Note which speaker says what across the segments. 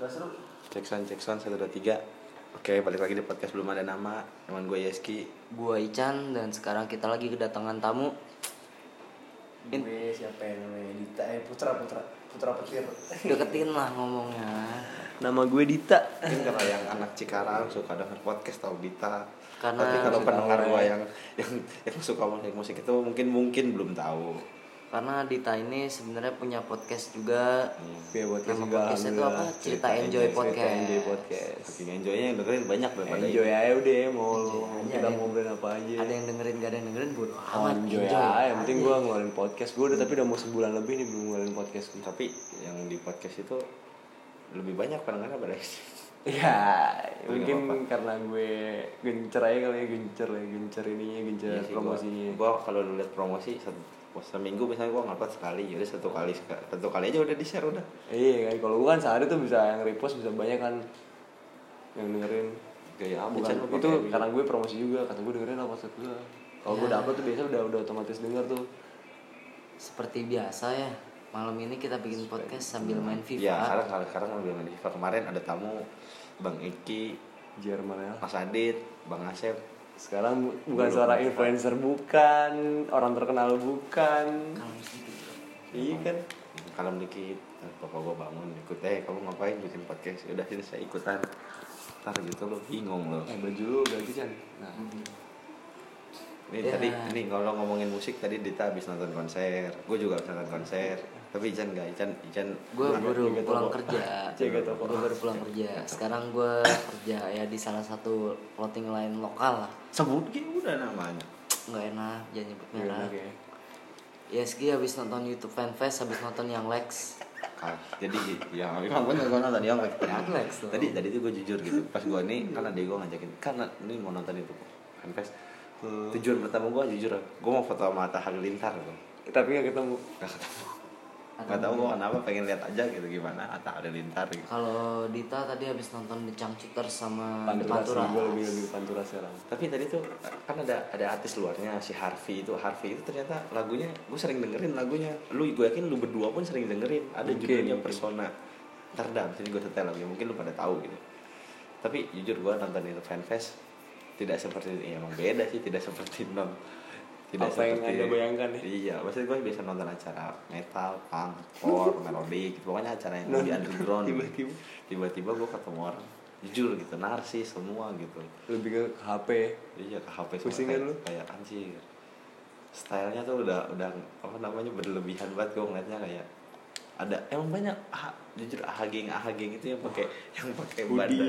Speaker 1: Gak seru.
Speaker 2: Cek sound, cek sound, satu dua tiga. Oke, balik lagi di podcast belum ada nama. Teman gue Yeski.
Speaker 3: Gua Ican dan sekarang kita lagi kedatangan tamu. In-
Speaker 1: Gue siapa yang namanya Dita eh Putra Putra Putra Petir.
Speaker 3: Deketin lah ngomongnya.
Speaker 2: Nama gue Dita. Mungkin karena yang anak Cikarang suka denger podcast tau Dita.
Speaker 3: Karena
Speaker 2: Tapi kalau
Speaker 3: suka
Speaker 2: pendengar gue
Speaker 3: mulai.
Speaker 2: yang, yang yang suka musik musik itu mungkin mungkin belum tahu.
Speaker 3: Karena Dita ini sebenarnya punya podcast juga.
Speaker 1: Iya buat
Speaker 3: Nama podcastnya itu apa? Cerita, Enjoy Podcast.
Speaker 4: Cerita Enjoy Podcast.
Speaker 2: Saking enjoynya yang dengerin banyak daripada
Speaker 4: Enjoy aja udah ya, mau lu
Speaker 3: Enjoy aja.
Speaker 4: kita ngobrolin apa aja.
Speaker 3: Ada yang dengerin gak ada yang dengerin bodo
Speaker 4: Iya. Oh,
Speaker 3: amat.
Speaker 4: enjoy, aja. Yang penting gue ngeluarin podcast. Gue udah tapi udah mau sebulan lebih nih belum ngeluarin podcast gue.
Speaker 2: Tapi yang di podcast itu lebih banyak pendengarnya berarti.
Speaker 4: Ya,
Speaker 2: Tapi
Speaker 4: mungkin
Speaker 2: nggak
Speaker 4: karena gue gencer aja kali ya, gencer ya, gencer ininya, gencer Ya,
Speaker 2: Iya
Speaker 4: promosinya.
Speaker 2: Gue kalau lu liat promosi satu seminggu misalnya gue ngupload sekali jadi satu kali seka- satu kali aja udah di share udah
Speaker 4: Iya kan, kalau gue kan sehari tuh bisa yang repost bisa banyak kan yang dengerin.
Speaker 2: Gaya amat,
Speaker 4: ah, Bukan,
Speaker 2: Chan, lu
Speaker 4: itu
Speaker 2: pakai
Speaker 4: karena gue promosi juga, kata gue dengerin apa maksud gue. Kalau gue dapet tuh biasa udah udah otomatis denger tuh.
Speaker 3: Seperti biasa ya. Malam ini kita bikin podcast sambil main FIFA.
Speaker 2: Iya, sekarang sekarang sekarang udah main FIFA kemarin ada tamu Bang Eki,
Speaker 4: Jerman ya.
Speaker 2: Mas Adit, Bang Asep.
Speaker 4: Sekarang bu- bukan seorang influencer bukan, orang terkenal bukan.
Speaker 3: Kalau gitu.
Speaker 4: Iya kan.
Speaker 2: Kalau dikit, eh, bapak gua bangun ikut eh kamu ngapain bikin podcast? Ya Udah sini saya ikutan. Ntar gitu lo bingung lo.
Speaker 4: Eh baju lu ganti Chan. Nah,
Speaker 2: Ini
Speaker 3: Ya.
Speaker 2: tadi ini kalau ngomongin musik tadi Dita habis nonton konser. Gue juga habis nonton konser. Tapi Ican enggak, Ican Ican
Speaker 3: Gue
Speaker 2: Nah,
Speaker 3: baru
Speaker 4: jaga
Speaker 3: pulang
Speaker 4: toko.
Speaker 3: kerja.
Speaker 4: Jaga toko.
Speaker 3: Gue baru pulang kerja. Sekarang gue kerja ya di salah satu clothing line lokal lah.
Speaker 2: sebut gitu udah namanya.
Speaker 3: Nggak enak, jangan nyebut
Speaker 4: gimana
Speaker 3: merah.
Speaker 4: kayak?
Speaker 3: Yeski habis nonton YouTube fanfest, habis nonton yang Lex.
Speaker 2: Ah, jadi ya memang bener gue nonton yang like
Speaker 3: Yang like, so.
Speaker 2: tadi tadi tuh gue jujur gitu pas gue nih karena dia gue ngajakin karena ini mau nonton itu fanfest tujuan pertama gue jujur gue mau foto sama Atta Halilintar tuh
Speaker 4: Tapi gak ketemu.
Speaker 2: nggak ketemu nggak tahu gue kenapa pengen lihat aja gitu gimana Atta Halilintar gitu
Speaker 3: Kalau Dita tadi habis nonton The Changcuters sama
Speaker 4: Pantura sih,
Speaker 3: The Hmm, Pantura.
Speaker 4: gue lebih lebih pantura sekarang.
Speaker 2: tapi tadi tuh kan ada ada artis luarnya si Harvey itu Harvey itu ternyata lagunya gue sering dengerin lagunya lu gue yakin lu berdua pun sering dengerin ada
Speaker 4: Mungkin,
Speaker 2: judulnya
Speaker 4: mungkin.
Speaker 2: Persona ntar dah abis ini gue setel lagunya mungkin lu pada tahu gitu tapi jujur gue nonton itu fanfest tidak seperti ya emang beda sih tidak seperti non tidak
Speaker 4: Apa yang Anda bayangkan ya?
Speaker 2: iya maksudnya gue biasa nonton acara metal punk core melodic gitu. pokoknya acara yang di underground gitu.
Speaker 4: Tiba-tiba.
Speaker 2: tiba-tiba gue ketemu orang jujur gitu narsis semua gitu
Speaker 4: Lebih ke HP.
Speaker 2: Iya ke HP semua
Speaker 4: Pusing kan
Speaker 2: kayak,
Speaker 4: lu?
Speaker 2: kayak anjir. Stylenya tuh udah udah apa namanya berlebihan banget gue ngeliatnya kayak ada emang banyak ah, jujur ah geng ah geng itu yang pakai yang pakai badan.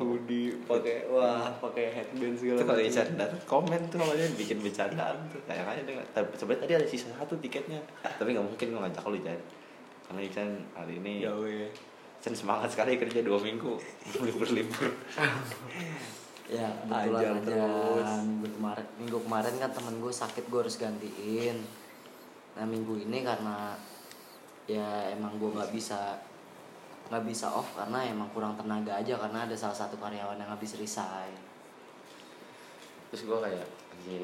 Speaker 4: Hoodie, hoodie, pakai wah, pakai headband segala
Speaker 2: Itu kalau
Speaker 4: macam.
Speaker 2: bercanda komen tuh kalau dia bikin bercandaan tuh kayak aja dia nggak- tapi sebenarnya tadi ada sisa satu tiketnya tapi nggak mungkin gue ngajak lu Ican karena Ican hari ini
Speaker 4: Ya weh.
Speaker 2: Ican semangat sekali kerja dua minggu libur libur
Speaker 3: Ya kebetulan
Speaker 4: Ajar
Speaker 3: aja.
Speaker 4: terus.
Speaker 3: Minggu kemarin, minggu kemarin kan temen gue sakit, gue harus gantiin. Nah minggu ini karena ya emang gue nggak bisa nggak bisa off karena emang kurang tenaga aja karena ada salah satu karyawan yang habis resign.
Speaker 2: terus gue kayak anjir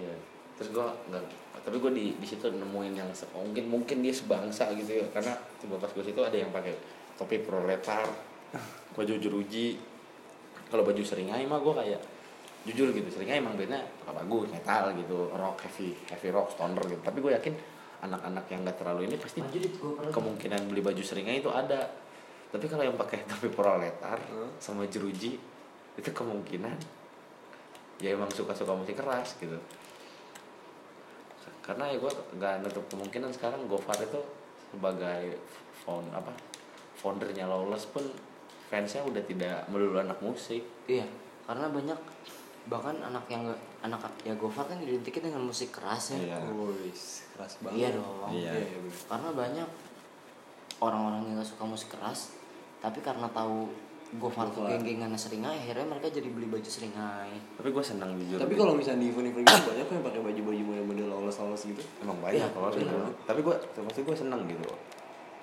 Speaker 2: terus gue nggak tapi gue di di situ nemuin yang se- mungkin mungkin dia sebangsa gitu ya karena tiba pas gue situ ada yang pakai topi proletar baju jeruji kalau baju seringai mah gue kayak jujur gitu seringai emang bandnya apa bagus metal gitu rock heavy heavy rock stoner gitu tapi gue yakin anak-anak yang nggak terlalu ini pasti
Speaker 3: Lanjut, gua pernah.
Speaker 2: kemungkinan beli baju seringai itu ada tapi kalau yang pakai topi proletar sama jeruji itu kemungkinan ya emang suka-suka musik keras gitu karena ya gue nggak nutup kemungkinan sekarang Gofar itu sebagai found apa foundernya Lawless pun fansnya udah tidak melulu anak musik
Speaker 3: Iya, karena banyak bahkan anak yang nggak- anak ya Gofar kan identiknya dengan musik keras ya.
Speaker 2: Iya.
Speaker 4: Wis, keras banget.
Speaker 3: Iya dong.
Speaker 2: Iya.
Speaker 4: Iya, bener.
Speaker 3: karena banyak orang-orang yang gak suka musik keras tapi karena tahu Gofar tuh
Speaker 4: Gofar.
Speaker 3: geng-gengannya seringai akhirnya mereka jadi beli baju seringai
Speaker 2: tapi gue senang jujur
Speaker 4: Tapi
Speaker 2: gitu.
Speaker 4: kalau misalnya di event-event gitu banyak kok yang pakai baju-baju model-model lolos-lolos gitu.
Speaker 2: emang banyak
Speaker 3: Iya,
Speaker 2: kalau
Speaker 3: bener.
Speaker 2: gitu. tapi gue maksud gue seneng gitu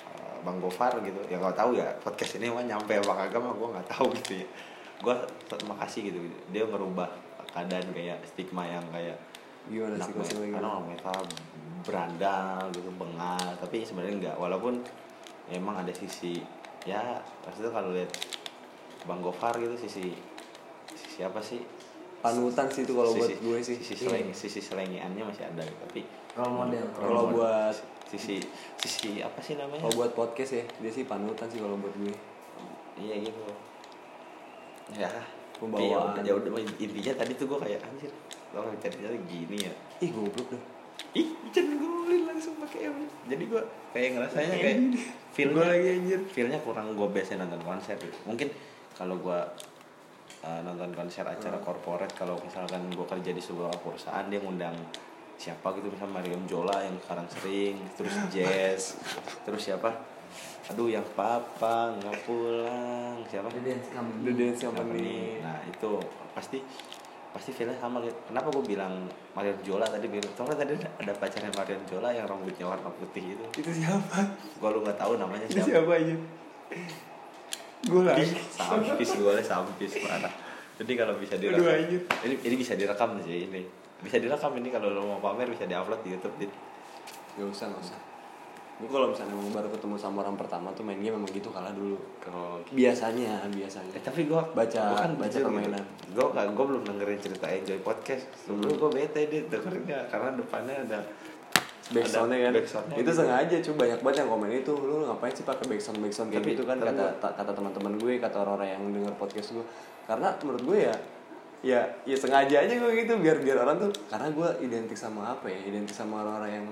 Speaker 2: Eh, bang Gofar gitu ya nggak tahu ya podcast ini mah nyampe apa kagak mah gue nggak tahu gitu ya gue terima kasih gitu dia ngerubah keadaan kayak stigma yang kayak
Speaker 4: Gimana
Speaker 2: anak
Speaker 4: sih
Speaker 2: me-
Speaker 4: konsepnya
Speaker 2: karena
Speaker 4: gitu?
Speaker 2: orang metal berandal gitu bengal tapi sebenarnya enggak walaupun emang ada sisi ya maksudnya kalau lihat bang Gofar gitu sisi sisi apa sih
Speaker 4: panutan sih itu kalau buat
Speaker 2: Sisi-
Speaker 4: gue sih Iya.
Speaker 2: sisi seleng sisi selengiannya masih ada gitu. tapi
Speaker 3: Role model.
Speaker 4: Kalau buat-
Speaker 2: sisi sisi apa sih namanya
Speaker 4: kalau buat podcast ya dia sih panutan sih kalau buat gue
Speaker 2: iya gitu ya tapi ya
Speaker 4: Pembawaan.
Speaker 2: udah, ya udah intinya tadi tuh gue kayak anjir lo ngecat gini ya
Speaker 4: ih goblok deh
Speaker 2: ih jangan gue beliin langsung pakai M jadi gue kayak ngerasanya kayak feel gue lagi anjir feelnya kurang gue biasanya nonton konser gitu. mungkin kalau gue uh, nonton konser acara corporate kalau misalkan gue kerja di sebuah perusahaan dia ngundang siapa gitu misalnya Mariam Jola yang sekarang sering terus Jazz terus siapa aduh yang papa nggak pulang siapa
Speaker 3: The Dance Company.
Speaker 4: The Dance
Speaker 2: Company.
Speaker 4: Company
Speaker 2: Nah itu pasti pasti feelnya sama gitu. Kenapa gue bilang Marion Jola tadi bilang, soalnya tadi ada- ada pacarnya Marion Jola yang rambutnya warna putih itu.
Speaker 4: itu siapa
Speaker 2: Gue lu nggak tahu namanya
Speaker 4: itu
Speaker 2: siapa.
Speaker 4: siapa aja gue lagi
Speaker 2: Sampis gue sampis parah. Jadi kalau bisa direkam,
Speaker 4: Aduh, anjir.
Speaker 2: ini, ini bisa direkam sih ini. Bisa direkam ini kalau lo mau pamer bisa diupload di YouTube. Dit.
Speaker 4: gak usah gak usah gue kalau misalnya mau baru ketemu sama orang pertama tuh main game memang gitu kalah dulu
Speaker 2: Kalau
Speaker 4: biasanya biasanya
Speaker 2: Eh, tapi kan gue
Speaker 4: Baca- baca
Speaker 2: gitu.
Speaker 4: permainan.
Speaker 2: Gue gak, gue belum dengerin cerita Enjoy Podcast. Sebelum gue bete dia dengerinnya karena depannya ada
Speaker 4: backsoundnya
Speaker 2: ada
Speaker 4: kan
Speaker 2: backsoundnya
Speaker 4: itu
Speaker 2: gitu.
Speaker 4: sengaja cuy banyak banget yang komen itu lu ngapain sih pakai backsound backsound kayak
Speaker 2: Tapi-
Speaker 4: gitu kan
Speaker 2: tapi
Speaker 4: kata
Speaker 2: gua-
Speaker 4: ta- kata teman-teman gue kata orang-orang yang denger podcast gue karena menurut gue ya ya ya sengaja aja gue gitu biar biar orang tuh karena gue identik sama apa ya identik sama orang-orang yang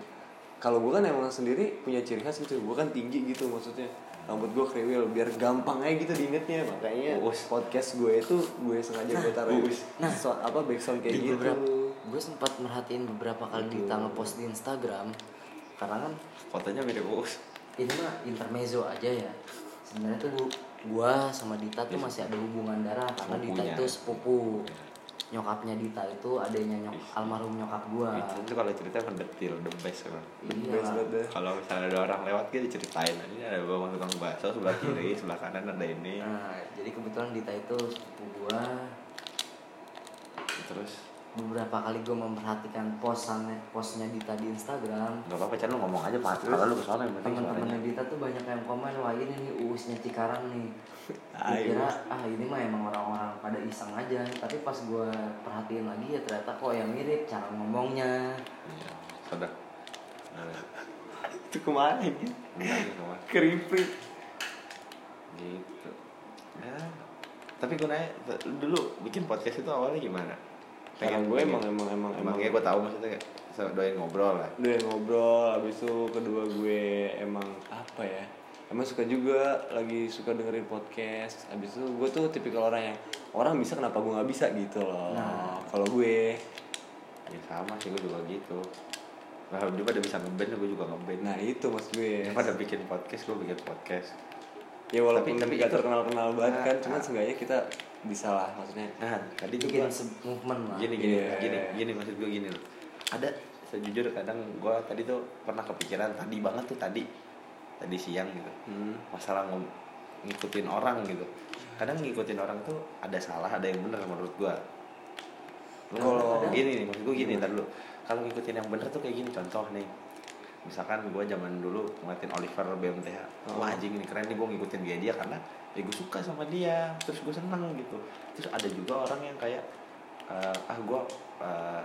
Speaker 4: kalau gue kan emang sendiri punya ciri khas gitu gue kan tinggi gitu maksudnya rambut gue kriwil biar gampang aja gitu diingetnya makanya
Speaker 2: Uus.
Speaker 4: podcast gue itu gue sengaja gue taruh
Speaker 2: uus.
Speaker 4: nah so, apa backsound kayak
Speaker 3: Di
Speaker 4: gitu
Speaker 3: beberapa gue sempat merhatiin beberapa kali Dita ngepost di Instagram karena kan
Speaker 2: Fotonya mirip Uus.
Speaker 3: ini mah intermezzo aja ya sebenarnya tuh gua, gua sama Dita tuh masih ada hubungan darah karena Dita
Speaker 2: Sepupunya.
Speaker 3: itu sepupu nyokapnya Dita itu adanya nyok almarhum nyokap gua
Speaker 2: Itu, itu kalau cerita mendetil the best emang.
Speaker 3: iya
Speaker 4: Best banget deh.
Speaker 2: Kalau misalnya ada orang lewat kita diceritain ini ada bawang tukang bakso sebelah kiri, sebelah kanan ada ini.
Speaker 3: nah jadi kebetulan Dita itu sepupu gua
Speaker 2: Terus
Speaker 3: beberapa kali gua memperhatikan posannya posnya Dita di Instagram
Speaker 2: nggak apa-apa Chan lu ngomong aja Pak. Kalau lu kesana yang penting suaranya.
Speaker 3: teman-teman Dita tuh banyak yang komen wah ini nih uusnya Cikarang nih Gua
Speaker 4: Ayo.
Speaker 3: kira ah ini mah emang orang-orang pada iseng aja tapi pas gua perhatiin lagi ya ternyata kok yang mirip cara ngomongnya
Speaker 2: Iya, sudah. Nah,
Speaker 4: itu kemarin gitu.
Speaker 2: bentar lagi keluar.
Speaker 4: keripik
Speaker 2: gitu. Ya. Tapi gue nanya t- lu dulu bikin podcast itu awalnya gimana?
Speaker 4: Karena gue emang emang emang emang
Speaker 2: emangnya gue ya tahu maksudnya kayak so- doain ngobrol lah.
Speaker 4: udah ngobrol abis itu kedua gue emang apa ya emang suka juga lagi suka dengerin podcast abis itu gue tuh tipikal orang yang orang bisa kenapa gue nggak bisa gitu loh
Speaker 2: Nah.
Speaker 4: kalau gue
Speaker 2: Ya sama sih gue juga gitu. Nah, dia pada bisa ngeband, gue juga ngeband.
Speaker 4: nah itu mas gue
Speaker 2: Yang pada bikin podcast, gue bikin podcast.
Speaker 4: ya walaupun
Speaker 2: Tapi- tapi
Speaker 4: tapi, gak
Speaker 2: itu-
Speaker 4: terkenal kenal banget
Speaker 2: Nah,
Speaker 4: kan
Speaker 2: nah.
Speaker 4: cuman seenggaknya kita bisa lah maksudnya
Speaker 2: Nah, tadi
Speaker 3: bikin
Speaker 2: juga
Speaker 3: se- movement lah
Speaker 2: gini gini
Speaker 4: Iya.
Speaker 2: gini gini maksud gue gini loh. Ada sejujur kadang gue tadi tuh pernah kepikiran tadi banget tuh tadi tadi siang gitu.
Speaker 4: hmm,
Speaker 2: Masalah ngom- ngikutin orang gitu. Kadang ngikutin orang tuh ada salah, ada yang benar menurut gue. Kalau
Speaker 4: Kadang-
Speaker 2: gini nih maksud gue gini ntar dulu. Kalau ngikutin yang benar tuh kayak gini contoh nih. Misalkan gue zaman dulu ngeliatin Oliver BMTH Wah anjing ini keren nih gue ngikutin dia dia karena ya gue suka sama dia Terus gue seneng gitu Terus ada juga orang yang kayak eh, Ah gue eh,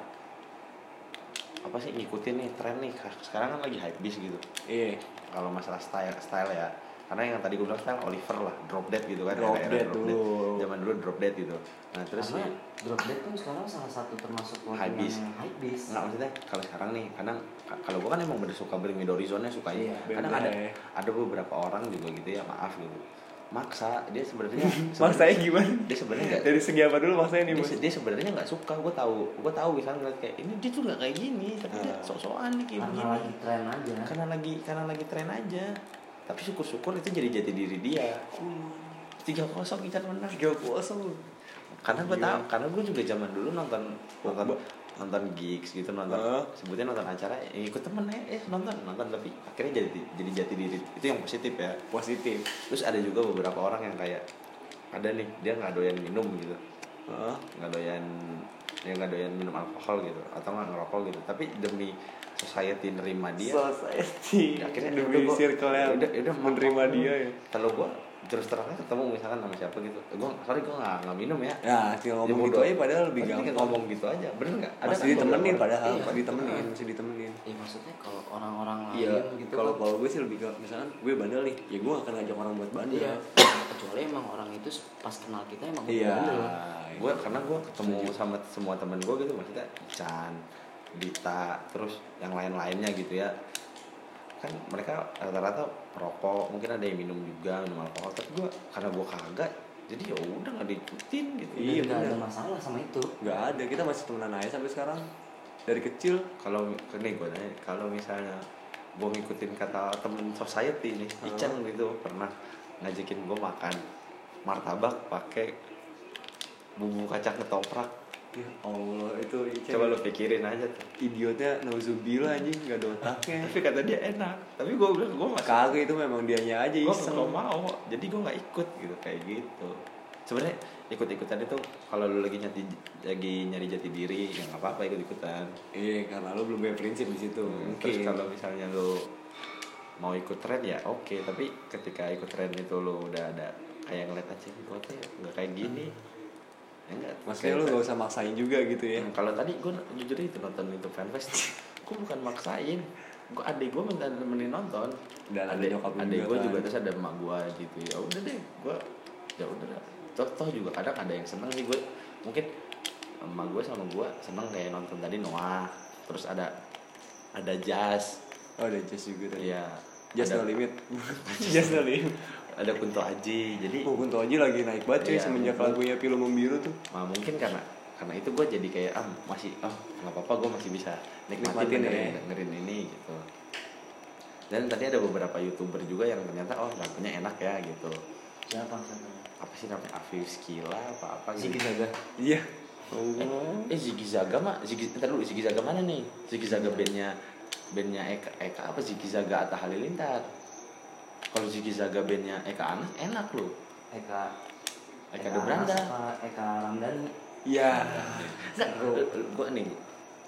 Speaker 2: Apa sih ngikutin nih tren nih Sekarang kan lagi hype bis gitu
Speaker 4: iya
Speaker 2: Kalau masalah style style ya karena yang tadi gue bilang style Oliver lah drop dead gitu kan
Speaker 4: Drop
Speaker 2: era-era
Speaker 4: Dead dulu.
Speaker 2: zaman dulu drop dead gitu nah terus
Speaker 3: karena
Speaker 2: nih-
Speaker 3: drop dead tuh sekarang salah satu termasuk
Speaker 2: Hype beast. Nah,
Speaker 3: hype beast
Speaker 2: Nggak maksudnya kalau sekarang nih kadang ka- kalau gua kan emang bener suka bring midori zone-nya suka ya.
Speaker 3: Iya,
Speaker 2: kadang
Speaker 4: bener
Speaker 2: ada
Speaker 4: ya.
Speaker 2: ada beberapa orang juga gitu ya maaf gitu. Maksa dia sebenarnya
Speaker 4: maksanya
Speaker 2: sebenarnya-
Speaker 4: gimana
Speaker 2: Dia sebenarnya nggak
Speaker 4: dari segi apa dulu maksanya nih
Speaker 2: dia,
Speaker 4: mas
Speaker 2: se- dia sebenarnya nggak suka gue tahu gue tahu misalnya ngeliat kayak ini dia tuh nggak kayak gini tapi dia Nah.
Speaker 4: Ah.
Speaker 2: sok-sokan nih kayak
Speaker 3: karena
Speaker 2: begini
Speaker 3: lagi tren aja
Speaker 2: karena lagi karena lagi tren aja tapi syukur-syukur itu jadi jati diri dia tiga kosong Ican menang Hmm. tiga kosong Iya. karena gue tahu karena gue juga zaman dulu nonton nonton nonton gigs gitu nonton
Speaker 4: Heeh.
Speaker 2: sebutnya nonton acara ya ikut temen eh eh, nonton nonton tapi akhirnya jadi jadi jati diri itu yang positif ya
Speaker 4: positif
Speaker 2: terus ada juga beberapa orang yang kayak ada nih dia nggak doyan minum gitu
Speaker 4: Heeh.
Speaker 2: nggak doyan dia nggak doyan minum alkohol gitu atau nggak ngerokok gitu tapi demi society nerima dia
Speaker 4: society
Speaker 2: Ya, akhirnya
Speaker 4: demi
Speaker 2: udah gua-
Speaker 4: circle yang
Speaker 2: udah- udah, maaf.
Speaker 4: menerima dia ya
Speaker 2: kalau gua terus terangnya ketemu misalkan sama siapa gitu gue sorry gue nggak nggak minum ya
Speaker 4: Nah, tinggal
Speaker 2: Ya,
Speaker 4: ngomong gitu
Speaker 2: bodo.
Speaker 4: aja padahal lebih
Speaker 2: Pasti
Speaker 4: gampang.
Speaker 2: tinggal ngomong gitu aja bener nggak
Speaker 4: Masih
Speaker 2: kan
Speaker 4: ditemenin
Speaker 2: orang-orang?
Speaker 4: padahal,
Speaker 3: Iya.
Speaker 4: Pak, ditemenin, masih ditemenin.
Speaker 3: ya maksudnya kalau orang-orang lain
Speaker 4: Iya,
Speaker 3: gitu
Speaker 4: kalau
Speaker 3: kan.
Speaker 4: kalau gue sih lebih ke misalkan gue bandel nih, ya gue gak akan ngajak orang buat bandel.
Speaker 3: Iya. kecuali emang orang itu pas kenal kita emang
Speaker 4: Iya.
Speaker 3: bener.
Speaker 2: gue karena gue ketemu sama semua temen gue gitu maksudnya Chan, Dita, terus yang lain-lainnya gitu ya kan mereka rata-rata perokok mungkin ada yang minum juga minum alkohol tapi gue karena gue kagak jadi ya udah nggak diikutin gitu
Speaker 3: Dan
Speaker 4: Iya,
Speaker 3: nggak
Speaker 4: bener.
Speaker 3: ada masalah sama itu
Speaker 4: Gak ada, kita masih temenan aja sampai sekarang. Dari kecil.
Speaker 2: kalau nih gue nanya kalau misalnya gue ngikutin kata temen society nih Ican gitu pernah ngajakin gue makan martabak pakai bumbu kacang ketoprak
Speaker 4: Ya Allah, itu Ica.
Speaker 2: coba lo pikirin aja tuh
Speaker 4: idiotnya nauzubillah anjing, gak ada otaknya.
Speaker 2: tapi kata dia enak tapi gue bilang gue masih
Speaker 4: Kagak itu memang dianya aja
Speaker 2: gue
Speaker 4: iseng.
Speaker 2: nggak mau jadi gue nggak ikut gitu kayak gitu sebenarnya ikut-ikutan itu kalau lu lagi nyati lagi nyari jati diri ya nggak apa-apa ikut-ikutan
Speaker 4: Iya, karena lo belum punya prinsip di situ.
Speaker 2: terus
Speaker 4: Hmm, Mungkin.
Speaker 2: kalau misalnya lu mau ikut tren ya oke tapi ketika ikut tren itu lu udah ada kayak ngeliat aja gue tuh nggak kayak gini ya enggak
Speaker 4: Hmm. Maksudnya lo gak usah maksain juga gitu ya.
Speaker 2: kalau tadi gue jujur itu nonton itu fanfest gue bukan maksain gue adik gue minta nemenin nonton
Speaker 4: Dan ada nyokap lu
Speaker 2: adik
Speaker 4: juga
Speaker 2: gue
Speaker 4: kan.
Speaker 2: juga terus ada emak gue gitu ya udah deh gue ya udah lah. toh toh juga kadang ada yang seneng sih gue mungkin emak gue sama gue seneng kayak nonton tadi Noah terus ada ada jazz
Speaker 4: Oh, ada jazz juga tadi.
Speaker 2: ya
Speaker 4: Just no
Speaker 2: ada,
Speaker 4: limit. Just no limit.
Speaker 2: ada Kunto Aji jadi
Speaker 4: Oh, Kunto Aji lagi naik banget cuy
Speaker 2: Iya,
Speaker 4: semenjak
Speaker 2: Kunto.
Speaker 4: lagunya Pilu Membiru tuh.
Speaker 2: Nah, mungkin karena karena itu gue jadi kayak ah masih ah nggak apa-apa gue masih bisa nikmatin
Speaker 4: Nikmatin ya.
Speaker 2: dengerin, dengerin ini gitu dan tadi ada beberapa youtuber juga yang ternyata oh lagunya enak ya gitu
Speaker 3: siapa siapa
Speaker 2: apa sih namanya Afif Skila apa apa
Speaker 3: si
Speaker 2: gitu
Speaker 3: Zaga
Speaker 4: Iya.
Speaker 2: eh,
Speaker 3: Oh,
Speaker 2: eh Ziggy Zaga mah Ziggy ntar dulu Ziggy Zaga mana nih Ziggy Zaga bandnya bandnya Eka Eka apa Ziggy Zaga Atta Halilintar kalau Ziggy Zaga bandnya Eka Anas enak loh
Speaker 3: Eka
Speaker 2: Eka Dobranda
Speaker 3: Anas apa Eka Ramdhani
Speaker 4: Iya.
Speaker 3: Seru.
Speaker 2: gue nih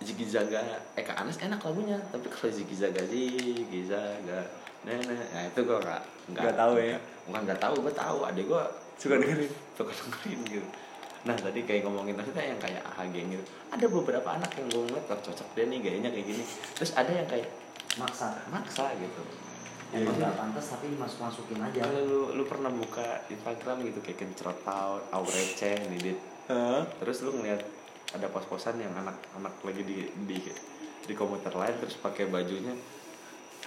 Speaker 2: Ziggy Zaga Eka Anas enak lagunya tapi kalau Ziggy Zaga Ziggy Zaga nenek nah itu gue nggak
Speaker 4: Nggak tahu ya?
Speaker 2: bukan nggak tahu gue tahu ada gue
Speaker 4: Suka dengerin.
Speaker 2: suka dengerin gitu nah tadi kayak ngomongin maksudnya yang kayak ah geng gitu ada beberapa anak yang gue ngeliat "Oh, cocok deh nih gayanya kayak gini terus ada yang kayak
Speaker 3: maksa
Speaker 2: maksa gitu
Speaker 3: emang nggak pantas tapi masuk masukin
Speaker 4: Ya.
Speaker 3: aja
Speaker 2: kalau lu, lu pernah buka Instagram gitu kayak kencrot out aurece nih Dit.
Speaker 4: Hah?
Speaker 2: terus lu ngeliat ada pos-posan yang anak-anak lagi di di di komuter lain terus pakai bajunya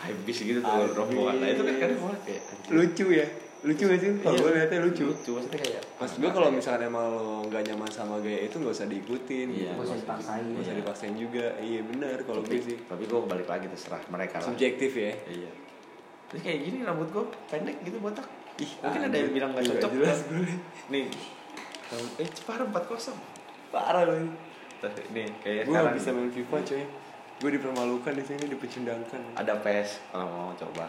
Speaker 2: habis gitu tuh
Speaker 4: Habis.
Speaker 2: rombongan nah itu kan kadang gue kayak anjir.
Speaker 4: Lucu ya. Lucu gak sih? Kalau
Speaker 2: Iya,
Speaker 4: gue liatnya lucu.
Speaker 2: lucu maksudnya kayak
Speaker 4: Mas gue kalau misalkan emang lo gak nyaman sama gaya itu gak usah diikutin.
Speaker 2: Iya.
Speaker 3: Gak usah dipaksain.
Speaker 4: Gak usah dipaksain juga. Iya benar kalau
Speaker 2: tapi,
Speaker 4: gue sih.
Speaker 2: tapi gue balik lagi terserah mereka lah
Speaker 4: Subjektif ya.
Speaker 2: iya terus kayak gini rambut gue pendek gitu botak
Speaker 4: Ih,
Speaker 2: mungkin ada yang
Speaker 4: anjir.
Speaker 2: bilang gak
Speaker 4: Nggak
Speaker 2: cocok
Speaker 4: jelas
Speaker 2: kan?
Speaker 4: gue.
Speaker 2: nih rambut- eh parah empat kosong
Speaker 4: Parah lo.
Speaker 2: nih kayak
Speaker 4: Gue
Speaker 2: sekarang
Speaker 4: gak bisa main FIFA coy. Gue dipermalukan di sini, dipecundangkan.
Speaker 2: ada PS kalau mau coba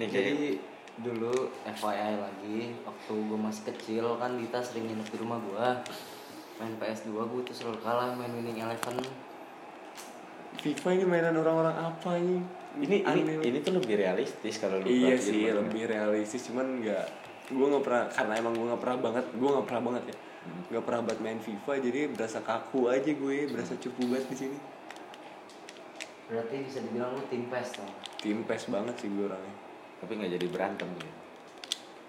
Speaker 2: nih kayak
Speaker 4: Iya.
Speaker 3: Jadi dulu FYI lagi waktu gue masih kecil kan Dita sering nginep di rumah gue main PS2 gue tuh selalu kalah main Winning Eleven
Speaker 4: FIFA ini mainan orang-orang apa ini?
Speaker 2: ini ini,
Speaker 4: Aneh.
Speaker 2: ini tuh lebih realistis kalau lu
Speaker 4: Iya
Speaker 2: perhatiin ya.
Speaker 4: sih
Speaker 2: bener.
Speaker 4: lebih realistis cuman nggak gue nggak pernah karena emang gue nggak pernah banget gue nggak pernah banget ya nggak pernah banget main FIFA jadi berasa kaku aja gue berasa cupu banget di sini
Speaker 3: berarti bisa dibilang lu tim PES dong
Speaker 4: tim pes banget sih gue orangnya
Speaker 2: tapi nggak jadi berantem gitu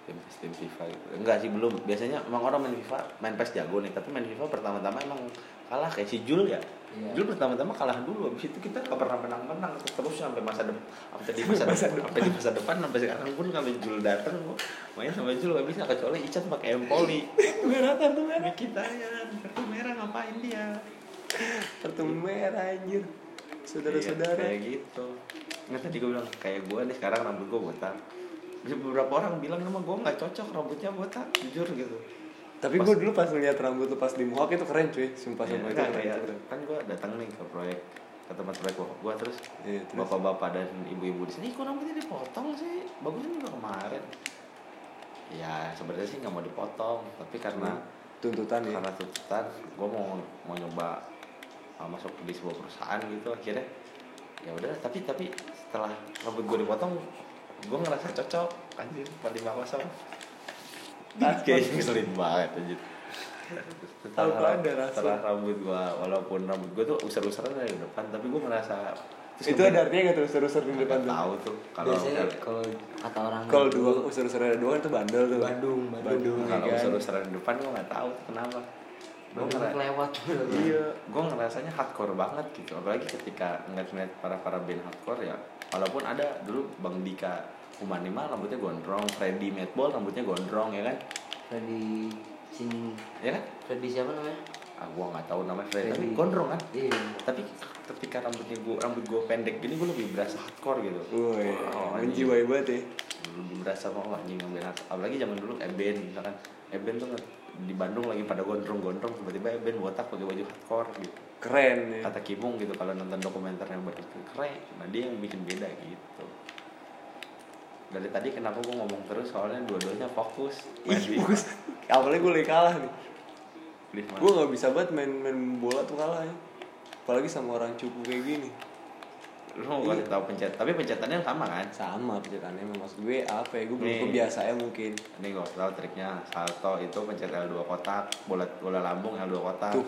Speaker 2: tim PES, tim FIFA gitu. enggak sih belum biasanya emang orang main FIFA main PES jago nih tapi main FIFA pertama-tama emang kalah kayak si Jul ya
Speaker 3: Iya.
Speaker 2: Jul pertama-tama kalah dulu habis itu kita nggak pernah menang-menang terus sampai masa depan sampai di masa, depan sampai di masa depan sampai sekarang pun sampai Jul datang gua main sama Jul nggak bisa kecuali Icat pakai empoli
Speaker 4: merah kartu merah
Speaker 2: kita ya kartu merah ngapain dia
Speaker 4: kartu merah anjir
Speaker 2: Iya,
Speaker 4: saudara-saudara
Speaker 2: kayak gitu nggak tadi gue bilang kayak gue nih sekarang rambut gue botak Terus beberapa orang bilang sama gue nggak cocok rambutnya botak jujur gitu
Speaker 4: tapi gue dulu pas Iya, ngeliat rambut lu pas di mohawk itu keren cuy sumpah
Speaker 2: Ya,
Speaker 4: sumpah itu
Speaker 2: kan,
Speaker 4: keren
Speaker 2: kayak-
Speaker 4: itu keren.
Speaker 2: kan gue datang nih ke proyek ke tempat proyek bokap gue terus
Speaker 4: Iya, terus?
Speaker 2: bapak-bapak dan ibu-ibu di sini "Ih, kok rambutnya dipotong sih bagusnya juga kemarin ya sebenarnya sih nggak mau dipotong tapi karena
Speaker 4: tuntutan ya
Speaker 2: karena tuntutan gue mau mau nyoba uh, masuk di sebuah perusahaan gitu akhirnya ya udah tapi tapi setelah rambut gue dipotong gue ngerasa cocok anjir paling bawah sama Kayaknya ngeselin banget anjir.
Speaker 4: Tahu
Speaker 2: Tanah-
Speaker 4: ada rasa.
Speaker 2: tanah rambut gua walaupun rambut gua tuh usar-usaran dari depan tapi gua merasa
Speaker 4: itu ada artinya gak tuh usur-usur di depan tuh
Speaker 2: tahu tuh kalau
Speaker 1: biasanya kalau
Speaker 3: kata orang gitu,
Speaker 4: kalau dua usur-usur ada dua kan itu bandel tuh
Speaker 1: Bandung, Bandung,
Speaker 4: ya
Speaker 2: kalau
Speaker 4: kan?
Speaker 2: usur-usaran di depan gua nggak tahu kenapa. Gua
Speaker 3: Bandung
Speaker 2: ngera-
Speaker 3: lewat
Speaker 2: Iya, gue ngerasanya hardcore banget gitu. Apalagi ketika ngeliat-ngeliat para-para band hardcore ya. Walaupun ada dulu Bang Dika Humanima rambutnya gondrong, Freddy Madball rambutnya gondrong ya kan?
Speaker 3: Freddy Sin
Speaker 2: Ya kan?
Speaker 3: Freddy siapa namanya
Speaker 2: Ah, gue nggak tahu namanya Freddy, tapi
Speaker 3: Freddy.
Speaker 2: gondrong kan?
Speaker 3: iya
Speaker 2: Tapi ketika rambutnya gue rambut gue pendek gini gue lebih berasa hardcore gitu.
Speaker 4: Woi,
Speaker 2: Wow, anjing.
Speaker 4: menjiwai banget ya.
Speaker 2: Lebih berasa mau anjing ngambil hardcore. Apalagi zaman dulu Eben misalkan Eben tuh nge- di Bandung lagi pada gondrong-gondrong tiba-tiba Eben botak pakai baju hardcore gitu.
Speaker 4: Keren ya.
Speaker 2: kata Kimung gitu kalau nonton dokumenter yang berikut keren nah dia yang bikin beda gitu dari tadi kenapa gue ngomong terus soalnya dua-duanya fokus
Speaker 4: Ih, bagus. Awalnya gue lagi kalah nih. Gue
Speaker 2: gue
Speaker 4: gak bisa banget main main bola tuh kalah ya. Apalagi sama orang cupu kayak gini.
Speaker 2: lu mau kasih tahu pencet tapi pencetannya sama kan
Speaker 4: Sama pencetakannya emang. maksud gue apa ya? Gue belum
Speaker 2: Nih.
Speaker 4: kebiasa ya mungkin.
Speaker 2: ini gue kasih tahu triknya salto itu pencet L2 kotak bola bola lambung L2 kotak
Speaker 4: Tuh.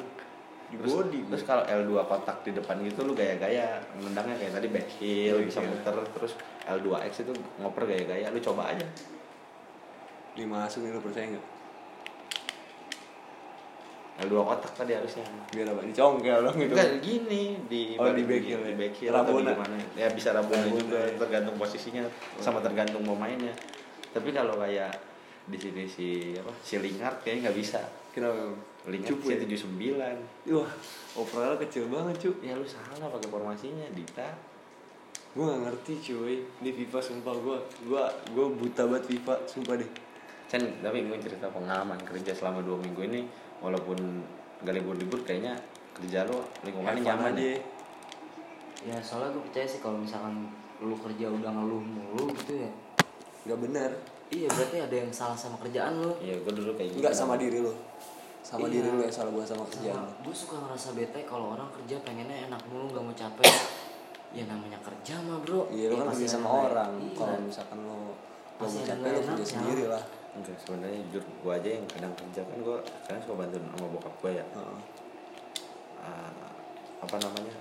Speaker 4: Di
Speaker 2: terus,
Speaker 4: body gue.
Speaker 2: terus kalau L2 kotak di depan gitu lu gaya-gaya nendangnya kayak tadi back heel
Speaker 4: Back
Speaker 2: bisa
Speaker 4: heel.
Speaker 2: muter terus L2X itu ngoper gaya-gaya lu coba aja
Speaker 4: Dimasuk nih lo percaya gak?
Speaker 2: L2 kotak tadi harusnya
Speaker 4: Biar apa? Dicongkel dong gitu.
Speaker 2: Enggak gini di
Speaker 4: Oh, di back heel
Speaker 2: di
Speaker 4: ya?
Speaker 2: back heel atau di
Speaker 4: Rabona.
Speaker 2: mana. Ya bisa rabona
Speaker 4: Rabona,
Speaker 2: juga
Speaker 4: ya.
Speaker 2: tergantung posisinya sama tergantung pemainnya. Tapi kalau kayak di sini si apa si Lingard kayaknya nggak bisa.
Speaker 4: Kenapa emang?
Speaker 2: Lingard
Speaker 4: Cupu
Speaker 2: sih
Speaker 4: ya?
Speaker 2: 79.
Speaker 4: Wah, overall kecil banget cu.
Speaker 2: Ya lu salah pakai formasinya Dita.
Speaker 4: Gue gak ngerti cuy. Ini FIFA sumpah gue. Gue gue buta banget FIFA sumpah deh.
Speaker 2: Cen, tapi gue cerita pengalaman kerja selama dua minggu ini walaupun gak libur-libur kayaknya kerja lu lingkungannya
Speaker 4: Have fun
Speaker 2: nyaman
Speaker 4: aja
Speaker 2: ya.
Speaker 4: ya.
Speaker 3: ya soalnya gue percaya sih kalau misalkan lu kerja udah ngeluh mulu gitu ya
Speaker 4: Gak benar.
Speaker 3: iya berarti ada yang salah sama kerjaan lu
Speaker 2: Iya, gue dulu kayak gitu.
Speaker 4: Enggak sama diri lo. Sama
Speaker 3: Iya. Oh.
Speaker 4: diri lo yang salah gue sama kerjaan lo.
Speaker 3: gue suka ngerasa bete kalau orang kerja pengennya enak mulu nggak mau capek ya namanya kerja mah bro
Speaker 4: Iya lo
Speaker 3: Ya,
Speaker 4: kan
Speaker 3: pasti
Speaker 4: kerja sama
Speaker 3: ada-
Speaker 4: orang.
Speaker 3: iya.
Speaker 4: Kalau misalkan lo lo
Speaker 3: Pasti
Speaker 4: mau
Speaker 3: ada
Speaker 4: capek lo kerja
Speaker 3: enaknya.
Speaker 4: sendiri lah.
Speaker 2: Enggak, sebenarnya jujur gue aja yang kadang kerja kan gue kadang suka bantuin sama bokap gue ya.
Speaker 4: Heeh.
Speaker 2: eh, apa namanya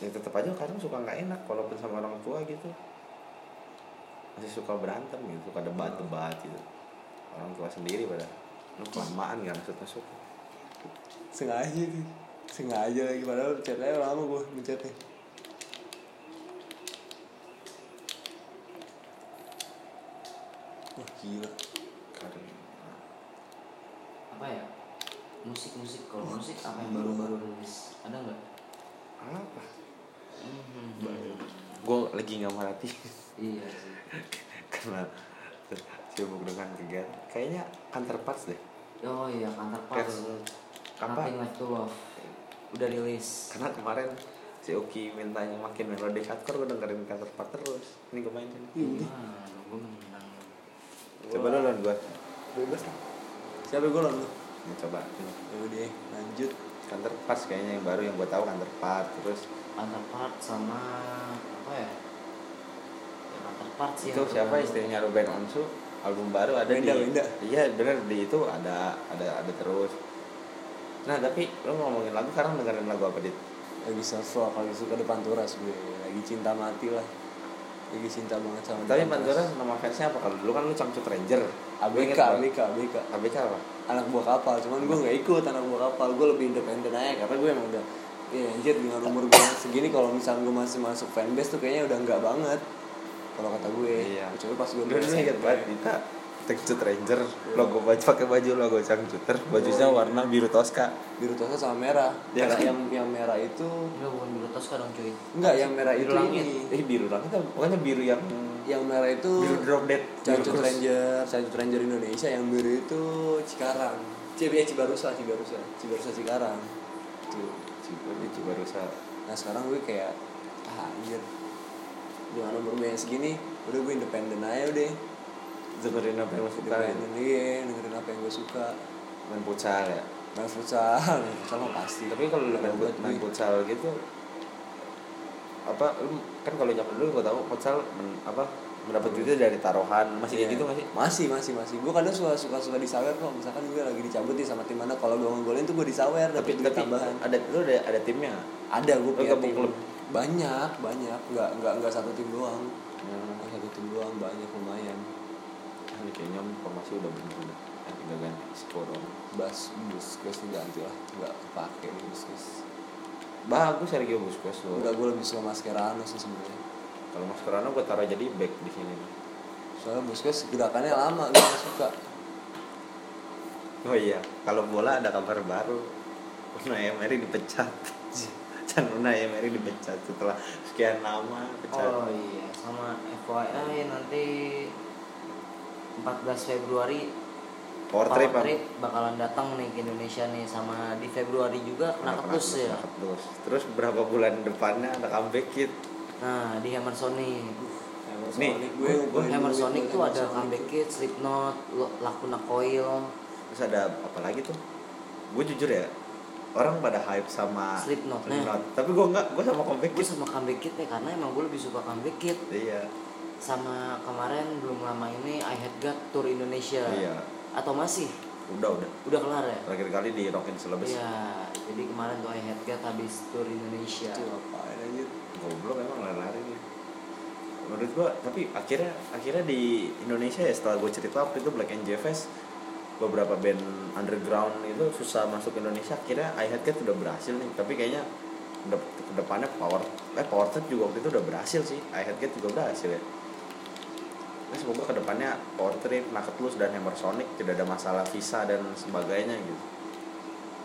Speaker 2: ya tetap aja kadang suka nggak enak walaupun sama orang tua gitu masih suka berantem gitu suka debat debat gitu orang tua sendiri pada lu kelamaan nggak maksudnya suka
Speaker 4: Sengaja tuh. Sengaja lagi padahal chatnya lama gue mencetnya. Wah gila.
Speaker 2: Karena-
Speaker 3: apa ya musik musik kalau musik apa yang baru-baru rilis ada nggak
Speaker 2: "Ah, apa
Speaker 3: Mhm.
Speaker 2: gue lagi nggak merhati
Speaker 3: iya sih
Speaker 2: karena sibuk dengan kegiatan kayaknya counterparts deh
Speaker 3: oh iya kantor pas
Speaker 2: Yang- apa?
Speaker 3: Nothing Left to Love udah rilis
Speaker 2: karena kemarin si Oki mintanya makin melodic hardcore gue dengerin counterparts terus ini gue mainin
Speaker 3: Iya, Gimana? gue Ah, menang
Speaker 2: coba lo lawan gue
Speaker 4: Bebas lah. Siapa gue lalu?
Speaker 2: Ini coba ini.
Speaker 4: Ya udah lanjut.
Speaker 2: Kantor Parts kayaknya yang baru yang gue tahu Kantor Parts terus
Speaker 3: kantor part sama apa ya ya kantor part sih
Speaker 2: itu
Speaker 3: yang
Speaker 2: siapa
Speaker 3: baru.
Speaker 2: istrinya Ruben Onsu album baru ada
Speaker 4: Wenda,
Speaker 2: di
Speaker 4: Wenda.
Speaker 2: iya bener di itu ada ada ada terus nah tapi lo ngomongin lagu sekarang dengerin lagu apa dit
Speaker 4: lagi self lagi suka ada Panturas gue lagi cinta mati lah lagi cinta banget sama
Speaker 2: tapi Pandora nama fansnya apa kalau dulu kan lu cangcut ranger Lu
Speaker 4: ABK
Speaker 2: inget nggak?
Speaker 4: ABK ABK
Speaker 2: ABK apa
Speaker 4: anak buah kapal cuman gue nggak ikut anak buah kapal gue lebih independen aja karena gue emang udah ya anjir dengan umur gue yang segini kalau misalnya gue masih masuk fanbase tuh kayaknya udah nggak banget kalau kata gue
Speaker 2: Iya.
Speaker 4: kecuali pas gue
Speaker 2: dulu dulu
Speaker 4: SMP.
Speaker 2: inget banget Dita cangcut ranger logo baju pakai baju logo cangcuter bajunya warna biru Tosca
Speaker 4: biru tosnya sama merah
Speaker 2: Iya
Speaker 4: merah
Speaker 2: kan?
Speaker 4: yang yang merah itu
Speaker 3: enggak bukan Biru Tosca dong cuy
Speaker 4: enggak yang merah itu
Speaker 3: Biru langit.
Speaker 4: ini
Speaker 2: eh biru langit apa? pokoknya biru yang
Speaker 4: yang merah itu
Speaker 2: biru drop dead Biru
Speaker 4: Cacut
Speaker 2: terus.
Speaker 4: Ranger, Cacut Ranger Indonesia yang biru itu Cikarang. Cibia Cibarusa, Cibarusa, Cibarusa Cikarang. Tuh.
Speaker 2: Cibar itu baru
Speaker 4: Nah sekarang gue kayak ah anjir. Dengan umur gue yang segini, udah gue independen aja udah.
Speaker 2: dengerin apa yang lo suka gitu.
Speaker 4: Independen iya, dengerin apa yang gue suka.
Speaker 2: main futsal ya
Speaker 4: Main futsal, main futsal mah pasti.
Speaker 2: tapi kalau lu main,
Speaker 4: buat
Speaker 2: main
Speaker 4: gue,
Speaker 2: futsal gitu apa lu kan kalau zaman dulu gua tahu futsal men- apa mendapat duitnya dari taruhan masih
Speaker 4: Iya.
Speaker 2: kayak gitu masih
Speaker 4: Masih, masih, masih. Gue kadang suka suka suka disawer kok. Misalkan gue lagi dicabut nih sama tim mana, kalau gue ngegolin tuh gue disawer
Speaker 2: tapi
Speaker 4: dapet duit
Speaker 2: tapi
Speaker 4: tambahan.
Speaker 2: ada lu ada ada timnya nggak?
Speaker 4: Ada gue
Speaker 2: Lu
Speaker 4: punya
Speaker 2: gabung
Speaker 4: tim.
Speaker 2: klub?
Speaker 4: Banyak, banyak. Nggak nggak nggak satu tim doang. Nggak satu tim doang banyak lumayan.
Speaker 2: Ah, ini kayaknya formasi udah bener udah tinggal ganti skor doang.
Speaker 4: Bas, bus, guys ganti lah. Nggak kepake nih bus, guys.
Speaker 2: bagus Sergio Busquets lo
Speaker 4: Enggak gue lebih suka Mascherano sih sebenarnya.
Speaker 2: kalau Mascherano gue taruh jadi back di sini
Speaker 4: Soalnya Busquets gerakannya lama, gue nggak suka.
Speaker 2: oh iya kalau bola ada kabar baru Unai Emery dipecat Chan Unai Emery dipecat setelah sekian lama pecat
Speaker 3: Oh iya, sama FYI nanti 14 Februari
Speaker 2: power trip
Speaker 3: Power Trip bakalan datang nih ke Indonesia nih sama di Februari juga kena ketus ya.
Speaker 2: terus terus berapa bulan depannya ada comeback kit
Speaker 3: Nah, di Hammer Sonic.
Speaker 2: Nih,
Speaker 4: gue
Speaker 3: Gue
Speaker 4: ngumpulin
Speaker 3: Hammer
Speaker 4: duit
Speaker 3: Sonic
Speaker 4: buat
Speaker 3: tuh ada
Speaker 4: Hammersonic.
Speaker 3: Comeback Kids, Slipknot, Lo- Lacuna Coil,
Speaker 2: terus ada apa lagi tuh gue jujur ya orang pada hype sama
Speaker 3: Slipknotnya.
Speaker 2: Slipknot. tapi gue nggak gue sama comeback
Speaker 3: Gue
Speaker 2: kit
Speaker 3: sama Comeback Kids ya karena emang gue lebih suka Comeback Kids
Speaker 2: iya
Speaker 3: Sama kemarin belum lama ini I Had God Tour Indonesia
Speaker 2: iya
Speaker 3: Atau masih?
Speaker 2: udah udah
Speaker 3: Udah kelar ya?
Speaker 2: terakhir kali di Rockin Celebes
Speaker 3: Iya, jadi kemarin tuh I Had God habis Tour Indonesia
Speaker 4: Itu Iya,
Speaker 2: Iya.
Speaker 4: ngapain aja?
Speaker 2: goblok emang lari-lari nih menurut gua tapi akhirnya akhirnya di Indonesia ya setelah gue cerita waktu itu Black Angel Fest beberapa band underground itu susah masuk ke Indonesia akhirnya I Had Cat udah berhasil nih tapi kayaknya de- kedepannya power eh power Trip juga waktu itu udah berhasil sih I Had Cat juga berhasil ya Nah, semoga kedepannya Power Trip, Naketlus, dan Hammer Sonic tidak ada masalah visa dan sebagainya gitu.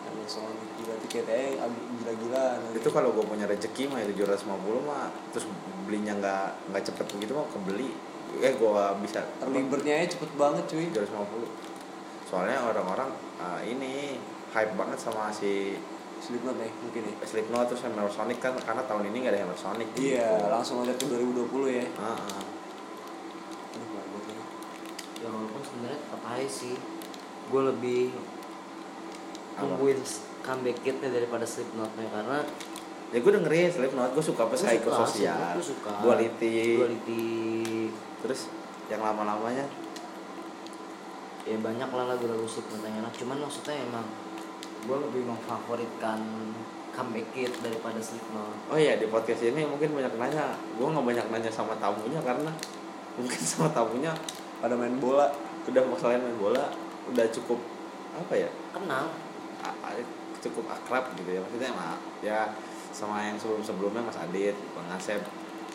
Speaker 4: Hammer Sonic eh, gila tiketnya yang ab- gila-gilaan.
Speaker 2: itu kalau gue punya rezeki mah ya itu 750 mah terus belinya nggak nggak cepet begitu mah kebeli eh gue bisa
Speaker 4: Early birdnya aja cepet banget cuy.
Speaker 2: 750 soalnya orang-orang ah, ini hype banget sama si
Speaker 4: Slipknot ya mungkin ya.
Speaker 2: Slipknot terus Hammer Sonic kan karena tahun ini nggak ada gitu. Hammer Sonic
Speaker 4: Iya, langsung aja ke 2020 ya.
Speaker 2: Ah, ah.
Speaker 4: Aduh, mabok ya.
Speaker 3: Ya walaupun sebenarnya tetap aja sih Gue lebih
Speaker 2: Apa?
Speaker 3: nungguin s- Comeback Kids-nya daripada Slipknotnya Karena
Speaker 2: ya gue dengerin Slipknot gue suka psikososial
Speaker 3: Gue suka
Speaker 2: duality
Speaker 3: Duality
Speaker 2: terus yang lama-lamanya
Speaker 3: ya banyak lah lagu-lagu Slipknot yang enak cuman maksudnya emang gue lebih memfavoritkan comeback kid daripada Slipknot
Speaker 2: Oh iya di podcast ini mungkin banyak nanya, gue nggak banyak nanya sama tamunya karena mungkin sama tamunya
Speaker 4: Pada main bola.
Speaker 2: udah masalahnya main bola udah cukup apa ya
Speaker 3: kenal
Speaker 2: a- a- cukup akrab gitu ya maksudnya sama ya sama yang sebelum sebelumnya Mas Adit, Bang Asep,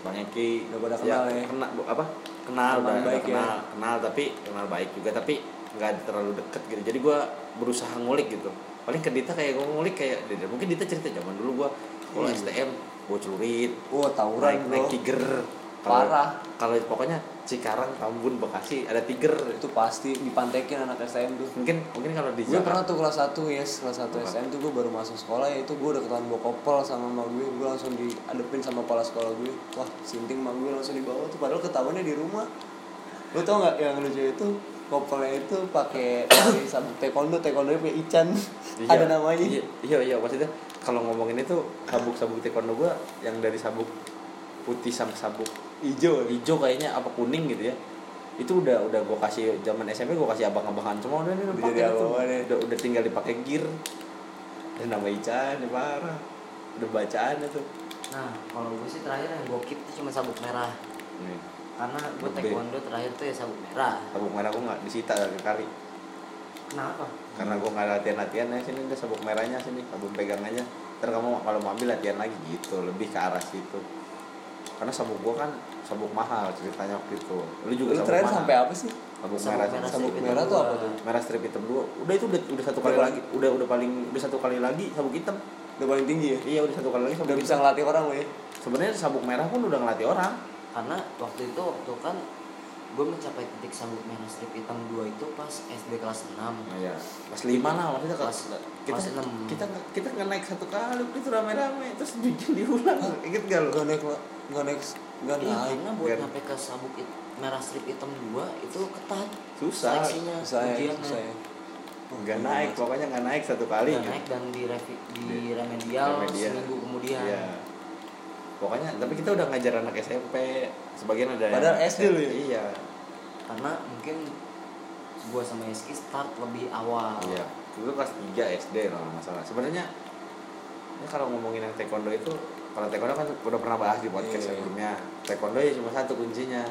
Speaker 2: Bang Eki
Speaker 4: Udah pada kenal ya.
Speaker 2: kena bu- apa kenal
Speaker 4: Teman
Speaker 2: udah, udah
Speaker 4: baik ya.
Speaker 2: kenal kenal tapi kenal baik juga tapi nggak terlalu deket gitu jadi gue berusaha ngulik gitu paling ke Dita kayak gue ngulik kayak Dita- mungkin Dita cerita zaman dulu gue kalau
Speaker 4: Iya.
Speaker 2: STM gue celurit
Speaker 4: Oh,
Speaker 2: naik
Speaker 4: tawuran
Speaker 2: naik
Speaker 4: bro.
Speaker 2: tiger Kalau-
Speaker 4: Parah.
Speaker 2: kalau pokoknya Cikarang Tambun Bekasi ada tiger
Speaker 4: Itu pasti dipantekin anak STM tuh.
Speaker 2: mungkin mungkin kalau di
Speaker 4: Gue
Speaker 2: Jakarta
Speaker 4: pernah tuh kelas 1 yes, kelas 1 STM tuh gue baru masuk sekolah ya itu gue udah ketahuan bawa kopel sama emak gue, gue langsung diadepin sama kepala sekolah gue. Wah, sinting emak gue langsung dibawa tuh padahal ketahuannya di rumah. Lo tau gak yang lucu itu kopelnya itu pakai pakai sabuk taekwondo, taekwondo punya Ican.
Speaker 2: Iya,
Speaker 4: Ada namanya.
Speaker 2: iya iya, iya maksudnya kalau ngomongin itu sabuk sabuk taekwondo gue yang dari sabuk putih sama sabuk
Speaker 4: Ijo.
Speaker 2: hijau kayaknya apa kuning gitu ya itu udah udah gue kasih zaman SMP gue kasih abang-abangan cuma udah ini
Speaker 4: Udah
Speaker 2: pakai
Speaker 4: jadi
Speaker 2: itu.
Speaker 4: abang-abangan ya.
Speaker 2: udah udah tinggal dipakai gear dan nama Ican ya parah udah bacaan itu
Speaker 3: nah kalau gue sih terakhir yang gue keep tuh cuma sabuk merah
Speaker 2: nih
Speaker 3: karena gue
Speaker 2: Oke.
Speaker 3: taekwondo terakhir tuh ya sabuk merah
Speaker 2: sabuk merah gue nggak disita kali kali
Speaker 3: kenapa
Speaker 2: karena gue nggak latihan latihan ya sini udah sabuk merahnya sini sabuk pegangannya ntar kamu kalau mau ambil latihan lagi gitu lebih ke arah situ karena sabuk gue kan sabuk mahal ceritanya waktu itu lu juga
Speaker 4: Lu
Speaker 2: sabuk
Speaker 4: terakhir
Speaker 2: mahal.
Speaker 4: sampai apa sih?
Speaker 2: sabuk,
Speaker 3: Sabuk
Speaker 2: merah,
Speaker 3: merah
Speaker 2: sabuk
Speaker 3: strip
Speaker 2: merah
Speaker 3: hitam
Speaker 2: tuh apa
Speaker 3: dua.
Speaker 2: tuh merah strip hitam dua udah itu udah, udah satu
Speaker 4: Udah
Speaker 2: kali
Speaker 4: paling-
Speaker 2: lagi udah udah paling udah satu kali lagi sabuk hitam
Speaker 4: Udah paling tinggi ya.
Speaker 2: iya udah satu kali lagi sabuk
Speaker 4: Udah bisa
Speaker 2: hitam
Speaker 4: ngelatih orang lo ya.
Speaker 2: sebenarnya sabuk merah pun udah ngelatih orang
Speaker 3: karena waktu itu waktu kan gue mencapai titik sabuk merah strip hitam 2 itu pas SD kelas 6
Speaker 2: Nah, ya pas lima lah maksudnya kelas
Speaker 3: Kelas-
Speaker 2: kita
Speaker 3: kelas enam.
Speaker 2: kita nggak- kita nggak naik satu kali itu rame-rame terus jujur diulang inget gak lo
Speaker 4: Gak naik, gak naik, gak
Speaker 3: Iya,
Speaker 4: naik.
Speaker 3: karena buat
Speaker 2: Biar-
Speaker 3: nyampe ke sabuk hit- merah strip hitam 2 itu ketat
Speaker 2: Susah.
Speaker 3: seleksinya
Speaker 4: Susah ya,
Speaker 3: ujiannya.
Speaker 4: susah ya.
Speaker 2: nggak Iya, naik pokoknya nggak naik satu kali gitu.
Speaker 3: Udah naik dan di revi, di remedial
Speaker 2: Remedial.
Speaker 3: seminggu kemudian
Speaker 2: Iya. pokoknya tapi kita udah ngajar anak SMP sebagian ada yang
Speaker 4: Padahal SD lu ya?
Speaker 2: iya
Speaker 3: karena mungkin gua sama Eski start lebih
Speaker 4: Ah.
Speaker 3: awal
Speaker 2: iya itu kelas 3 SD kalau nggak masalah sebenarnya ini kalau ngomongin yang taekwondo itu kalau taekwondo kan udah pernah bahas di podcast
Speaker 4: Iya.
Speaker 2: sebelumnya taekwondo ya cuma satu kuncinya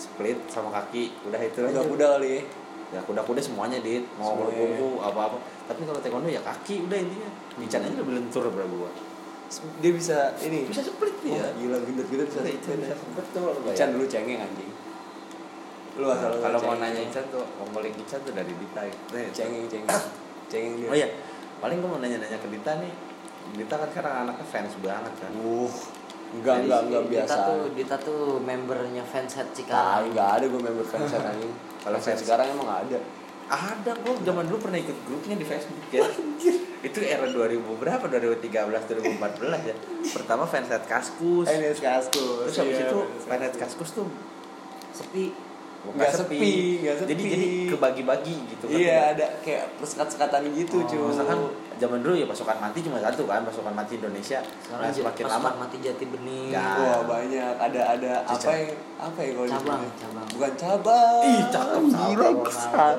Speaker 2: split sama kaki udah itu aja
Speaker 4: Kuda-kuda kali ya.
Speaker 2: ya kuda-kuda semuanya dit mau
Speaker 4: Semuanya.
Speaker 2: berkumpul apa-apa tapi kalau taekwondo ya kaki udah intinya Nican aja udah lentur berapa gua
Speaker 4: Dia bisa ini.
Speaker 2: bisa split
Speaker 4: Iya.
Speaker 2: dia
Speaker 4: gila gendut-gendut bisa.
Speaker 2: Bisa Ican bisa betul Pak,
Speaker 4: Ican
Speaker 2: ya.
Speaker 4: dulu cengeng anjing. Lu
Speaker 2: Nah,
Speaker 4: asal lu
Speaker 2: kalau mau
Speaker 4: cengeng. Iya.
Speaker 2: nanya Ican tuh ngomongin Ican tuh dari Dita Nih,
Speaker 4: cengeng cengeng. Cengeng dia.
Speaker 2: oh iya paling gua mau nanya-nanya ke Dita nih Dita kan sekarang anaknya fans banget kan
Speaker 4: Uh, enggak
Speaker 3: Jadi
Speaker 4: enggak
Speaker 3: si
Speaker 4: enggak biasa.
Speaker 3: Dita tuh Dita tuh membernya fanshead
Speaker 4: Ah,
Speaker 3: Cikarang
Speaker 4: enggak ada gue member fanset anjing. Kalau
Speaker 2: Fanset.
Speaker 4: fans sekarang emang ada.
Speaker 2: ada gua zaman dulu pernah ikut grupnya di Facebook ya itu era 2000 berapa 2013 2014 ya pertama fanset kaskus
Speaker 4: Enes Eh, Kaskus.
Speaker 2: terus habis
Speaker 4: iya,
Speaker 2: itu
Speaker 4: Enes
Speaker 2: fanset
Speaker 4: Kaskus.
Speaker 2: kaskus tuh
Speaker 3: sepi
Speaker 2: Nggak
Speaker 4: Nggak sepi, nggak sepi.
Speaker 2: Jadi jadi kebagi-bagi gitu kan.
Speaker 4: Iya, ada kayak persekat-sekatan gitu,
Speaker 3: Oh,
Speaker 4: cuy.
Speaker 2: Misalkan zaman dulu ya pasukan mati cuma satu kan, pasukan mati Indonesia. Nah,
Speaker 3: sekarang
Speaker 2: semakin
Speaker 3: pas
Speaker 2: lama
Speaker 3: mati jati bening
Speaker 2: Nggak.
Speaker 4: Wah banyak, ada ada apa
Speaker 2: Cicak.
Speaker 4: yang apa ya kalau
Speaker 3: Cabang,
Speaker 4: disebutnya?
Speaker 3: cabang.
Speaker 4: Bukan cabang.
Speaker 2: Ih, cakep
Speaker 4: Gila,
Speaker 2: cabang.
Speaker 4: besar.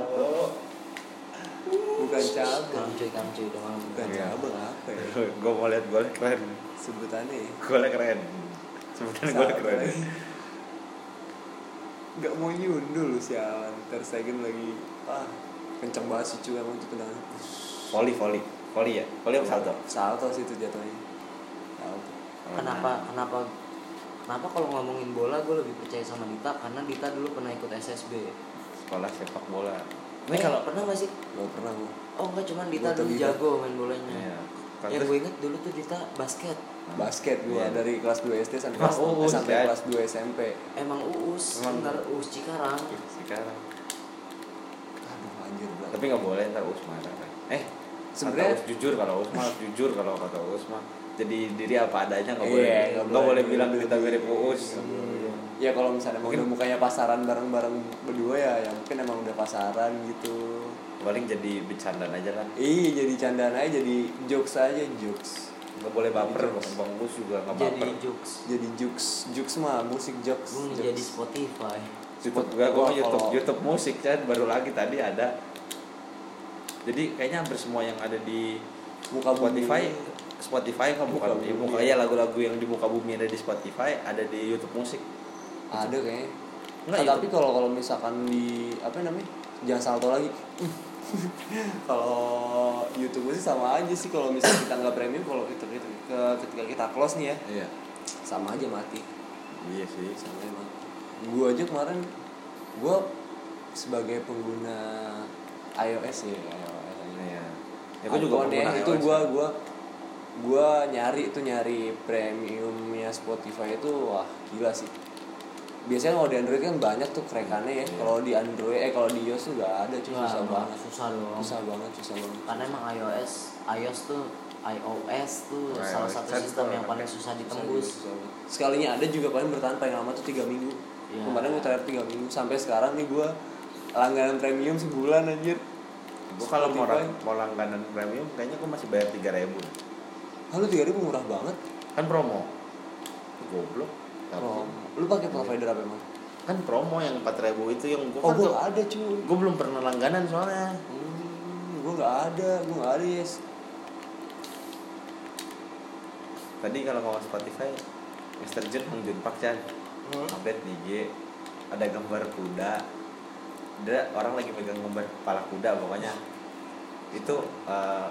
Speaker 4: Bukan cabang.
Speaker 3: Kalem cuy kalem cuy udah malam
Speaker 4: Bukan
Speaker 2: Iya.
Speaker 4: cabang apa ya?
Speaker 2: gue mau lihat golnya keren.
Speaker 4: Sebutannya ya.
Speaker 2: Golnya keren. Sebutan golnya
Speaker 4: Satu
Speaker 2: keren.
Speaker 4: lagi. Nggak mau nyundul lu sialan. Ter Stegen lagi ah kenceng banget sih cuy emang itu tendangan.
Speaker 2: Volley, volley. Volley ya? Volley apa salto?
Speaker 4: Salto sih itu jatuhnya. Salto.
Speaker 3: kenapa kenapa kenapa kalau ngomongin bola gue lebih percaya sama Dita karena Dita dulu pernah ikut SSB
Speaker 2: Sekolah sepak bola.
Speaker 3: ini kalau pernah gak sih
Speaker 4: Gak pernah gua.
Speaker 3: oh enggak cuman Dita
Speaker 4: Gua
Speaker 3: dulu
Speaker 4: terlibat.
Speaker 3: jago main bolanya
Speaker 2: Iya.
Speaker 3: yang
Speaker 2: Terus-
Speaker 3: gue inget dulu tuh Dita basket
Speaker 4: Basket gua
Speaker 2: Iya.
Speaker 4: dari kelas 2 SD sampai
Speaker 2: Oh,
Speaker 4: kelas,
Speaker 2: oh,
Speaker 4: sampai
Speaker 2: iya.
Speaker 4: kelas 2 SMP.
Speaker 3: emang uus
Speaker 2: Emang.
Speaker 3: ntar uus Cikarang
Speaker 2: Iya, sekarang.
Speaker 4: Aduh anjir berat.
Speaker 2: Tapi nggak boleh ntar Usma ada. Eh,
Speaker 4: Sebenarnya-
Speaker 2: sebenarnya jujur kalau Usma harus jujur kalau kata Usma jadi diri apa adanya nggak
Speaker 4: Iya,
Speaker 2: boleh
Speaker 4: nggak
Speaker 2: nggak boleh
Speaker 4: boleh.
Speaker 2: bilang kita mirip Uus
Speaker 4: Ya kalau misalnya emang
Speaker 2: Mungkin-
Speaker 4: udah mukanya pasaran bareng-bareng berdua ya, ya mungkin emang udah pasaran gitu.
Speaker 2: paling jadi bercandaan aja lah
Speaker 4: Ih, jadi candaan aja, jadi jokes aja, jokes.
Speaker 2: nggak boleh baper
Speaker 4: Jadi jokes.
Speaker 2: bang Uus juga nggak
Speaker 3: jadi
Speaker 2: baper
Speaker 3: jokes
Speaker 4: Jadi jokes, jokes mah musik jokes.
Speaker 2: Hmm,
Speaker 3: gue
Speaker 4: jokes.
Speaker 3: jadi Spotify
Speaker 2: YouTube gua gua
Speaker 4: Wah,
Speaker 2: YouTube
Speaker 4: kalau-
Speaker 2: YouTube musik kan baru lagi tadi ada jadi kayaknya hampir semua yang ada di
Speaker 4: Muka bumi.
Speaker 2: Spotify Spotify kan
Speaker 4: Muka
Speaker 2: bukan
Speaker 4: bumi.
Speaker 2: ya, muka ya lagu-lagu yang di muka bumi ada di Spotify ada di YouTube musik
Speaker 4: Ada kayaknya.
Speaker 2: Enggak,
Speaker 4: Ah,
Speaker 2: YouTube.
Speaker 4: tapi kalau kalau misalkan di apa namanya? Jangan salto lagi. kalau YouTube sih sama aja sih kalau misalnya kita nggak premium kalau kita, kita, ke- ketika kita close nih ya
Speaker 2: iya
Speaker 4: sama aja mati.
Speaker 2: iya sih
Speaker 4: Sama aja mati. Gua aja kemarin gua sebagai pengguna iOS ya, iOS aja.
Speaker 2: iya ya gua juga
Speaker 4: iPhone ya,
Speaker 2: pengguna
Speaker 4: itu
Speaker 2: iOS.
Speaker 4: gua gua gua nyari tuh nyari premiumnya Spotify itu wah gila sih biasanya kalau di Android kan banyak tuh kerekannya ya
Speaker 2: Iya.
Speaker 4: kalau di Android eh kalau di iOS tuh nggak ada cuy
Speaker 3: Wah,
Speaker 4: susah banget
Speaker 3: susah dong
Speaker 4: susah banget susah banget
Speaker 3: karena emang iOS iOS tuh iOS tuh
Speaker 4: Oh,
Speaker 2: iOS
Speaker 3: salah satu
Speaker 2: kan
Speaker 3: sistem
Speaker 2: kalau
Speaker 3: yang paling
Speaker 2: pakai
Speaker 4: Susah
Speaker 3: susah ditembus
Speaker 4: susah banget. sekalinya ada juga paling bertahan paling lama tuh tiga minggu
Speaker 3: Iya.
Speaker 4: kemarin gua terakhir tiga minggu sampai sekarang nih gua langganan premium sebulan anjir
Speaker 2: gua kalau mau
Speaker 4: Spotify.
Speaker 2: lang- mau langganan premium kayaknya gua masih bayar tiga ribu
Speaker 4: Halo tiga ribu murah banget.
Speaker 2: kan promo goblok Tapi-
Speaker 4: Bro, Oh, lu pakai provider apa emang?
Speaker 2: kan promo yang 4000 itu yang
Speaker 4: Oh,
Speaker 2: gua kan
Speaker 4: gua
Speaker 2: tuh-
Speaker 4: nggak ada cuy.
Speaker 2: gua belum pernah langganan soalnya
Speaker 4: Hmm, gue nggak ada, gue nggak ada yes.
Speaker 2: tadi kalau ngomong Spotify Mr. Jun Hong Jun Pak Chan
Speaker 3: Hmm?
Speaker 2: update di IG ada gambar kuda ada orang lagi megang gambar kepala kuda pokoknya itu eh,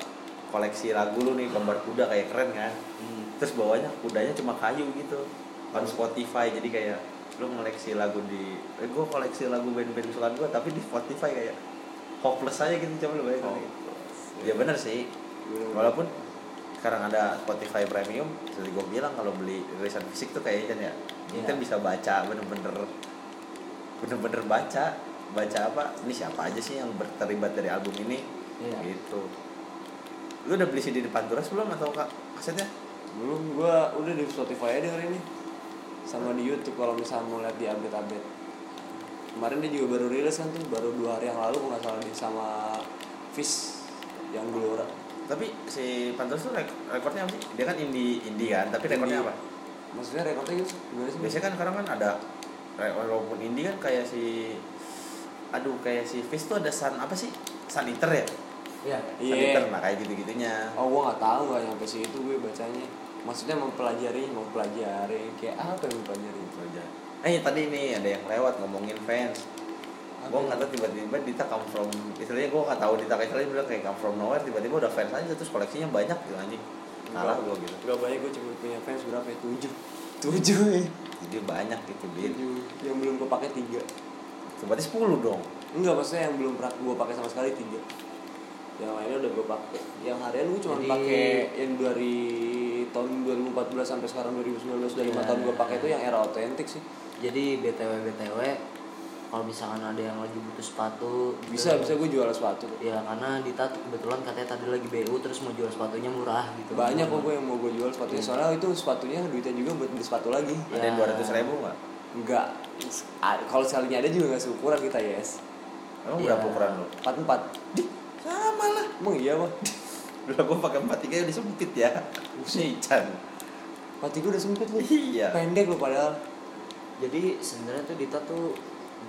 Speaker 2: koleksi lagu lu nih gambar kuda kayak keren kan terus bawahnya kudanya cuma kayu gitu on Spotify jadi kayak lu koleksi lagu di eh, gue koleksi lagu band-band kesukaan gue tapi di Spotify kayak hopeless aja gitu coba lu bayangin
Speaker 4: Oh.
Speaker 2: ya bener sih walaupun sekarang ada Spotify Premium seperti gue bilang kalau beli rilisan fisik tuh kayaknya kan ya kita
Speaker 3: Iya.
Speaker 2: bisa baca bener-bener bener-bener baca baca apa ini siapa aja sih yang terlibat dari album ini
Speaker 3: Iya.
Speaker 2: gitu lu udah beli CD depan turas belum atau kak kasetnya
Speaker 4: Belum, gue udah di Spotify aja dengerin nih. Sama di YouTube kalau misalnya mau lihat di update-update. Kemarin dia juga baru rilis kan tuh, baru dua hari yang lalu kalau nggak salah dia sama Fish yang Gelora.
Speaker 2: tapi si Pantos tuh rek- rekornya apa sih dia kan indie indie kan tapi rekornya
Speaker 4: Indie.
Speaker 2: apa
Speaker 4: maksudnya rekornya gitu gimana sih
Speaker 2: biasanya kan sekarang kan ada kayak walaupun indie kan kayak si aduh kayak si Fis tuh ada sun apa sih saniter ya
Speaker 3: Iya.
Speaker 4: Iya.
Speaker 2: saniter nah kayak gitu gitunya
Speaker 4: oh gue nggak tahu nggak nyampe situ gue bacanya maksudnya mempelajari mempelajari kayak apa yang mempelajari
Speaker 2: gitu aja eh tadi nih ada yang lewat ngomongin fans
Speaker 4: Apa?
Speaker 2: gue nggak tahu tiba-tiba Dita come from istilahnya gue nggak tahu Dita kayak istilahnya bilang kayak come from nowhere tiba-tiba udah fans aja terus koleksinya banyak gitu anjing
Speaker 3: Iya.
Speaker 2: kalah gue gitu
Speaker 4: Gak banyak gue cuma punya fans berapa ya? Tujuh Tujuh ya
Speaker 2: jadi banyak gitu bin
Speaker 4: Tujuh Yang belum gue pakai tiga
Speaker 2: Itu berarti 10 dong
Speaker 4: Enggak maksudnya yang belum pernah gue pakai sama sekali tiga Yang lainnya udah gue pakai Yang harian gue cuma
Speaker 3: Jadi-
Speaker 4: pakai yang dari tahun 2014 sampai sekarang 2019 Udah lima
Speaker 3: Ya.
Speaker 4: tahun gue pakai itu yang era otentik sih
Speaker 3: Jadi BTW BTW kalau misalkan ada yang lagi butuh sepatu gitu.
Speaker 4: Bisa, bisa gue jual sepatu
Speaker 3: Ya karena Dita kebetulan katanya tadi lagi BU terus mau jual sepatunya murah gitu.
Speaker 4: Banyak kok gue yang mau gue jual sepatunya Soalnya itu sepatunya duitnya juga buat beli sepatu lagi
Speaker 2: ada yang
Speaker 3: Ya.
Speaker 2: 200 ribu nggak
Speaker 4: Enggak A- Kalau sekalinya ada juga gak seukuran kita yes
Speaker 2: emang
Speaker 3: Iya.
Speaker 2: berapa ukuran lo
Speaker 4: 44 Dih,
Speaker 2: sama lah
Speaker 4: emang iya mah
Speaker 2: dulu gue pakai 43 udah sempit ya si Chan
Speaker 4: Mati gue udah sempit lu
Speaker 2: iya
Speaker 4: Pendek lu padahal
Speaker 3: Jadi sebenarnya tuh Dita tuh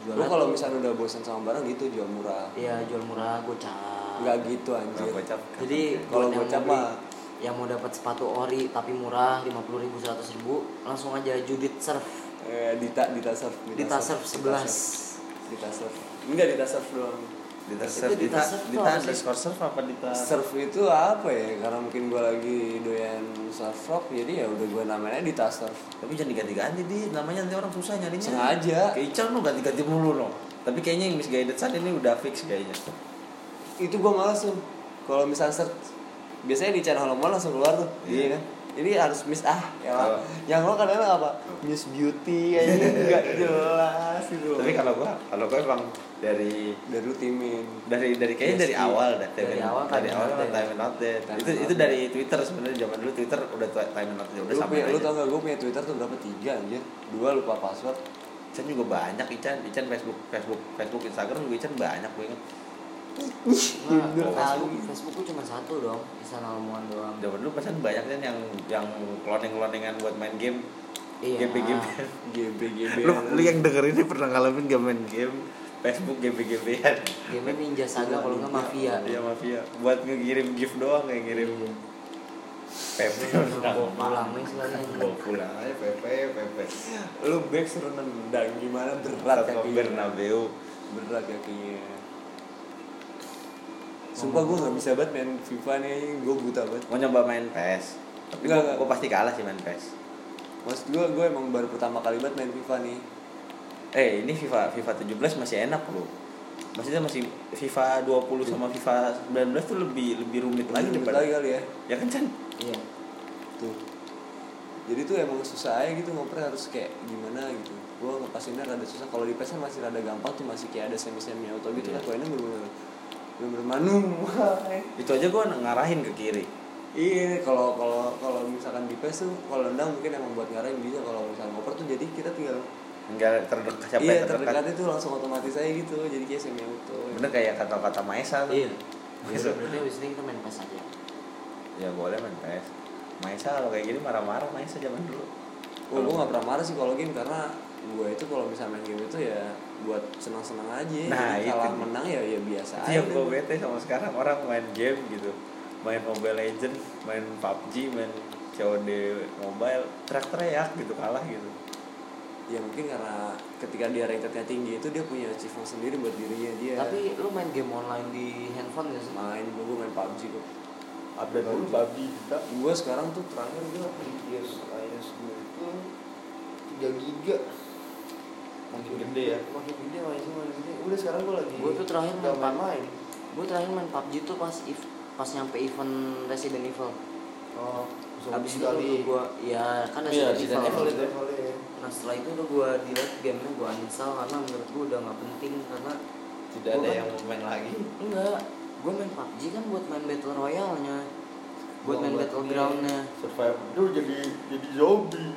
Speaker 3: jual
Speaker 4: Lu kalau misalnya udah bosan sama barang gitu jual murah
Speaker 3: Iya jual murah gocap.
Speaker 4: Nggak gitu
Speaker 2: Nggak
Speaker 4: anjir
Speaker 2: gocap.
Speaker 3: Iya. Jadi
Speaker 4: Kalau
Speaker 3: buat yang
Speaker 4: gocap
Speaker 3: mau beli-
Speaker 4: mah-
Speaker 3: yang mau dapat sepatu ori tapi murah 50.000 ribu 100 ribu langsung aja Judit Surf
Speaker 4: Eh, Dita, Dita Surf
Speaker 3: Dita Surf
Speaker 4: Dita
Speaker 3: 11
Speaker 4: Dita Surf Enggak Dita Surf doang
Speaker 2: Dita surf,
Speaker 3: Dita
Speaker 2: Dita,
Speaker 3: surf tuh
Speaker 2: Dita
Speaker 3: apa sih?
Speaker 2: underscore surf apa Dita?
Speaker 4: Surf itu apa ya? Karena mungkin gue lagi doyan surf rock Jadi ya udah gue namanya Dita Surf
Speaker 2: Tapi jangan diganti-ganti di namanya nanti orang susah nyarinya.
Speaker 4: Sengaja
Speaker 2: Kayak Ical lu ganti-ganti mulu loh. Tapi kayaknya yang misguided saat ini udah fix kayaknya.
Speaker 4: Itu gue males tuh Kalau misalnya surf Biasanya di channel Holomo langsung keluar tuh
Speaker 2: Iya.
Speaker 4: Iya kan? Jadi harus miss ah ya lah.
Speaker 2: Apa?
Speaker 4: Yang lo kadang-kadang apa? Miss beauty anjing enggak jelas gitu.
Speaker 2: Tapi kalau gua, kalau gua emang dari
Speaker 4: dari lu timin
Speaker 2: dari dari kayaknya
Speaker 4: Yes,
Speaker 2: dari
Speaker 4: iya.
Speaker 2: awal dah Time
Speaker 3: Dari
Speaker 2: and-
Speaker 3: awal
Speaker 2: dari
Speaker 3: Time
Speaker 2: awal
Speaker 3: and
Speaker 2: emang
Speaker 3: Out ya.
Speaker 2: time and out deh.
Speaker 4: Time
Speaker 2: itu
Speaker 4: and
Speaker 2: itu
Speaker 4: out.
Speaker 2: dari Twitter sebenarnya zaman dulu Twitter udah tu- time and out udah
Speaker 4: lu
Speaker 2: sama
Speaker 4: punya, lu tau
Speaker 2: aja.
Speaker 4: gak gue punya twitter tuh berapa tiga anjir dua lupa password
Speaker 2: Ican juga banyak Ican, Ican Facebook, Facebook, Facebook, Instagram juga Ican banyak gue inget.
Speaker 3: Nah,
Speaker 4: Bener.
Speaker 3: Facebook, Facebook tuh cuma satu dong, bisa nalmuan doang.
Speaker 2: Zaman dulu pesan banyak kan yang yang cloning-cloningan buat main game.
Speaker 3: Iya.
Speaker 2: GP-GP.
Speaker 4: gb gb
Speaker 2: lu, lu yang denger ini pernah ngalamin gak main game Iya. Facebook GB-GBan
Speaker 3: Game Ninja Saga kalau nggak mafia.
Speaker 2: Iya mafia Buat ngirim gift doang kayak ngirim PP
Speaker 3: Pulang misalnya.
Speaker 2: Bawa pulang aja PP PP
Speaker 4: lu back suruh nendang gimana berat
Speaker 2: Satu
Speaker 4: kakinya
Speaker 2: Bernabeu
Speaker 4: berat kakinya sumpah gue gak bisa banget main FIFA nih gue buta banget
Speaker 2: Mau nyoba main PES Tapi
Speaker 4: Nggak,
Speaker 2: gua,
Speaker 4: nggak.
Speaker 2: gua pasti kalah sih main PES
Speaker 4: maksud gue gue emang baru pertama kali banget main FIFA nih
Speaker 2: Eh ini FIFA FIFA 17 masih enak loh Maksudnya masih FIFA 20 sama FIFA 19 tuh lebih lebih rumit lagi
Speaker 4: Ribet
Speaker 2: daripada
Speaker 4: lagi kali ya
Speaker 2: Ya kan Chan?
Speaker 3: Iya.
Speaker 4: tuh jadi tuh emang susah aja gitu ngoper harus kayak gimana gitu gue ngepasinnya rada susah kalau di PS kan masih rada gampang tuh masih kayak ada semi semi auto gitu kan
Speaker 2: Iya.
Speaker 4: poinnya bener bener manual
Speaker 2: Itu aja gua ngarahin ke kiri
Speaker 4: iya kalau kalau kalau misalkan di PS tuh kalau nendang mungkin emang buat ngarahin bisa kalau misalkan ngoper tuh jadi kita tinggal
Speaker 2: Enggak terdekat siapa
Speaker 4: iya
Speaker 2: yang terdekat
Speaker 4: terdekat itu langsung otomatis aja gitu jadi kayak semi auto
Speaker 2: Bener kayak kata-kata Maesa tuh.
Speaker 3: Iya.
Speaker 2: Gitu.
Speaker 3: Berarti abis ini kita main PES aja.
Speaker 2: Ya boleh main PS. Maesa kalau kayak gini marah-marah Maesa zaman dulu.
Speaker 4: Oh, gue gak pernah marah sih kalau game karena gue itu kalau misalnya main game itu ya buat senang-senang aja.
Speaker 2: Nah,
Speaker 4: Jadi kalah
Speaker 2: itu.
Speaker 4: menang ya ya biasa
Speaker 2: Itu
Speaker 4: aja.
Speaker 2: yang gue bete sama sekarang orang main game gitu. Main Mobile Legend, main PUBG, main COD Mobile, teriak-teriak gitu kalah gitu.
Speaker 4: Ya mungkin karena ketika dia ratednya tinggi itu dia punya achievement sendiri buat dirinya dia.
Speaker 3: Tapi lu main game online di handphone gak sih?
Speaker 4: main gue, gue main PUBG kok.
Speaker 2: Update dulu babi kita.
Speaker 4: Gue sekarang tuh terakhir gue
Speaker 1: IS IS gue itu 3 giga
Speaker 2: Makin gede ya.
Speaker 1: makin gede makin gede makin gede udah sekarang gue lagi
Speaker 3: Gua tuh terakhir
Speaker 1: nggak
Speaker 3: main
Speaker 1: main
Speaker 3: PUBG.
Speaker 1: main
Speaker 3: Gue terakhir main PUBG tuh pas if, pas nyampe event Resident Evil.
Speaker 1: oh
Speaker 3: Abis itu udah gue, ya kan
Speaker 4: Iya,
Speaker 3: Resident
Speaker 4: Resident
Speaker 3: Evil.
Speaker 1: level level ya
Speaker 3: Nah setelah itu udah gue delete gamenya gue uninstall karena menurut gue udah nggak penting karena
Speaker 2: Tidak ada yang mau main lagi.
Speaker 3: enggak gue main PUBG kan buat main battle royale-nya buat
Speaker 1: Buat
Speaker 3: main
Speaker 1: buat
Speaker 3: battle
Speaker 1: ini.
Speaker 3: ground-nya
Speaker 2: Survive.
Speaker 1: lu jadi jadi zombie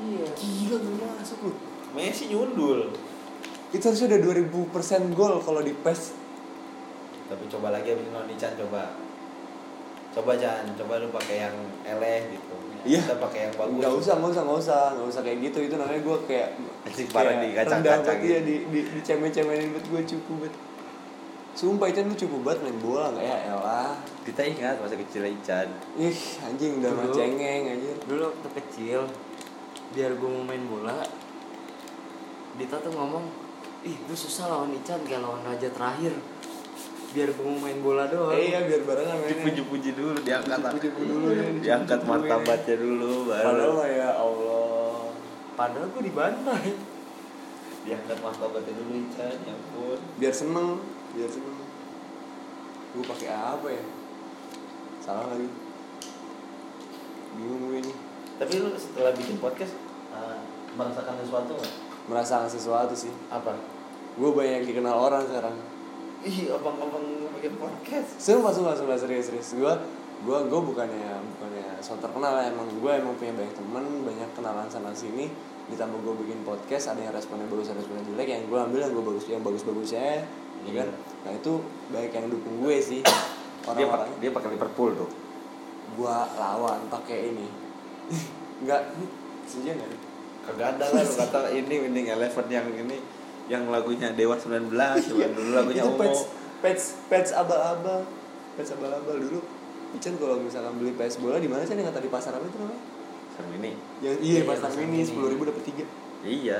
Speaker 3: iya
Speaker 1: gila gue masuk lu
Speaker 2: Messi nyundul.
Speaker 4: itu harusnya udah 2000% gol kalau di PES.
Speaker 2: Tapi coba lagi abis nonican coba.
Speaker 1: coba jangan coba lu pakai yang eleh gitu
Speaker 4: Iya.
Speaker 1: kita pakai yang bagus
Speaker 4: Nggak usah, nggak usah, nggak usah, nggak usah kayak gitu. Itu namanya gue kayak
Speaker 1: Anjing, parah
Speaker 4: kayak
Speaker 1: dikacang-kacang
Speaker 4: rendah banget,
Speaker 1: gitu.
Speaker 4: Iya, di di dicemeh-cemehin buat gue cupu banget. Sumpah itu lu cupu banget main bola nggak ya elah.
Speaker 1: kita ingat masa kecil Ican
Speaker 4: Ih, anjing udah mah
Speaker 3: Dulu.
Speaker 4: cengeng anjing.
Speaker 3: dulu waktu kecil biar gue mau main bola Dita tuh ngomong ih gue susah lawan Ican kayak lawan Raja terakhir biar gue mau main bola doang
Speaker 4: Eh iya biar barengan mainnya.
Speaker 1: Oh, dipuji-puji iya. dulu diangkat
Speaker 4: Dipuji-puji dulu, ya, dipuji-puji
Speaker 1: diangkat
Speaker 4: dulu, ya.
Speaker 1: martabatnya dulu
Speaker 4: Padahal
Speaker 1: baru
Speaker 4: mah ya Allah.
Speaker 3: padahal gue dibantai
Speaker 1: diangkat martabatnya dulu Ican ya ampun
Speaker 4: Biar seneng, biar seneng. Gue pakai apa ya? Salah lagi. Bingung gue ini.
Speaker 1: tapi lu setelah bikin podcast eh, merasakan sesuatu nggak
Speaker 4: Merasakan sesuatu sih.
Speaker 1: apa
Speaker 4: Gue banyak dikenal orang sekarang.
Speaker 1: ih abang-abang bikin podcast
Speaker 4: Sumpah, sumpah, sumpah, serius, serius Gue gua, gua bukannya, bukannya so terkenal ya. Emang gue emang punya banyak temen, banyak kenalan sana sini Ditambah gue bikin podcast, ada yang responnya bagus, ada yang responnya jelek Yang gue ambil yang gue bagus, yang bagus-bagusnya ya kan? Nah itu banyak yang dukung gue sih
Speaker 2: dia pakai
Speaker 4: Orang-orangnya
Speaker 2: dia pakai Liverpool tuh
Speaker 4: Gue lawan pakai ini Enggak, sejak gak nih?
Speaker 1: kagak ada lah lu kata ini winning eleven yang ini yang lagunya Dewa 19 cuman dulu lagunya
Speaker 4: itu patch,
Speaker 1: Omo
Speaker 4: patch, patch abal-abal Patch abal-abal dulu Ican kalau misalkan beli PS bola di mana sih yang kata di pasar apa itu namanya?
Speaker 2: sekarang ini
Speaker 4: Yang iya,
Speaker 3: Iya,
Speaker 4: pasar
Speaker 3: pasar
Speaker 4: mini
Speaker 3: mini.
Speaker 4: sepuluh ribu dapat tiga.
Speaker 2: iya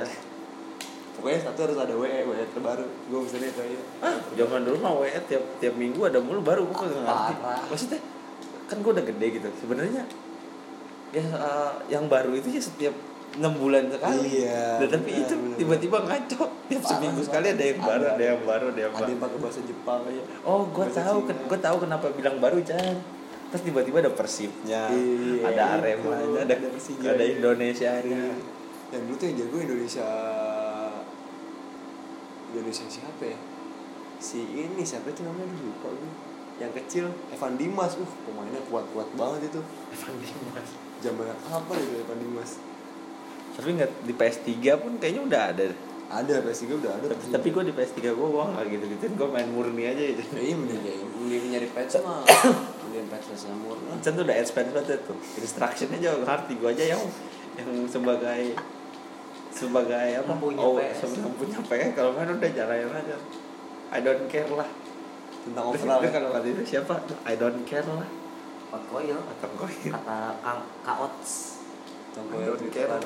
Speaker 4: Pokoknya satu harus ada WE, WE terbaru. Gue misalnya itu aja.
Speaker 2: ah zaman dulu mah WE tiap tiap minggu ada mulu baru gue kagak ngerti
Speaker 4: Parah.
Speaker 2: maksudnya kan gue udah gede gitu sebenarnya ya eh, yang baru itu ya setiap enam bulan sekali
Speaker 4: Iya,
Speaker 2: Nah, tapi
Speaker 4: benar,
Speaker 2: itu
Speaker 4: benar,
Speaker 2: tiba-tiba ngaco tiap
Speaker 4: Parah,
Speaker 2: seminggu
Speaker 4: parah.
Speaker 2: sekali ada yang
Speaker 4: Ada.
Speaker 2: baru ada yang baru ada yang
Speaker 4: Ada
Speaker 2: baru
Speaker 4: yang pakai bahasa Jepang aja.
Speaker 2: Oh, gue
Speaker 4: Bahasa
Speaker 2: tahu,
Speaker 4: Cina.
Speaker 2: gue tahu kenapa bilang baru Chan. Terus tiba-tiba ada Persibnya,
Speaker 4: Iya,
Speaker 2: ada
Speaker 4: itu.
Speaker 2: Arema, ada
Speaker 4: Ada Persija.
Speaker 2: ada Indonesia.
Speaker 4: Iya. Yang dulu tuh yang jago Indonesia Indonesia siapa ya? Si ini siapa itu namanya Aduh, lupa gue. Yang kecil Evan Dimas, uh pemainnya kuat-kuat banget itu. Zaman apa itu Evan Dimas?
Speaker 2: Tapi nggak di PS3 pun kayaknya udah ada.
Speaker 4: Ada PS3 udah ada.
Speaker 2: Tapi, tapi gue di PS3 gue gue nggak gitu gituin, gue main murni aja gitu. itu.
Speaker 4: Ya, iya mending ya, mending nyari patch mah. mending patch yang murah.
Speaker 2: Chan tuh udah advance banget tuh. Instructionnya jauh ngerti gue aja yang yang sebagai sebagai apa?
Speaker 3: Yang punya
Speaker 2: oh,
Speaker 3: PS.
Speaker 2: sebenarnya punya PS kalau main udah jalanin aja. I don't care lah.
Speaker 4: Tentang
Speaker 2: Terus
Speaker 4: overall. ya.
Speaker 2: dia kalau kata itu siapa? I don't care lah.
Speaker 3: Pak Koil
Speaker 2: Atau gue
Speaker 3: kata Kang Kaots
Speaker 4: Tongkoyot
Speaker 2: Menurut
Speaker 4: gitu
Speaker 2: Kevin.
Speaker 4: kan.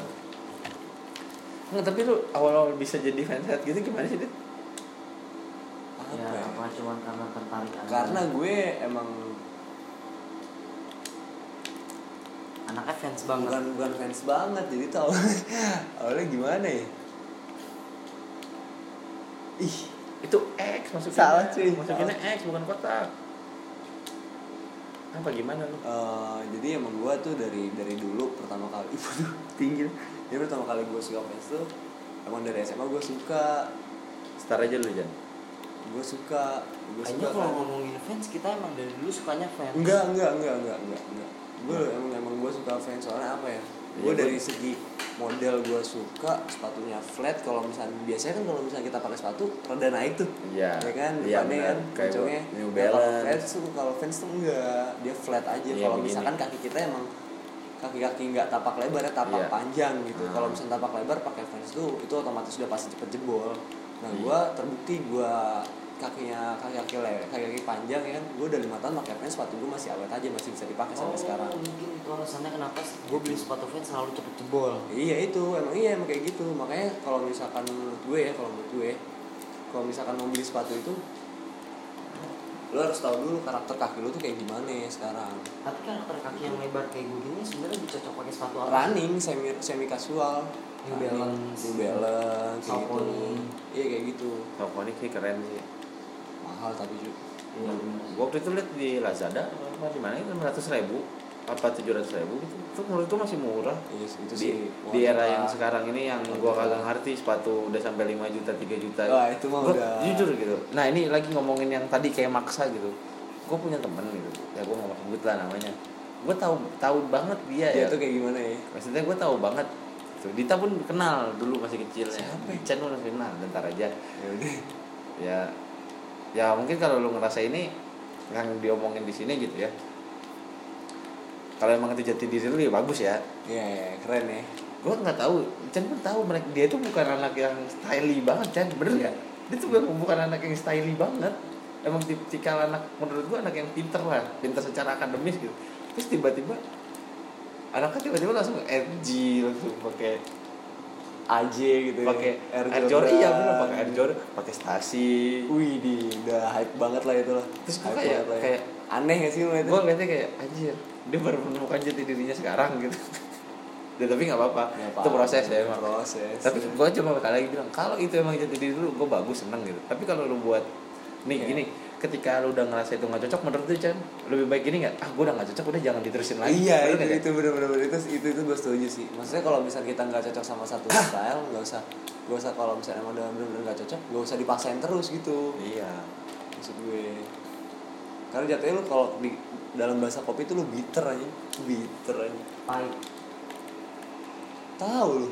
Speaker 2: Nggak, tapi lu awal-awal bisa jadi fansat gitu gimana sih, Dit?
Speaker 4: Apa
Speaker 3: ya
Speaker 4: ya?
Speaker 3: apa cuman karena tertarik aja.
Speaker 4: Karena gue emang
Speaker 3: anaknya fans banget
Speaker 4: bukan bukan fans banget jadi tau awalnya gimana ya? Ih,
Speaker 2: Itu X masukinnya.
Speaker 4: Salah, cuy.
Speaker 2: Masukinnya X, bukan kotak. Apa gimana lu?
Speaker 4: eh, jadi emang gue tuh dari dari dulu pertama kali Waduh, tinggi. Jadi pertama kali gue suka fans tuh emang dari SMA gue suka
Speaker 2: Star aja lu, Jan.
Speaker 4: gue suka gue
Speaker 3: Kayaknya
Speaker 4: suka
Speaker 3: kalau
Speaker 4: kan.
Speaker 3: ngomongin fans kita emang dari dulu sukanya fans
Speaker 4: Enggak, enggak, enggak, enggak, enggak, enggak. Gue emang emang gue suka fans soalnya apa ya? Gue
Speaker 2: Iya,
Speaker 4: dari
Speaker 2: gua-
Speaker 4: segi model gue suka sepatunya flat kalau misalnya biasanya kan kalau misalnya kita pakai sepatu rada naik tuh
Speaker 2: Iya.
Speaker 4: ya kan
Speaker 2: Iya,
Speaker 4: depannya
Speaker 2: benar.
Speaker 4: kan
Speaker 2: Kayak
Speaker 4: pucungnya
Speaker 2: New
Speaker 4: Nah, kalau
Speaker 2: Balance.
Speaker 4: fans tuh kalau fans tuh enggak dia flat aja
Speaker 2: Iya,
Speaker 4: kalau
Speaker 2: begini.
Speaker 4: misalkan kaki kita emang kaki-kaki nggak tapak lebar ya tapak
Speaker 2: Iya.
Speaker 4: panjang gitu
Speaker 2: Hmm.
Speaker 4: kalau misalnya tapak lebar pakai fans tuh itu otomatis udah pasti cepet jebol nah
Speaker 2: Iya.
Speaker 4: gue terbukti gue kakinya kaki kaki lebar kaki kaki panjang ya kan gue udah lima tahun pakai fans sepatu gue masih awet aja masih bisa dipakai sampai sekarang
Speaker 3: mungkin Oh. itu alasannya kenapa gue beli sepatu fans selalu cepet jebol
Speaker 4: Iya itu, emang iya emang kayak gitu. Makanya kalau misalkan menurut gue ya, kalau menurut gue, kalau misalkan mau beli sepatu itu, lo harus tahu dulu karakter kaki lo tuh kayak gimana ya sekarang.
Speaker 3: tapi karakter kaki yang lebar kayak gue gini sebenarnya dicocok pakai sepatu apa
Speaker 4: Running, semi semi kasual,
Speaker 3: Oh. New
Speaker 4: running,
Speaker 3: Balance.
Speaker 4: New Balance, kayak gitu.
Speaker 3: Saucony.
Speaker 4: Iya kayak gitu.
Speaker 2: Tokonik sih keren sih.
Speaker 4: Mahal tapi juga.
Speaker 3: Iya, bener.
Speaker 2: Gua waktu itu liat di Lazada, apa di mana itu 600 ribu apa 700 ribu gitu. Itu menurut gua masih murah.
Speaker 4: Iya sih, itu
Speaker 2: di,
Speaker 4: sih.
Speaker 2: di era yang
Speaker 4: wanita.
Speaker 2: sekarang ini yang gua kagak ngerti sepatu udah sampai 5 juta 3 juta
Speaker 4: Wah, itu mah
Speaker 2: Gua
Speaker 4: udah-
Speaker 2: jujur gitu nah ini lagi ngomongin yang tadi kayak maksa gitu gue punya temen gitu ya gue nggak mau sebut lah namanya gue tahu tahu banget dia
Speaker 4: Dia
Speaker 2: ya
Speaker 4: tuh kayak gimana ya?
Speaker 2: maksudnya gue tahu banget Tuh, Dita pun kenal dulu masih kecil ya.
Speaker 4: Siapa?
Speaker 2: Chan pun masih kenal, bentar aja
Speaker 4: Ya udah.
Speaker 2: ya ya mungkin kalau lu ngerasa ini yang diomongin di sini gitu ya kalau emang itu jati diri lu ya bagus ya
Speaker 4: Iya, iya, keren ya.
Speaker 2: gue nggak tahu Chan pun tahu mereka dia tuh bukan anak yang stylish banget Chan bener nggak dia tuh bukan, bukan anak yang stylish banget emang tipikal anak menurut gue anak yang pinter lah pinter secara akademis gitu terus tiba-tiba anaknya tiba-tiba langsung FG langsung pakai
Speaker 4: AJ gitu. ya.
Speaker 2: pakai Air Jordan iya bener pakai Air Jordan pakai stasi
Speaker 4: Wih, di udah hype banget lah itu lah.
Speaker 2: Terus gua
Speaker 4: Hype
Speaker 2: kayak-
Speaker 4: banget lah ya.
Speaker 2: kayak-
Speaker 4: aneh gak sih ngeliatnya?
Speaker 2: gue ngeliatnya kayak anjir dia baru menemukan jati dirinya sekarang gitu dan tapi nggak apa-apa
Speaker 4: Nggak
Speaker 2: itu
Speaker 4: apa-apa,
Speaker 2: proses ya emang
Speaker 4: Proses.
Speaker 2: tapi gue cuma sekali lagi bilang kalau itu emang jati diri lu gue bagus seneng gitu tapi kalau lu buat nih
Speaker 4: Iya.
Speaker 2: gini ketika lu udah ngerasa itu nggak cocok menurut lu Chan lebih baik gini nggak ah gue udah nggak cocok udah jangan diterusin lagi ya.
Speaker 4: iya
Speaker 2: Bener
Speaker 4: itu
Speaker 2: nggak, Chan?
Speaker 4: itu bener-bener itu itu itu gue setuju sih maksudnya kalau misal kita nggak cocok sama satu style nggak usah nggak usah kalau misalnya emang udah bener-bener nggak cocok nggak usah dipaksain terus gitu
Speaker 2: iya
Speaker 4: maksud gue karena jatuhnya lu kalau di dalam bahasa kopi itu lu bitter aja bitter aja
Speaker 3: pahit
Speaker 4: tahu lu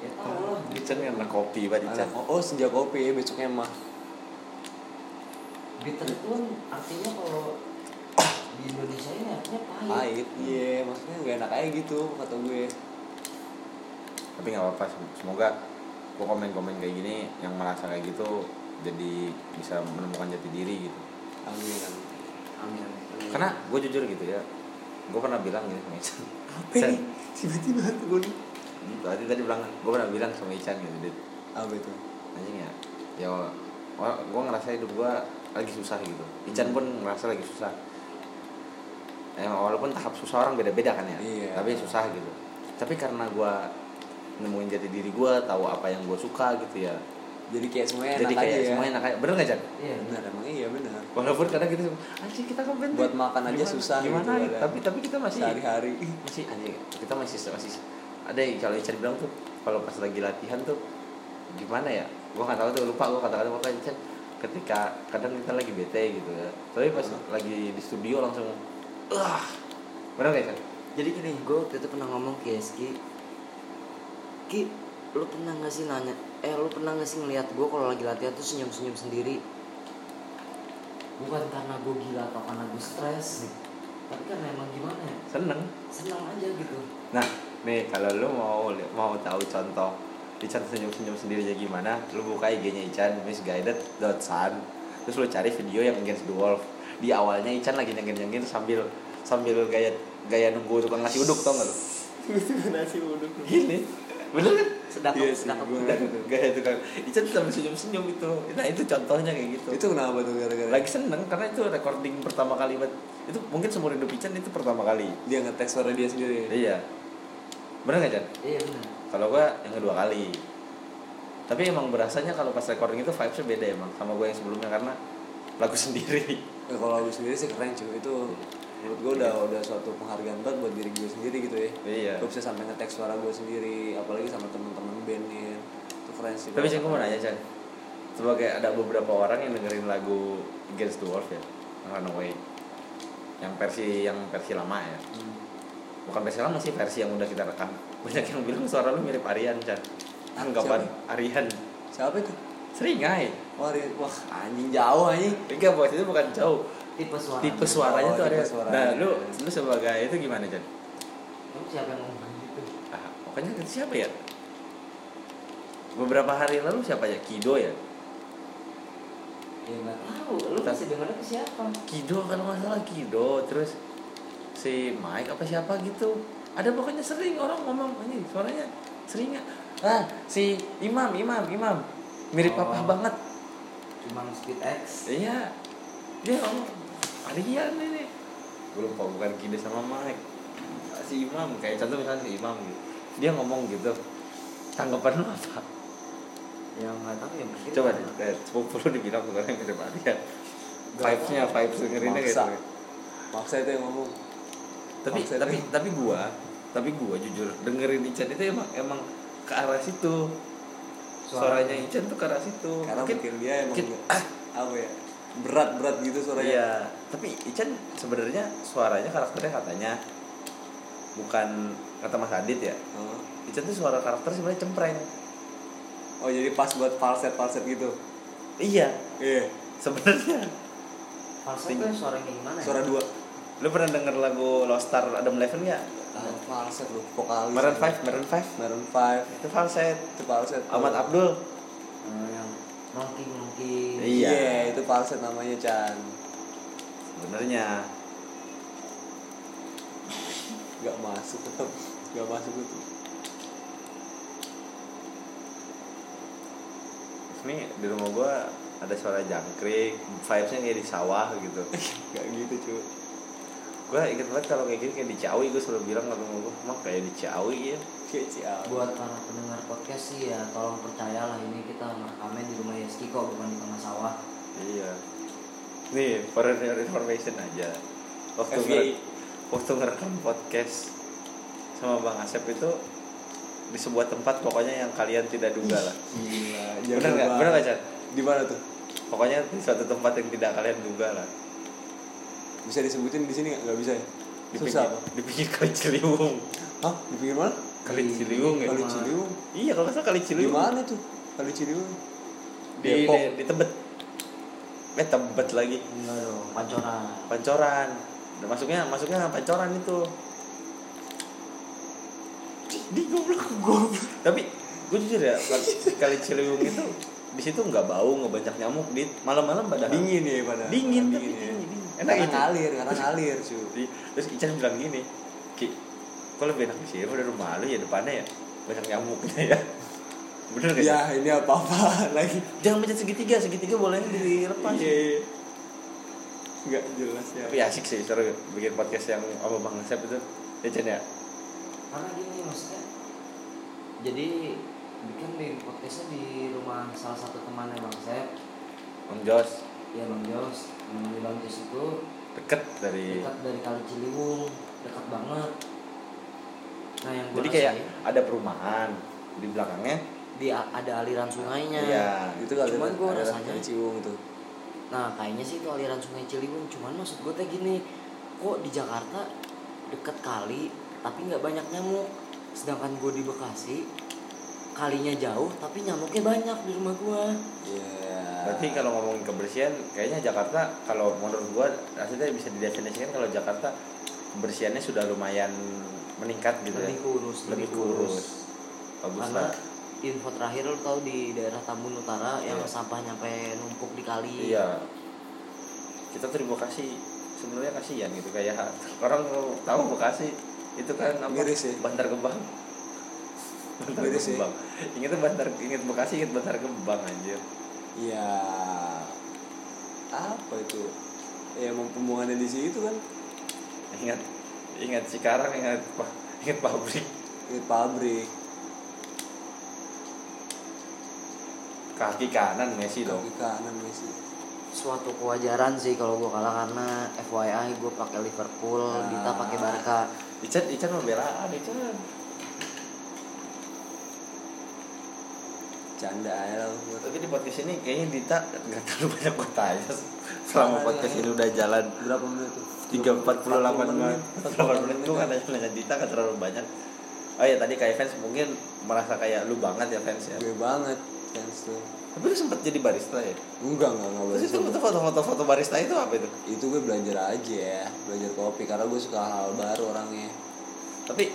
Speaker 3: ya tahu lah
Speaker 2: Dia Chan kan anak kopi banget Chan
Speaker 4: anak oh, oh senja kopi besoknya mah
Speaker 3: bitter itu kan artinya kalau di Indonesia ini artinya pahit,
Speaker 4: pahit iya maksudnya nggak enak aja gitu kata gue
Speaker 2: tapi nggak apa-apa sem- semoga gue komen-komen kayak gini yang merasa kayak gitu jadi bisa menemukan jati diri gitu
Speaker 4: amin amin
Speaker 3: Amin.
Speaker 2: karena gue jujur gitu ya gue pernah bilang gitu sama Ican
Speaker 4: apa
Speaker 2: Chan,
Speaker 4: nih tiba-tiba tuh gue nih
Speaker 2: tadi tadi bilang gue pernah bilang sama Ican gitu Dit
Speaker 4: apa itu
Speaker 2: anjing ya ya gue ngerasa hidup gue lagi susah gitu Ican pun ngerasa lagi susah emang walaupun tahap susah orang beda-beda kan ya
Speaker 4: Iya.
Speaker 2: tapi susah gitu tapi karena gue nemuin jati diri gue tahu apa yang gue suka gitu ya
Speaker 4: jadi kayak semuanya
Speaker 2: jadi
Speaker 4: enak
Speaker 2: kayak
Speaker 4: aja ya
Speaker 2: semuanya enak aja bener gak Chan?
Speaker 3: Iya.
Speaker 4: benar emang iya benar
Speaker 2: walaupun kadang kita suka, anjing kita kan benteng.
Speaker 4: Buat makan aja
Speaker 2: Gimana-
Speaker 4: susah
Speaker 2: gimana
Speaker 4: gitu, Iya,
Speaker 2: gitu,
Speaker 4: kadang.
Speaker 2: tapi tapi kita masih
Speaker 4: sehari-hari
Speaker 2: masih Iya anjing kita masih masih ada yang kalau Ican bilang tuh kalau pas lagi latihan tuh gimana ya gua nggak tahu tuh lupa gua kata-kata pokoknya Ican ketika kadang kita lagi bete gitu ya tapi pas lagi di studio langsung ah benar nggak Ican
Speaker 3: Jadi gini, gue waktu itu pernah ngomong ke Yeski Ki, lu pernah gak sih nanya Eh, lu pernah gak sih ngeliat gue kalau lagi latihan tuh senyum-senyum sendiri Bukan karena gue gila atau karena gue stres Tapi karena emang gimana ya
Speaker 2: seneng
Speaker 3: Senang aja gitu
Speaker 2: nah nih kalau lu mau mau tahu contoh Ican senyum-senyum sendirinya gimana lu buka IG-nya Ican misguided.san terus lu cari video yang against the wolf di awalnya Ican lagi nyenggin-nyenggin sambil sambil gaya gaya nunggu tukang nasi uduk tau gak lu
Speaker 4: nasi uduk
Speaker 2: gini bener kan
Speaker 3: Sedap,
Speaker 4: Iya sih,
Speaker 3: sedap
Speaker 4: Iya gua-
Speaker 2: Dan gaya itu kan Ican sampai senyum senyum itu nah itu contohnya kayak gitu
Speaker 4: itu kenapa tuh gara-gara
Speaker 2: lagi seneng karena itu recording pertama kali buat itu mungkin seumur hidup Ican itu pertama kali
Speaker 4: dia ngetes suara dia sendiri
Speaker 2: iya bener nggak Chan
Speaker 3: Iya bener
Speaker 2: kalau gua yang kedua kali tapi emang berasanya kalau pas recording itu vibesnya beda emang sama gua yang sebelumnya karena lagu sendiri
Speaker 4: ya, kalau gue sendiri sih keren cuy itu menurut gue udah udah suatu penghargaan banget buat diri gue sendiri gitu ya
Speaker 2: Iya.
Speaker 4: gue bisa sampai ngetek suara gue sendiri apalagi sama temen-temen bandnya itu keren sih
Speaker 2: tapi Chan gua mau nanya Chan sebagai ada beberapa orang yang dengerin lagu Against the Wolf ya yang Runaway yang versi yang versi lama ya
Speaker 4: Hmm.
Speaker 2: bukan versi lama sih versi yang udah kita rekam banyak yang bilang suara lu mirip Aryan Chan anggapan Aryan
Speaker 4: siapa itu
Speaker 2: seringai
Speaker 4: wah dia- wah anjing jauh anjing
Speaker 2: enggak bos itu bukan jauh
Speaker 3: Tipe suara
Speaker 2: tipe suaranya
Speaker 4: Oh,
Speaker 2: tuh
Speaker 4: tipe
Speaker 2: ada
Speaker 4: suaranya.
Speaker 2: nah lu lu sebagai itu gimana Chan
Speaker 3: Emang siapa yang ngomong gitu?
Speaker 2: ah, pokoknya itu siapa ya beberapa hari lalu siapa ya Kido ya
Speaker 3: Ya gak tau, lu
Speaker 2: Tas-
Speaker 3: masih dengerin ke siapa?
Speaker 2: Kido kalau nggak salah Kido terus si Mike apa siapa gitu ada pokoknya sering orang ngomong ini suaranya seringnya ah si Imam Imam Imam mirip
Speaker 3: Oh.
Speaker 2: papa banget
Speaker 3: Cuman Speed X
Speaker 2: Iya. Dia ngomong Aryan ini. Gue lupa bukan Kide sama Mike. Si Imam kayak contoh misalnya si Imam gitu. Dia ngomong gitu. Tanggapan lu apa?
Speaker 3: Yang gak tau ya mungkin
Speaker 2: Coba deh, eh, sepupu lu dibilang bukan yang mirip Aryan. Vibes-nya, vibes dengerinnya kayak
Speaker 4: Maksa.
Speaker 2: gitu.
Speaker 4: maksa itu yang ngomong
Speaker 2: Tapi
Speaker 4: Maksa
Speaker 2: tapi
Speaker 4: itu.
Speaker 2: tapi gua, tapi gua jujur dengerin Ican itu emang emang ke arah situ. Suaranya Ican tuh ke arah situ.
Speaker 4: karena mungkin, dia emang
Speaker 2: mungkin-
Speaker 4: nggak- apa ya berat-berat gitu suaranya
Speaker 2: Iya, tapi Ican sebenarnya suaranya karakternya katanya bukan kata Mas Adit ya.
Speaker 4: Oh.
Speaker 2: Ican tuh suara karakter sebenarnya cempreng.
Speaker 4: oh jadi pas buat falset-falset gitu
Speaker 2: Iya,
Speaker 4: iya
Speaker 2: sebenarnya.
Speaker 3: Falsetto yang suara kayak gimana ya?
Speaker 4: suara dua
Speaker 2: Lu pernah denger lagu Lost Star Adam Levine nggak?
Speaker 4: Ah, falset lu, vokalis.
Speaker 2: Maroon 5, Maroon 5
Speaker 4: Maroon 5.
Speaker 2: itu falset.
Speaker 4: Itu falset.
Speaker 2: Ahmad Abdul.
Speaker 3: Eh, yang nongki nongki
Speaker 2: Iya.
Speaker 4: Iya, itu falset namanya Chan.
Speaker 2: Sebenarnya
Speaker 4: Gak masuk tetap. Gak masuk itu.
Speaker 2: ini di rumah gua ada suara jangkrik, vibesnya kayak di sawah gitu.
Speaker 4: Gak gitu cuy.
Speaker 2: gua inget banget kalau kayak gini kayak di Ciawi gua selalu bilang ke rumah gua, mah kayak di Ciawi ya.
Speaker 4: Kayak ciao.
Speaker 3: buat para pendengar podcast sih ya tolong percayalah ini kita ngerekamnya di rumah Yeski kok bukan di tengah sawah
Speaker 2: Iya. Nih, for your information aja. Waktu
Speaker 4: FYI.
Speaker 2: ngere- waktu ngerekam podcast sama Bang Asep itu di sebuah tempat pokoknya yang kalian tidak duga lah.
Speaker 4: Gila, jago
Speaker 2: Bener nggak?
Speaker 4: banget.
Speaker 2: Bener nggak, Chan?
Speaker 4: Di mana tuh?
Speaker 2: Pokoknya di suatu tempat yang tidak kalian duga lah.
Speaker 4: Bisa disebutin di sini nggak? Nggak bisa ya?
Speaker 2: Di
Speaker 4: Susah.
Speaker 2: pinggir, di pinggir Kali Ciliwung.
Speaker 4: Hah? Di pinggir mana?
Speaker 2: Kali
Speaker 3: Di-
Speaker 2: Ciliwung ya.
Speaker 4: Kali
Speaker 3: Rumah.
Speaker 4: Ciliwung.
Speaker 2: Iya, kalau nggak salah Kali
Speaker 4: Di
Speaker 2: Ciliwung.
Speaker 4: mana tuh? Kali Ciliwung.
Speaker 2: Di, di,
Speaker 4: Depok.
Speaker 2: di Tebet. Eh, Tebet lagi.
Speaker 3: enggak dong pancoran
Speaker 2: Pancoran. Dan masuknya masuknya pancoran itu. Di goblok goblok. Tapi gue jujur ya, kali Ciliwung itu di situ nggak bau, nggak banyak nyamuk, di malam-malam pada
Speaker 4: Dingin ya pada.
Speaker 2: dingin, tapi
Speaker 4: dingin ya.
Speaker 2: dingin, dingin. Enak
Speaker 4: Karena
Speaker 2: itu.
Speaker 4: ngalir, karena ngalir cuy.
Speaker 2: Jadi, terus Ican bilang gini, Ki, kok lebih enak di sini udah rumah lu ya depannya ya banyak nyamuknya ya. Bener gak sih?
Speaker 4: Ya ini apa-apa lagi.
Speaker 2: Jangan pencet segitiga, segitiga bolanya dilepas.
Speaker 4: Iya. Enggak jelas ya.
Speaker 2: Tapi asik sih seru bikin podcast yang sama Bang Asep itu. Ya Chan ya.
Speaker 3: karena gini maksudnya jadi bikin di podcastnya di rumah salah satu temannya bang Sep
Speaker 2: Om Jos
Speaker 3: ya bang Jos namanya bang Jos itu
Speaker 2: deket dari
Speaker 3: dekat dari Kali Ciliwung dekat banget nah yang gua
Speaker 2: jadi kayak
Speaker 3: rasain,
Speaker 2: ada perumahan di belakangnya.
Speaker 3: di ada aliran sungainya
Speaker 2: Iya.
Speaker 4: Itu kali
Speaker 3: Cuman gua
Speaker 4: ada
Speaker 3: rasanya-
Speaker 4: kali Ciliwung tuh.
Speaker 3: Nah kayaknya sih itu aliran sungai Ciliwung Cuman maksud gue teh gini Kok di Jakarta deket kali tapi nggak banyak nyamuk Sedangkan gue di Bekasi Kalinya jauh tapi nyamuknya banyak di rumah gue
Speaker 4: Iya.
Speaker 2: Berarti kalau ngomongin kebersihan, kayaknya Jakarta kalau menurut gua rasanya bisa didefinisikan kalau Jakarta kebersihannya sudah lumayan meningkat gitu
Speaker 3: Lebih
Speaker 2: ya.
Speaker 3: kurus
Speaker 2: Lebih kurus. Bagus
Speaker 3: Karena
Speaker 2: lah.
Speaker 3: info terakhir lo tau di daerah Tambun Utara
Speaker 2: Iya.
Speaker 3: Yang sampah nyampe numpuk di kali
Speaker 2: Iya. Kita terima kasih sebenarnya kasihan gitu kayak orang kalau tahu Bekasi itu kan apa?
Speaker 4: Miris ya.
Speaker 2: Bantar Gebang. Bantar
Speaker 4: Miris ya.
Speaker 2: Gebang. Ingat Bantar ingat Bekasi ingat Bantar Gebang anjir.
Speaker 4: Ya apa itu? Ya emang pembuangannya di situ kan.
Speaker 2: Ingat ingat Cikarang ingat pa- ingat pabrik
Speaker 4: Di pabrik.
Speaker 2: kaki kanan Messi dong.
Speaker 4: Kaki kanan Messi.
Speaker 3: Suatu kewajaran sih kalau gue kalah Karena FYI gue pakai Liverpool
Speaker 4: Ah.
Speaker 3: Dita pakai Barca
Speaker 2: Ican Ican membelaan Ican.
Speaker 4: Canda ya lo.
Speaker 2: Tapi di podcast ini kayaknya Dita nggak terlalu banyak bertanya selama podcast ini udah jalan
Speaker 4: Berapa menit tuh?
Speaker 2: tiga empat puluh delapan kan.
Speaker 4: 48
Speaker 2: menit
Speaker 4: menit.
Speaker 2: delapan menit gue kan nanya nanya Dita nggak terlalu banyak oh ya tadi kayak fans mungkin merasa kayak lu banget ya fans ya
Speaker 4: Gue banget chance tuh.
Speaker 2: tapi lu sempet jadi barista ya
Speaker 4: Enggak, enggak, enggak
Speaker 2: terus itu
Speaker 4: boleh.
Speaker 2: foto foto foto barista itu apa itu
Speaker 4: itu gue belajar aja ya belajar kopi karena gue suka hal baru orangnya
Speaker 2: tapi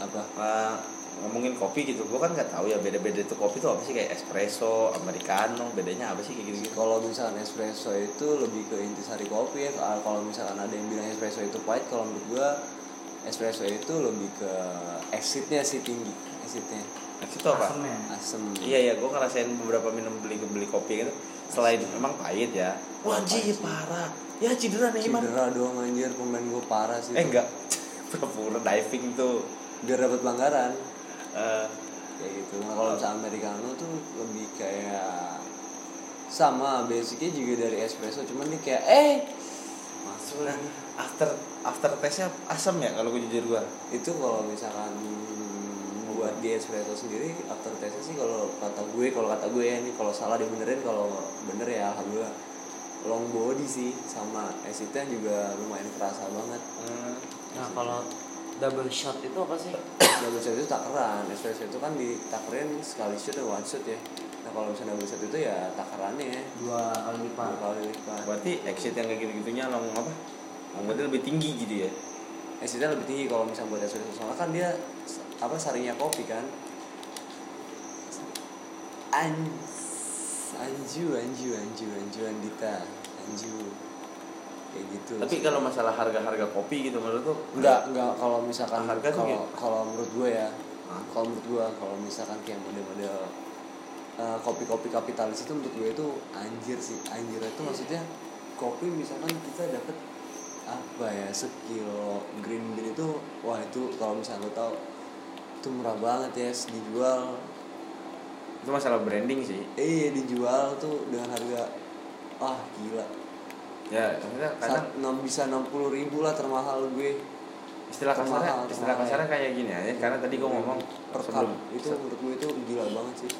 Speaker 4: apa
Speaker 2: eh, ngomongin kopi gitu gue kan nggak tahu ya beda beda itu kopi itu apa sih kayak espresso americano bedanya apa sih kayak gitu gitu
Speaker 4: kalau misalkan espresso itu lebih ke intisari kopi ya Kalau- kalau misalkan ada yang bilang espresso itu pahit kalau menurut gue espresso itu lebih ke exitnya sih tinggi exitnya
Speaker 2: itu apa
Speaker 3: Asemnya.
Speaker 4: asem
Speaker 2: Iya iya, gue ngerasain beberapa minum beli beli kopi gitu. Selain emang pahit ya. Wah anjir, parah. Ya cedera nih Iman.
Speaker 4: cedera doang anjir pemain gue parah sih
Speaker 2: Eh enggak, pura-pura diving tuh.
Speaker 4: biar dapat pelanggaran
Speaker 2: Eh,
Speaker 4: kayak gitu nah, kalau misalkan americano tuh lebih kayak sama basicnya juga dari espresso cuman dia kayak eh masuk
Speaker 2: nah, after after taste-nya asam ya kalau gue jujur gue.
Speaker 4: itu kalau misalkan buat di espresso sendiri after taste sih kalau kata gue kalau kata gue ya ini kalau salah dibenerin kalau bener ya alhamdulillah long body sih sama acid-nya juga lumayan kerasa banget
Speaker 2: Hmm.
Speaker 3: Nah kalau double shot itu apa sih?
Speaker 4: double shot itu takaran espresso itu kan ditakarin sekali shot dan one shot ya nah kalau misalnya double shot itu ya takarannya ya
Speaker 3: Dua kali
Speaker 4: dua
Speaker 3: lipat
Speaker 4: kali lipat
Speaker 2: Nah, Berarti exit yang kayak gitu-gitunya long apa? Berarti lebih tinggi gitu ya.
Speaker 4: acidnya lebih tinggi kalau misalnya buat acidnya soalnya kan dia s- apa saringnya kopi kan An anju anju anju anju andita anju kayak gitu
Speaker 2: Tapi kalau masalah harga-harga kopi gitu menurut tuh
Speaker 4: Enggak, enggak kalau misalkan
Speaker 2: Harga tuh
Speaker 4: kalau
Speaker 2: gitu.
Speaker 4: kalau menurut gue ya. Kalau menurut gue kalau misalkan kayak model-model eh, kopi-kopi kapitalis itu menurut gue itu anjir sih. Anjir itu
Speaker 2: Iya.
Speaker 4: maksudnya kopi misalkan kita dapat apa ya sekilo green bean itu wah itu kalau misalnya lo tahu itu murah banget ya dijual
Speaker 2: itu masalah branding sih.
Speaker 4: eh dijual tuh dengan harga wah gila
Speaker 2: Ya, maksudnya kadang
Speaker 4: Sat, enam- bisa 60 ribu lah termahal gue
Speaker 2: istilah kasarnya
Speaker 4: Mahal,
Speaker 2: istilah
Speaker 4: mahal.
Speaker 2: kasarnya kayak gini aja karena tadi gue ngomong
Speaker 4: per cup
Speaker 2: sebelum
Speaker 4: itu menurut gue itu gila banget sih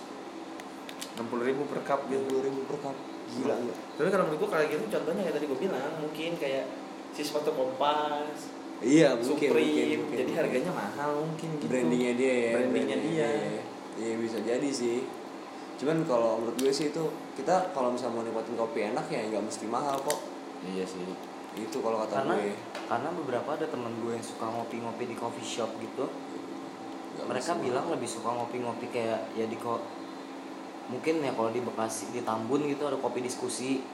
Speaker 2: 60 ribu per cup gitu
Speaker 4: dua ribu per cup gila nggak
Speaker 5: Tapi kalau menurut gua kayak gitu contohnya kayak tadi gua bilang mungkin kayak si sepatu kompas,
Speaker 4: iya mungkin,
Speaker 5: Supreme,
Speaker 4: mungkin, mungkin.
Speaker 5: jadi harganya mahal mungkin gitu.
Speaker 4: brandingnya dia ya
Speaker 5: Brandingnya dia.
Speaker 2: ya.
Speaker 4: iya bisa jadi sih cuman kalau menurut gue sih itu kita kalau misalnya mau nikmatin kopi enak ya nggak mesti mahal kok
Speaker 5: Iya sih.
Speaker 4: itu kalau kata
Speaker 3: karena
Speaker 4: gue
Speaker 3: karena beberapa ada teman gue yang suka ngopi-ngopi di coffee shop gitu
Speaker 4: Nggak
Speaker 3: mereka
Speaker 4: mesti
Speaker 3: bilang lebih suka ngopi-ngopi kayak ya di kok mungkin ya kalau di Bekasi di Tambun gitu ada kopi diskusi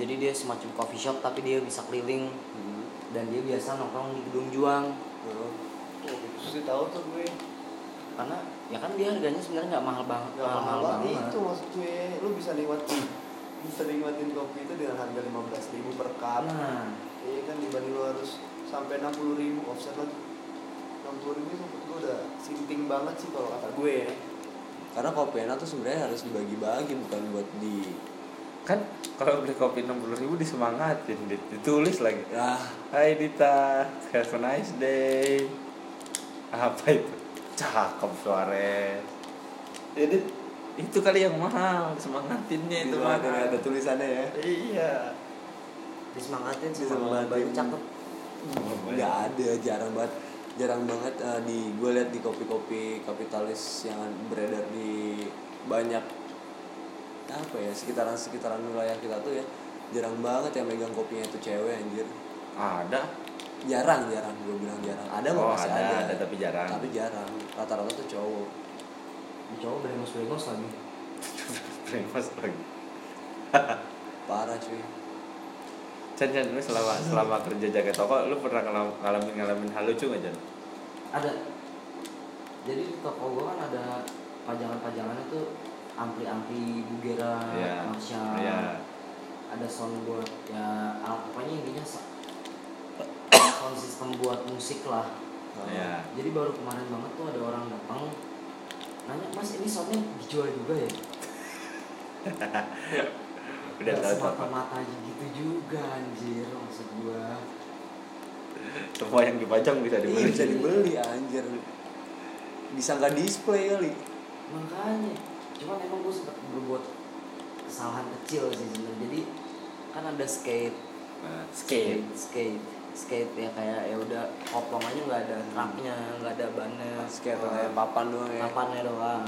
Speaker 3: jadi dia semacam coffee shop tapi dia bisa keliling
Speaker 4: mahal. Hmm.
Speaker 3: dan dia biasa nongkrong di gedung juang
Speaker 4: Heeh.
Speaker 5: Oh,
Speaker 6: gitu.
Speaker 5: itu sih tahu tuh gue.
Speaker 3: karena ya kan dia harganya sebenarnya nggak Ah, mahal banget
Speaker 6: Gak mahal banget itu maksud gue Lu bisa nikmatin Bisa nikmatin kopi itu dengan harga 15 ribu per cup
Speaker 3: nah
Speaker 6: Iya kan dibanding lu harus sampai 60 ribu offset lagi 60 ribu itu menurut gue udah sinting banget sih kalau kata gue ya
Speaker 4: karena kopi enak tuh sebenarnya harus dibagi-bagi bukan buat di
Speaker 2: kan kalau beli kopi 60 ribu disemangatin Dit. ditulis lagi
Speaker 4: ah
Speaker 2: Hai Dita have a nice day apa itu cakep Suarez jadi itu kali yang mahal semangatinnya Ya,
Speaker 4: itu
Speaker 2: itu mahal
Speaker 4: Iya, ada, ada tulisannya ya
Speaker 2: iya
Speaker 3: disemangatin sih
Speaker 4: Disemangatin.
Speaker 3: sama baru cakep
Speaker 4: nggak ada jarang banget jarang banget eh, di gue lihat di kopi-kopi kapitalis yang beredar di banyak apa ya sekitaran sekitaran wilayah kita tuh ya jarang banget yang megang kopinya itu cewek anjir
Speaker 2: ada
Speaker 4: jarang jarang gue bilang jarang ada
Speaker 2: oh
Speaker 4: nggak masih
Speaker 2: ada, ada tapi jarang
Speaker 4: tapi jarang rata-rata tuh cowok
Speaker 3: cowok berengos berengos lagi
Speaker 2: famous lagi
Speaker 4: parah cuy
Speaker 2: Chan Chan lu selama selama kerja jaga toko lu pernah ngelam- ngalamin ngalamin hal lucu nggak Chan
Speaker 3: ada jadi di toko gua kan ada pajangan-pajangannya tuh ampli-ampli bugera
Speaker 4: Ah,
Speaker 2: Iya.
Speaker 3: Marshall
Speaker 2: Iya.
Speaker 3: ada sound buat ya alat pokoknya intinya sa- sound system buat musik lah
Speaker 2: Iya.
Speaker 3: jadi baru kemarin banget tuh ada orang datang nanya mas ini soundnya dijual juga ya
Speaker 4: Iya,
Speaker 2: udah tahu
Speaker 3: semata
Speaker 2: apa
Speaker 3: mata gitu juga anjir maksud gua
Speaker 2: semua yang dipajang bisa
Speaker 4: Ih,
Speaker 2: dibeli
Speaker 4: Iya, bisa dibeli anjir bisa nggak display kali
Speaker 3: makanya cuman emang gue sempat berbuat kesalahan kecil sih sebenarnya jadi kan ada skate
Speaker 2: Nah,
Speaker 3: skate skate skate ya kayak ya udah kopong aja nggak ada truknya nggak ada bannya
Speaker 4: kayak kayak papan doang ya
Speaker 3: papannya doang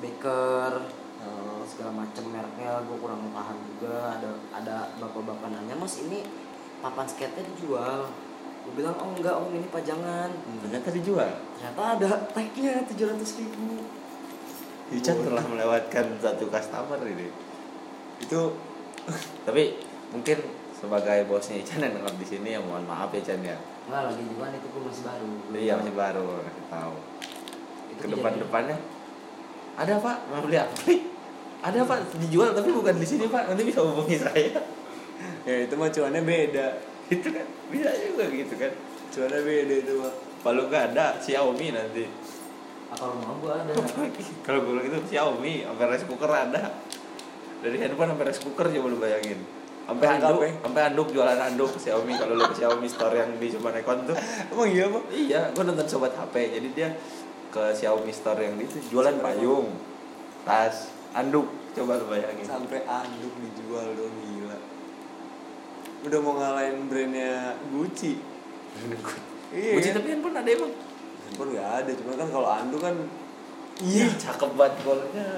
Speaker 3: baker
Speaker 4: Oh.
Speaker 3: segala macem mereknya gue kurang paham juga ada ada bapak-bapak nanya mas ini papan skate-nya dijual gue bilang oh enggak om ini pajangan
Speaker 2: ternyata dijual
Speaker 3: ternyata ada tagnya tujuh ratus ribu
Speaker 2: Yuchan telah melewatkan satu customer ini
Speaker 4: itu
Speaker 2: tapi mungkin sebagai bosnya Ican yang denger di sini ya mohon maaf ya Chan ya
Speaker 3: Enggak lagi juga itu gue masih baru.
Speaker 2: iya masih baru ngasih tahu
Speaker 3: Itu
Speaker 2: ke
Speaker 3: kejadian.
Speaker 2: depan depannya ada pak mau beli ampli ada pak dijual tapi bukan di sini pak nanti bisa hubungi saya
Speaker 4: ya itu mah cuannya beda
Speaker 2: itu kan bisa juga gitu kan
Speaker 4: cuannya beda itu mah
Speaker 2: kalau nggak ada Xiaomi nanti
Speaker 3: Ah, kalau mau gue ada.
Speaker 2: kalau gue bilang itu Xiaomi sampai rice cooker ada dari handphone sampai rice cooker coba lu bayangin sampai
Speaker 4: Lengkap,
Speaker 2: handuk
Speaker 4: ya?
Speaker 2: sampai handuk jualan handuk Xiaomi kalau lu ke Xiaomi store yang di Cumanekon tuh
Speaker 4: emang iya mah
Speaker 2: iya gue nonton sobat HP jadi dia ke Xiaomi store yang di itu jualan payung tas handuk coba lu bayangin
Speaker 4: sampai anduk dijual dong gila udah mau ngalahin brandnya Gucci iya
Speaker 2: Kunci
Speaker 4: kan?
Speaker 2: tapi handphone ada emang
Speaker 4: handphone nggak ada cuman kan kalau anduk kan
Speaker 2: iya cakep banget golnya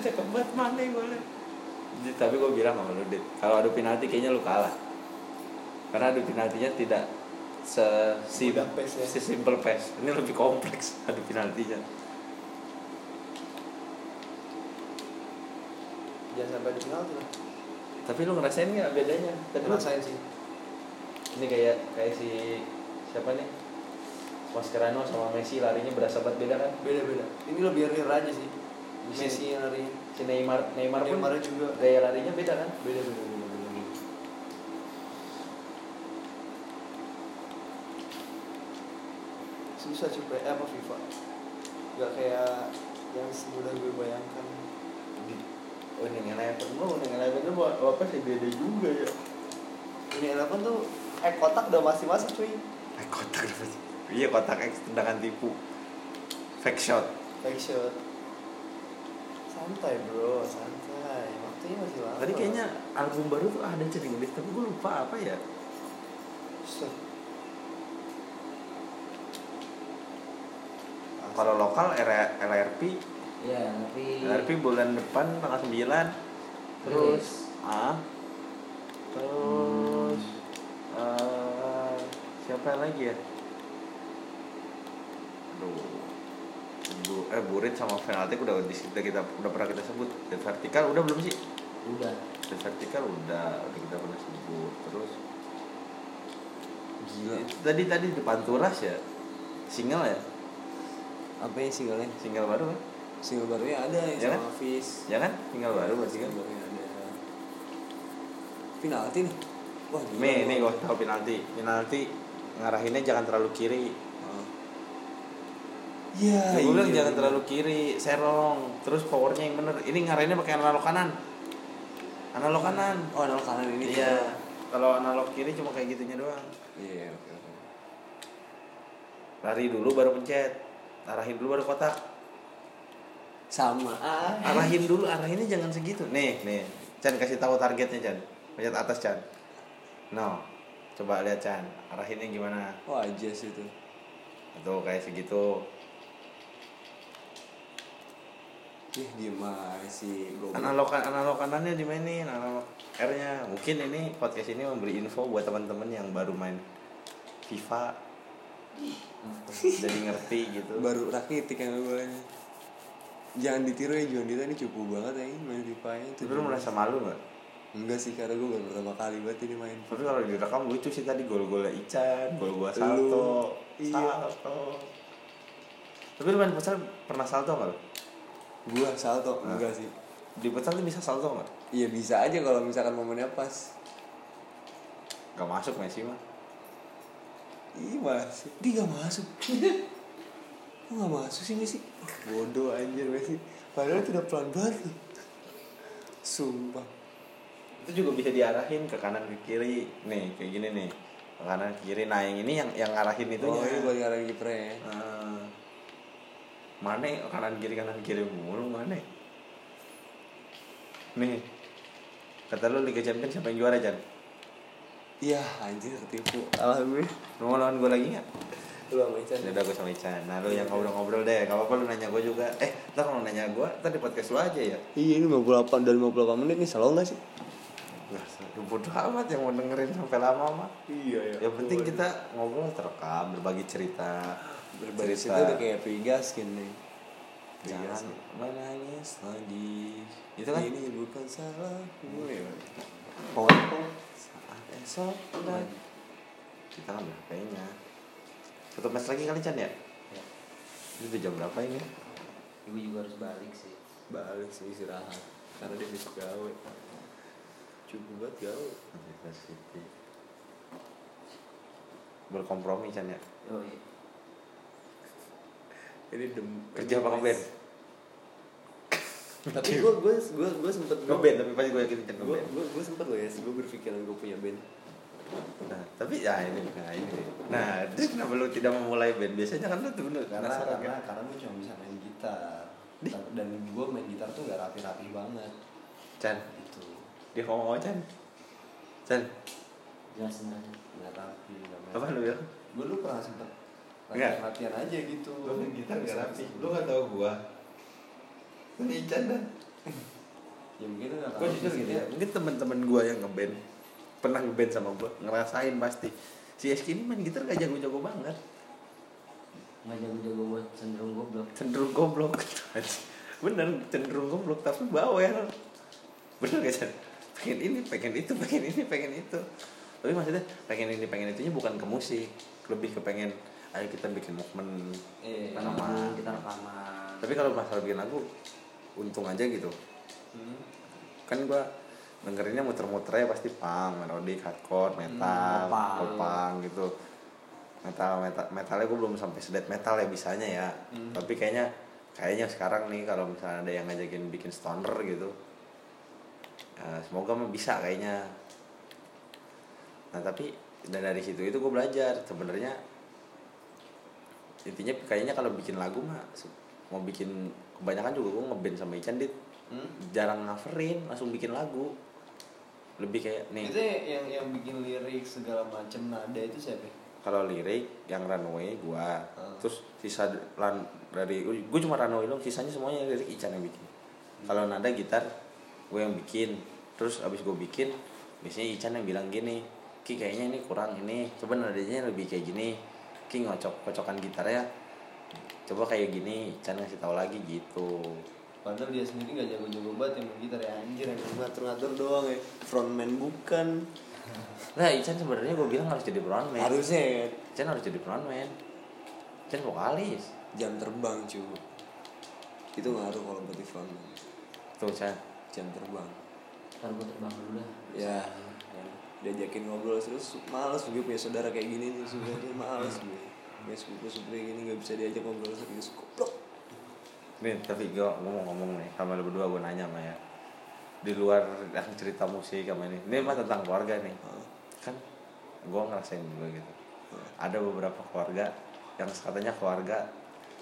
Speaker 2: cakep banget mana golnya Dit, tapi gue bilang sama lu Dit kalau adu penalti kayaknya lu kalah karena adu penaltinya tidak se si
Speaker 7: Mudah pace ya.
Speaker 2: simple pass ini lebih kompleks adu penaltinya
Speaker 7: jangan sampai di final tuh
Speaker 2: tapi lu ngerasain nggak bedanya Tadi lu-
Speaker 7: ngerasain sih
Speaker 2: ini kayak kayak si siapa nih Mascherano sama Messi larinya berasa banget beda kan
Speaker 7: beda beda ini lebih real aja sih
Speaker 2: Bisa.
Speaker 7: Messi yang larinya
Speaker 2: si Neymar Neymar pun
Speaker 7: Neymarnya juga
Speaker 2: gaya larinya beda kan
Speaker 7: beda beda beda beda susah sih eh, apa FIFA gak kayak yang semudah gue bayangkan
Speaker 2: oh ini ngelayan lu ini ngelayan lu apa sih beda juga ya
Speaker 7: ini eleven tuh eh kotak udah masih masuk cuy
Speaker 2: Eh, kotak dapat. Iya kotak X tendangan tipu. Fake shot.
Speaker 7: back shot santai bro santai waktunya masih lama
Speaker 2: Tadi kayaknya album baru tuh ada cering tapi gue lupa apa ya.
Speaker 7: Set.
Speaker 2: Kalau lokal R- LRP,
Speaker 3: Iya, tapi
Speaker 2: LRP bulan depan tanggal 9 terus ah terus eh, siapa lagi ya? Aduh. Bu, eh Burit sama Fnatic udah di kita kita udah pernah kita sebut. The Vertical udah belum sih?
Speaker 3: udah.
Speaker 2: The Vertical udah, udah kita pernah sebut. Terus
Speaker 4: Gila.
Speaker 2: Itu tadi tadi di Panturas ya single ya
Speaker 4: Apa yang singlenya?
Speaker 2: single baru kan
Speaker 4: Single barunya ada yang
Speaker 2: Ya
Speaker 4: sama
Speaker 2: kan?
Speaker 4: Fizz.
Speaker 2: ya kan single baru berarti kan
Speaker 4: Single barunya ada. Penalti nih. Wah, gila.
Speaker 2: nih nih gue tau penalti penalti ngarahinnya jangan terlalu kiri
Speaker 4: Ah. Iya,
Speaker 2: gue bilang
Speaker 4: iya.
Speaker 2: jangan terlalu kiri serong terus powernya yang bener ini ngarahinnya pakai analog kanan analog kanan
Speaker 4: Oh, nol kanan ini.
Speaker 2: iya kalau analog kiri cuma kayak gitunya doang
Speaker 4: Iya, oke. oke.
Speaker 2: lari dulu baru pencet arahin dulu baru kotak
Speaker 4: Sama ah.
Speaker 2: arahin dulu arahinnya jangan segitu nih nih Chan kasih tahu targetnya Chan pencet atas Chan no coba lihat Chan arahinnya gimana
Speaker 4: Wah, aja sih itu.
Speaker 2: Tuh kayak segitu
Speaker 4: Ih, diem aja sih goblok.
Speaker 2: analog kan, analog kanannya dimainin analog R nya mungkin ini podcast ini memberi info buat teman-teman yang baru main FIFA jadi ngerti gitu
Speaker 4: Baru rakitik yang gue Jangan ditiru ya John Dita ini cupu banget ya ini main FIFA nya itu.
Speaker 2: tapi lu merasa malu nggak
Speaker 4: Enggak sih karena gue baru pertama kali banget ini main.
Speaker 2: tapi kalau direkam lucu sih tadi gol-golnya Ican gol
Speaker 4: Lu,
Speaker 2: gua salto
Speaker 4: iya.
Speaker 2: salto tapi lu main futsal pernah salto nggak lu?
Speaker 4: Gua salto
Speaker 2: Nah.
Speaker 4: enggak sih.
Speaker 2: di futsal tuh bisa salto nggak
Speaker 4: Iya bisa aja kalau misalkan momennya pas.
Speaker 2: nggak masuk Messi mah
Speaker 4: Ih masuk. Dia gak masuk. Kok gak masuk sih Messi? Bodoh anjir Messi. Padahal itu udah pelan banget loh. Sumpah.
Speaker 2: itu juga bisa diarahin ke kanan ke kiri nih kayak gini nih ke kanan ke kiri nah yang ini yang yang ngarahin itu ya. Eh,
Speaker 4: oh ini buat ngarang kipernya ya.
Speaker 2: Mane kanan kiri kanan kiri mulu Mane nih kata lu Liga Champions siapa yang juara Jan
Speaker 4: Iya anjir ketipu. Alah gue.
Speaker 2: lu mau lawan gue lagi nggak
Speaker 4: Lu sama Ican.
Speaker 2: udah gue sama Ican nah lu yang ngobrol-ngobrol deh gak apa-apa lu nanya gue juga eh ntar kalau nanya gue ntar di podcast lu aja ya
Speaker 4: Iya ini 58 dan 58 menit nih salah gak sih?
Speaker 2: Gak usah, lu bodo amat yang mau dengerin sampai lama mah
Speaker 4: Iya
Speaker 2: yang penting kita ngobrol terekam berbagi cerita
Speaker 4: berbagi itu udah kayak Vegas gini.
Speaker 2: jangan
Speaker 4: Jangan
Speaker 2: menangis
Speaker 4: lagi.
Speaker 2: Itu kan?
Speaker 4: Ini bukan salahmu ya.
Speaker 2: saat esok dan kita ngambil HP-nya tutup mes lagi kali Chan ya
Speaker 3: Ya.
Speaker 2: itu udah jam berapa ini
Speaker 3: Ibu juga harus balik sih.
Speaker 4: Balik sih istirahat. Karena dia bisa gawe. Cukup banget gawe.
Speaker 2: University berkompromi Chan ya
Speaker 3: Yo, iya.
Speaker 4: Ini dem
Speaker 2: kerja apa ngeband
Speaker 4: Tapi gue gue gue gue sempet
Speaker 2: ngeband tapi pasti gue yakin Chan
Speaker 4: Gue
Speaker 2: ngeband
Speaker 4: gue gue sempet loh ya. Gue berpikiran gue punya band.
Speaker 2: nah tapi ya ini nah ini nah terus kenapa lu tidak memulai band biasanya kan lu kan? tuh bener
Speaker 4: Nah,
Speaker 7: karena
Speaker 2: penasaran
Speaker 7: karena
Speaker 4: ya.
Speaker 7: karena gue cuma bisa main gitar Ta- dan gue main gitar tuh gak rapi-rapi banget
Speaker 2: Chan
Speaker 7: gitu
Speaker 2: dia ngomong apa Chan Chan
Speaker 3: Jelasin aja.
Speaker 7: nggak rapi nggak main
Speaker 2: apa lu bilang
Speaker 7: gue lu pernah sempet
Speaker 2: Nggak.
Speaker 7: latihan latihan aja gitu
Speaker 2: nggak
Speaker 7: Bisa-
Speaker 2: rapi. lu gak tau gua ini Chan kan? dah
Speaker 7: ya mungkin lu nggak
Speaker 2: gue
Speaker 7: rapi
Speaker 2: jujur
Speaker 7: sih,
Speaker 2: gitu
Speaker 7: ya.
Speaker 2: ya mungkin teman-teman gue yang ngeband pernah ngeband sama gue ngerasain pasti si Eski ini main gitar gak jago-jago banget
Speaker 3: nggak jago-jago gue cenderung goblok
Speaker 2: cenderung goblok bener cenderung goblok tapi bawel bener gak Chan? pengen ini pengen itu pengen ini pengen itu tapi maksudnya pengen ini pengen itunya bukan ke musik lebih ke pengen ayo kita bikin movement
Speaker 3: eh
Speaker 2: Sama.
Speaker 3: rekaman kita rekaman
Speaker 2: tapi kalau masalah bikin lagu untung aja gitu kan gua dengerinnya muter-muternya pasti punk, melodik, hardcore, metal,
Speaker 3: Hmm, popang.
Speaker 2: popang gitu metal, metal metalnya gue belum sampai sedet metal ya bisanya ya tapi kayaknya kayaknya sekarang nih kalau misalnya ada yang ngajakin bikin stoner gitu eh, semoga mah bisa kayaknya nah tapi dan dari situ itu gue belajar sebenarnya intinya kayaknya kalau bikin lagu mah se- mau bikin kebanyakan juga gue ngeband sama Ican dit
Speaker 7: Hmm?
Speaker 2: jarang ngaverin langsung bikin lagu lebih kayak
Speaker 4: Itu
Speaker 2: nih
Speaker 4: yang yang bikin lirik segala macam nada itu siapa?
Speaker 2: kalau lirik yang runway gua
Speaker 4: Hmm.
Speaker 2: terus sisa lan, dari gua cuma runway dong sisanya semuanya lirik Ican yang bikin kalau nada gitar gue yang bikin terus abis gue bikin biasanya Ican yang bilang gini Ki kayaknya ini kurang ini coba nadanya lebih kayak gini Ki ngocok kocokan gitarnya coba kayak gini Ican ngasih tahu lagi gitu
Speaker 4: Padahal dia sendiri nggak jago-jago banget yang main gitar ya anjir yang ngatur-ngatur doang ya. Frontman bukan.
Speaker 2: nah Ican sebenarnya gue bilang harus jadi frontman
Speaker 1: Harusnya ya,
Speaker 2: Ican harus jadi frontman Ican vokalis
Speaker 1: jam terbang cuy. Itu ngaruh kalau buat frontman.
Speaker 2: Tuh, Chan.
Speaker 1: Jam terbang.
Speaker 3: ntar gue terbang dulu dah
Speaker 1: Ya, kan. diajakin ngobrol terus males gue punya saudara kayak gini nih sebenarnya males gue. Punya sepupu sepupu kayak gini nggak bisa diajak ngobrol serius goblok.
Speaker 2: Nih, tapi gue ngomong-ngomong nih sama lu berdua gue nanya sama ya. Di luar yang cerita musik sama ini. Ini mah tentang keluarga nih.
Speaker 1: Heeh.
Speaker 2: Kan gue ngerasain juga gitu. Ada beberapa keluarga yang katanya keluarga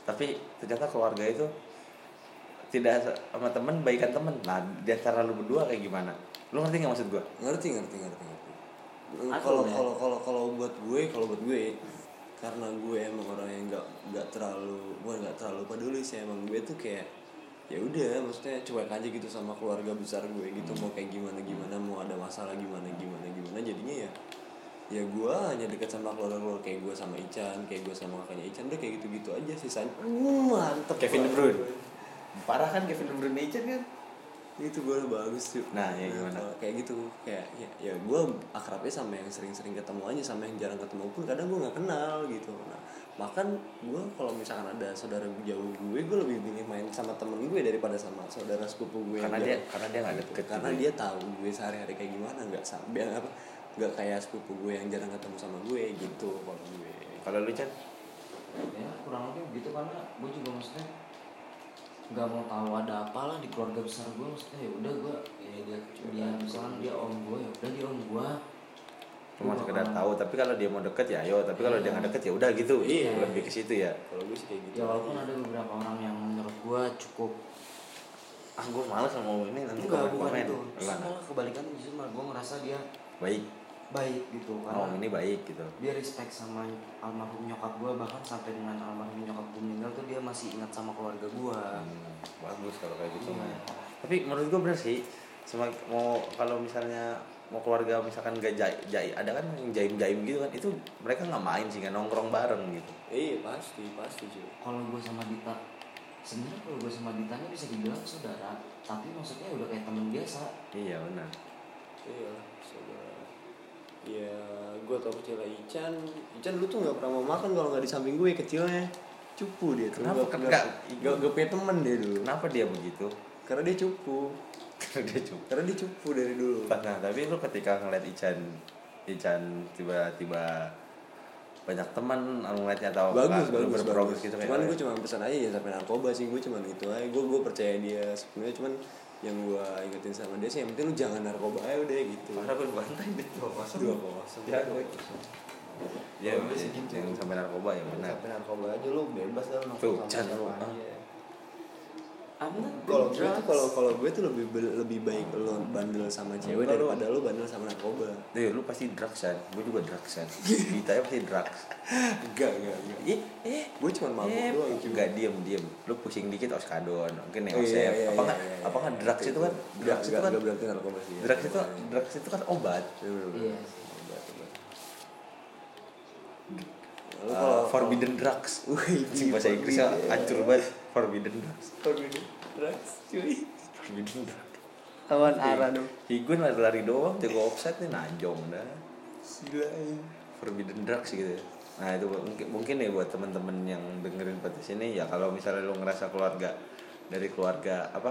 Speaker 2: tapi ternyata keluarga itu tidak se- sama temen baikan temen nah di antara lu berdua kayak gimana lu ngerti nggak maksud gue
Speaker 1: ngerti ngerti ngerti ngerti
Speaker 3: Aku
Speaker 1: kalau
Speaker 3: ya.
Speaker 1: kalau kalau kalau buat gue kalau buat gue karena gue emang orang yang nggak nggak terlalu gue nggak terlalu peduli sih emang gue tuh kayak ya udah maksudnya cuek aja gitu sama keluarga besar gue gitu mau kayak gimana gimana mau ada masalah gimana gimana gimana jadinya ya ya gue hanya dekat sama keluarga keluarga kayak gue sama Ican kayak gue sama kakaknya Ican udah kayak gitu gitu aja sisanya uh, mantep
Speaker 2: Kevin De Bruyne.
Speaker 1: keluarga gue.
Speaker 2: parah kan Kevin De Bruyne Ican kan
Speaker 1: itu gue bagus tuh
Speaker 2: Nah, ya gimana?
Speaker 1: kalau kayak gitu kayak ya, ya gue akrabnya sama yang sering-sering ketemu aja sama yang jarang ketemu pun kadang gue nggak kenal gitu nah bahkan gue kalau misalkan ada saudara jauh gue gue lebih milih main sama temen gue daripada sama saudara sepupu gue yang
Speaker 2: karena dia
Speaker 1: jauh.
Speaker 2: karena dia nggak deket ya?
Speaker 1: Gitu, karena dia tahu gue sehari-hari kayak gimana nggak sambil apa nggak kayak sepupu gue yang jarang ketemu sama gue gitu kalau gue
Speaker 2: kalau lu Ican
Speaker 3: ya kurang lebih gitu karena gue juga maksudnya nggak mau tahu ada apa lah di keluarga besar gue maksudnya ya udah gue ya dia dia misalkan dia om gue ya udah dia om gue
Speaker 2: cuma sekedar
Speaker 3: Oh.
Speaker 2: tahu tapi kalau dia mau deket ya ayo tapi kalau dia nggak deket ya udah gitu
Speaker 1: Iya.
Speaker 2: lebih ke situ ya
Speaker 1: kalau gue sih kayak gitu
Speaker 3: ya walaupun ada beberapa orang yang menurut gue cukup
Speaker 2: ah gue males sama ini nanti
Speaker 3: enggak bukan
Speaker 2: komen-komen.
Speaker 3: itu
Speaker 2: Lah,
Speaker 3: justru malah kebalikan justru malah gue ngerasa dia
Speaker 2: baik
Speaker 3: baik gitu karena
Speaker 1: Oh.
Speaker 2: ngomong ini baik gitu
Speaker 3: dia respect sama almarhum nyokap gue bahkan sampai dengan almarhum nyokap gue meninggal tuh dia masih ingat sama keluarga gue
Speaker 2: Hmm, bagus kalau kayak gitu
Speaker 3: Iya.
Speaker 2: mah tapi menurut gue bener sih sama mau kalau misalnya mau keluarga misalkan gak jai, jai- ada kan yang jaim jaim gitu kan itu mereka nggak main sih nggak nongkrong bareng gitu
Speaker 1: iya pasti pasti cuy
Speaker 3: kalau gue sama Dita sebenarnya kalau gue sama Ditanya bisa dibilang saudara tapi maksudnya udah kayak temen biasa
Speaker 2: iya benar
Speaker 1: iya saudara
Speaker 4: Ya, gue tau kecilnya Ican. Ican dulu tuh nggak pernah mau makan kalau nggak di samping
Speaker 1: ya,
Speaker 4: gue kecilnya. Cupu dia tuh.
Speaker 2: Kenapa?
Speaker 4: Nggak-
Speaker 2: Kan
Speaker 4: nggak-
Speaker 2: nggak-
Speaker 4: Nggak nggak punya temen dia dulu.
Speaker 2: kenapa dia begitu
Speaker 4: Karena dia cupu.
Speaker 2: karena dia cuma
Speaker 4: Karena dia cupu dari dulu.
Speaker 2: Nah, tapi lu ketika ngeliat Ican Ican tiba-tiba banyak teman lu ngeliatnya atau
Speaker 1: bagus
Speaker 2: lu
Speaker 1: bagus
Speaker 2: berprogres
Speaker 1: bagus
Speaker 2: gitu
Speaker 1: cuman
Speaker 2: kayak,
Speaker 1: gue cuma pesan aja ya sampai narkoba sih gue cuman itu aja gue gue percaya dia sebenarnya cuman yang gue ingetin sama dia sih yang penting lu jangan narkoba aja udah gitu
Speaker 2: Parah gue bantai deh
Speaker 4: Dua kosong.
Speaker 1: dua kosong
Speaker 2: Ya, gue- ya,
Speaker 4: Bagus
Speaker 2: ya,
Speaker 4: sih gitu.
Speaker 2: jangan sampai narkoba ya benar
Speaker 4: Sampai narkoba aja lu bebas lah
Speaker 2: Tuh, Chan, lu, ah.
Speaker 3: I'm not the
Speaker 1: kalau gue tuh
Speaker 3: drugs.
Speaker 1: kalau kalau gue tuh lebih be- lebih baik lo bandel sama cewek daripada lo bandel sama narkoba
Speaker 2: Tuh, lu pasti drugs kan, gue juga drugs kan. Ditanya pasti drugs.
Speaker 1: enggak enggak enggak
Speaker 2: Ih, eh,
Speaker 1: gue cuma mabuk
Speaker 2: eh,
Speaker 1: doang cuy.
Speaker 2: enggak diem diem. Lu pusing dikit oskadon, mungkin
Speaker 1: Oh,
Speaker 2: neosep.
Speaker 1: iya, iya,
Speaker 2: apa
Speaker 1: iya,
Speaker 2: nggak?
Speaker 1: iya,
Speaker 2: apa
Speaker 1: iya.
Speaker 2: nggak drugs itu kan?
Speaker 1: Enggak,
Speaker 2: Drugs itu
Speaker 1: enggak,
Speaker 2: kan?
Speaker 1: enggak berarti narkoba sih
Speaker 2: Drugs itu drugs itu kan obat.
Speaker 1: Iya, bener, bener.
Speaker 3: Iya.
Speaker 1: Obat, obat.
Speaker 2: Uh,
Speaker 1: Lalu kalau-
Speaker 2: forbidden drugs.
Speaker 1: Wih,
Speaker 2: Cing bahasa Inggrisnya
Speaker 1: forbidden. iya.
Speaker 2: hancur banget. Forbidden drugs.
Speaker 8: Forbidden drugs, cuy.
Speaker 2: Forbidden drugs.
Speaker 8: Awan arah dong.
Speaker 2: Higun lari-lari doang, jago offset nih najong dah.
Speaker 8: Gila
Speaker 1: iya.
Speaker 8: ya.
Speaker 2: forbidden drugs gitu ya. nah itu mungkin mungkin ya buat temen-temen yang dengerin podcast ini ya kalau misalnya lu ngerasa keluarga dari keluarga apa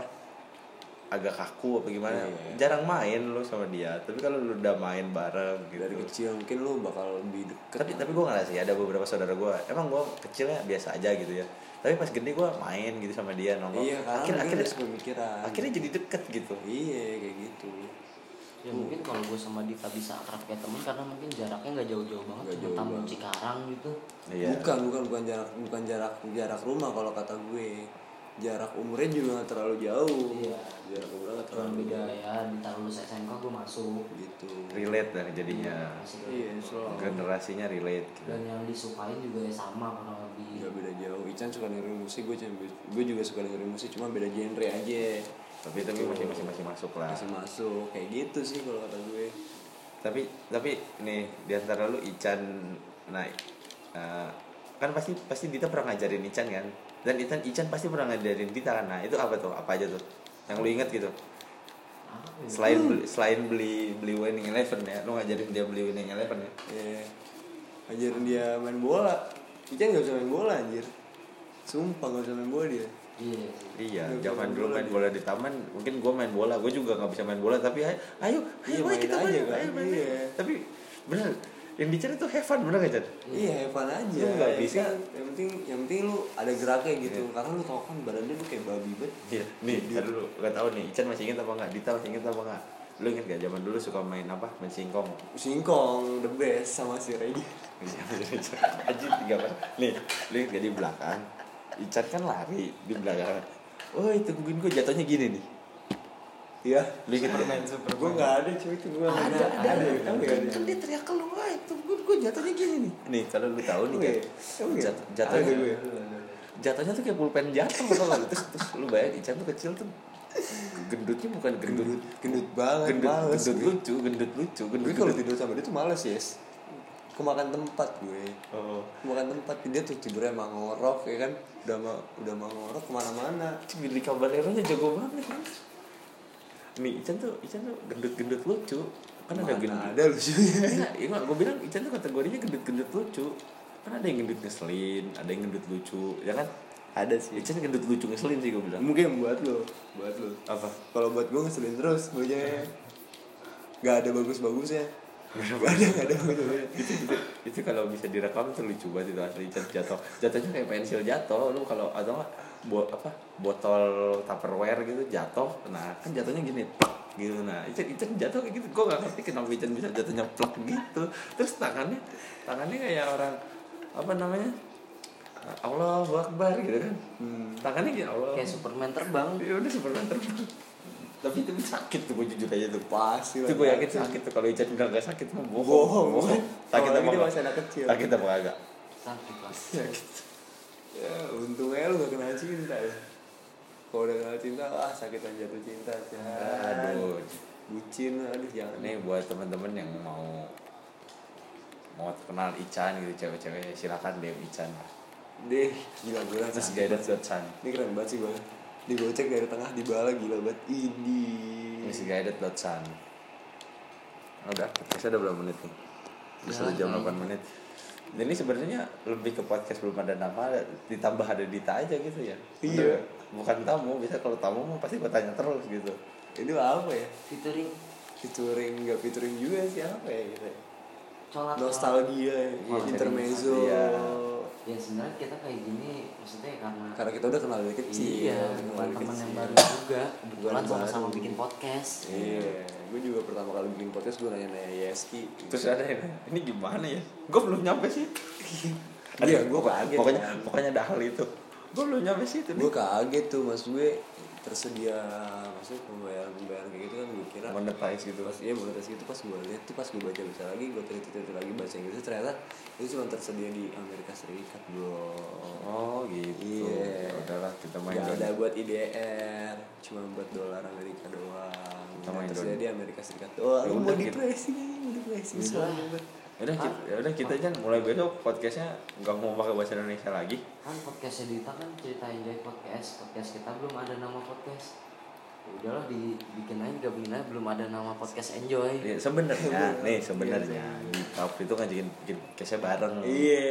Speaker 2: agak kaku apa gimana
Speaker 1: Iya, iya.
Speaker 2: jarang main lu sama dia tapi kalau lu udah main bareng gitu
Speaker 1: dari kecil mungkin lu bakal lebih deket
Speaker 2: tapi tapi gue ngerasa ya ada beberapa saudara gue emang gue kecilnya biasa aja gitu ya tapi pas gede gue main gitu sama dia nongkrong
Speaker 1: iya karena
Speaker 2: akhir
Speaker 1: akhirnya
Speaker 2: akhirnya
Speaker 1: akhirnya pemikiran
Speaker 2: akhirnya jadi deket gitu
Speaker 1: iya kayak gitu
Speaker 3: Ya mungkin kalau gue sama Dita bisa akrab kayak temen karena mungkin jaraknya nggak jauh-jauh banget,
Speaker 1: Nggak
Speaker 3: cuma
Speaker 1: jauh
Speaker 3: tamu
Speaker 1: banget.
Speaker 3: Cikarang gitu.
Speaker 2: Iya.
Speaker 1: bukan bukan bukan jarak bukan jarak jarak rumah kalau kata gue jarak umurnya juga nggak terlalu jauh
Speaker 3: Iya.
Speaker 1: jarak umurnya nggak
Speaker 3: Cuma
Speaker 1: terlalu
Speaker 3: beda
Speaker 1: jauh
Speaker 3: ya, Dita lulus SMK gue masuk.
Speaker 1: gitu
Speaker 2: relate lah jadinya
Speaker 3: Masih
Speaker 1: iya
Speaker 3: kayak gitu.
Speaker 1: selalu
Speaker 2: generasinya relate gitu.
Speaker 1: Iya.
Speaker 3: Dan yang disukain juga ya sama kurang lebih.
Speaker 1: nggak beda jauh Ican suka dengerin musik gue cuma- gue juga suka dengerin musik cuma beda genre aja
Speaker 2: tapi tapi
Speaker 1: Gitu.
Speaker 2: masih masih masih masuk lah
Speaker 1: masih masuk kayak gitu sih kalau kata gue
Speaker 2: tapi tapi nih diantara lu Ican naik eh, kan pasti pasti Dita pernah ngajarin Ican kan dan Ican Ican pasti pernah ngajarin Dita kan nah itu apa tuh apa aja tuh yang lu inget gitu
Speaker 3: Apa ya?
Speaker 1: Iya.
Speaker 2: selain beli, selain beli beli winning eleven ya lu ngajarin dia beli winning eleven ya
Speaker 1: Iya. Ajarin dia main bola. Ican gak bisa main bola anjir. Sumpah gak bisa main bola dia.
Speaker 3: Iya. sih.
Speaker 2: iya
Speaker 1: Iya,
Speaker 2: zaman
Speaker 1: main
Speaker 2: dulu
Speaker 1: bola
Speaker 2: main
Speaker 1: dia.
Speaker 2: bola di taman mungkin gue main bola gue juga nggak bisa main bola tapi ayo ayo,
Speaker 1: Iya,
Speaker 2: ayo boleh
Speaker 1: main
Speaker 2: kita
Speaker 1: aja
Speaker 2: main,
Speaker 1: kan?
Speaker 2: ayo, main,
Speaker 1: Iya.
Speaker 2: main. tapi bener yang dicari tuh have fun bener gak Chan?
Speaker 1: Iya, have fun aja.
Speaker 2: Lu nggak
Speaker 1: Yang
Speaker 2: bisa.
Speaker 1: penting- Yang penting, yang penting lu ada geraknya gitu. Karena lu tau kan badannya lu kayak babi banget.
Speaker 2: Iya, nih, ntar dulu gak tau nih, Ican masih inget apa enggak, Dita masih inget apa enggak Lu inget gak zaman dulu suka main apa? Main singkong
Speaker 1: Singkong the best sama si Regi.
Speaker 2: Aji tiga apa? Nih, lu inget gak di belakang Ican kan lari di belakang Woi, tungguin gue jatuhnya gini nih
Speaker 1: Iya.
Speaker 2: Lu inget gak?
Speaker 1: Super gue gak ada cuy itu gue nggak ada. Ada, ada, ada. Emang nggak ada.
Speaker 2: Kan dia teriak keluar, tungguin gue jatuhnya gini nih Nih, kalau lu tahu nih
Speaker 1: Iya. Ah,
Speaker 2: kan
Speaker 1: Emang nggak?
Speaker 2: jat-
Speaker 1: Ada gue.
Speaker 2: jatuhnya jatuhnya tuh kayak pulpen jatuh tau gak lu? terus, terus lu bayangin Ican tuh kecil tuh gendutnya bukan gendut
Speaker 1: Gendut, gendut banget,
Speaker 2: gendut,
Speaker 1: males
Speaker 2: gendut
Speaker 1: gue.
Speaker 2: lucu, gendut lucu, gendut
Speaker 1: Gue kalau
Speaker 2: gendut.
Speaker 1: tidur sama dia tuh males yes. Kemakan tempat gue.
Speaker 2: Oh.
Speaker 1: bukan tempat dia tuh tidurnya emang ngorok ya kan udah ma- udah emang ngorok kemana-mana
Speaker 2: Billy Caballero-nya jago banget kan. Nih, Ican tuh, Ican tuh gendut-gendut lucu. Kan ada
Speaker 1: Mana
Speaker 2: gendut.
Speaker 1: ada lucunya
Speaker 2: Enggak, ya gue bilang Ican tuh kategorinya gendut-gendut lucu. Kan ada yang gendut ngeselin, ada yang gendut lucu, ya kan?
Speaker 1: ada sih
Speaker 2: Ican gendut lucu ngeselin sih gue bilang.
Speaker 1: mungkin buat lo buat lo
Speaker 2: Apa?
Speaker 1: Oh, kalau buat gue ngeselin terus baunya nggak ada bagus-bagusnya nggak ada nggak ada bagus-bagusnya
Speaker 2: itu kalau bisa direkam tuh lucu banget itu asli Ican jatuh. Jatuhnya kayak pensil jatuh. Lu kalau atau enggak bo apa botol tupperware gitu jatuh nah kan jatuhnya gini plak gitu nah Ican Ican jatuh kayak gitu gue gak ngerti kenapa Ican bisa jatuhnya plak gitu terus tangannya tangannya kayak orang apa namanya Allah Akbar gitu kan
Speaker 1: Hmm.
Speaker 2: tangannya kayak Allah
Speaker 3: Kayak Superman terbang.
Speaker 2: ya udah Superman terbang tapi itu sakit tuh gue jujur aja tuh
Speaker 1: pasti
Speaker 2: itu
Speaker 1: lah,
Speaker 2: gue yakin
Speaker 1: pasti.
Speaker 2: sakit tuh kalau Ican bilang gak sakit mah bohong
Speaker 1: Bohong, bohong.
Speaker 2: sakit
Speaker 1: Apalagi
Speaker 2: apa
Speaker 1: dia
Speaker 2: enggak?
Speaker 1: masih anak kecil.
Speaker 2: sakit apa agak
Speaker 3: Sakit lah.
Speaker 1: ya untungnya lu gak kenal cinta ya kalau udah kenal cinta ah sakit aja jatuh cinta Chan.
Speaker 2: aduh
Speaker 1: bucin aduh jangan
Speaker 2: ini buat teman-teman yang mau mau kenal Ican gitu cewek-cewek silakan DM Ican lah
Speaker 1: deh gila gue rasa
Speaker 2: terus
Speaker 1: sakit
Speaker 2: guidance
Speaker 1: banget.
Speaker 2: dot Chan
Speaker 1: Ini keren banget sih bang. Digocek dari tengah di bala gila banget. Ini.
Speaker 2: terus guidance dot Chan udah podcastnya udah berapa menit nih udah satu jam 8 menit ini sebenarnya lebih ke podcast belum ada nama ditambah ada Dita aja gitu ya
Speaker 1: Iya.
Speaker 2: bukan tamu bisa kalau tamu mah pasti gue tanya terus gitu
Speaker 1: Itu apa ya?
Speaker 3: Featuring
Speaker 1: Featuring nggak featuring juga sih apa ya gitu. ya?
Speaker 3: colat. Oh,
Speaker 1: Nostalgia, ya.
Speaker 2: Iya,
Speaker 1: intermezzo.
Speaker 2: iya.
Speaker 3: Ya sebenarnya kita kayak gini maksudnya karena
Speaker 1: Karena kita udah kenal dari kecil.
Speaker 3: Iya,
Speaker 1: kenal
Speaker 3: bukan
Speaker 1: dari
Speaker 3: teman
Speaker 1: kecil.
Speaker 3: yang baru juga. Kebetulan
Speaker 1: Baru-baru.
Speaker 3: sama-sama bikin podcast.
Speaker 1: Iya, gue juga pertama kali bikin podcast gue nanya-nanya Yeski.
Speaker 2: terus ada yang nanya, ini gimana ya gue belum nyampe sih
Speaker 1: Iya, gue kaget.
Speaker 2: pokoknya
Speaker 1: kan.
Speaker 2: pokoknya ada hal itu gue belum nyampe situ nih
Speaker 1: gue kaget tuh mas gue tersedia maksudnya pembayaran pembayaran kayak gitu kan gue kira
Speaker 2: Monetize gitu.
Speaker 1: pas iya monetize gitu pas gue lihat tuh pas gue baca baca lagi gue teliti teliti lagi baca yang gitu ternyata itu cuma tersedia di Amerika Serikat bro
Speaker 2: oh gitu Ya
Speaker 1: Iya.
Speaker 2: udahlah kita main
Speaker 1: Gak
Speaker 2: dulu.
Speaker 1: ada buat IDR, cuma buat dolar Amerika doang.
Speaker 2: Kita main
Speaker 1: Dan tersedia
Speaker 2: dolar.
Speaker 1: di Amerika Serikat doang.
Speaker 2: Ya
Speaker 1: Lu
Speaker 2: udah,
Speaker 1: mau
Speaker 2: gitu. Hmm.
Speaker 1: depresi, mau depresi
Speaker 3: Udah.
Speaker 1: soalnya banget.
Speaker 2: Yaudah, kita, yaudah kita aja mulai besok podcastnya nggak mau pakai bahasa Indonesia lagi.
Speaker 3: kan podcastnya Dita kan ceritain dari podcast podcast kita belum ada nama podcast Ya udahlah dibikin aja gabungin aja belum ada nama podcast enjoy
Speaker 2: Ya,
Speaker 1: Iya,
Speaker 2: sebenarnya, nih sebenarnya kita waktu itu ngajakin bikin podcastnya bareng.
Speaker 1: Iya.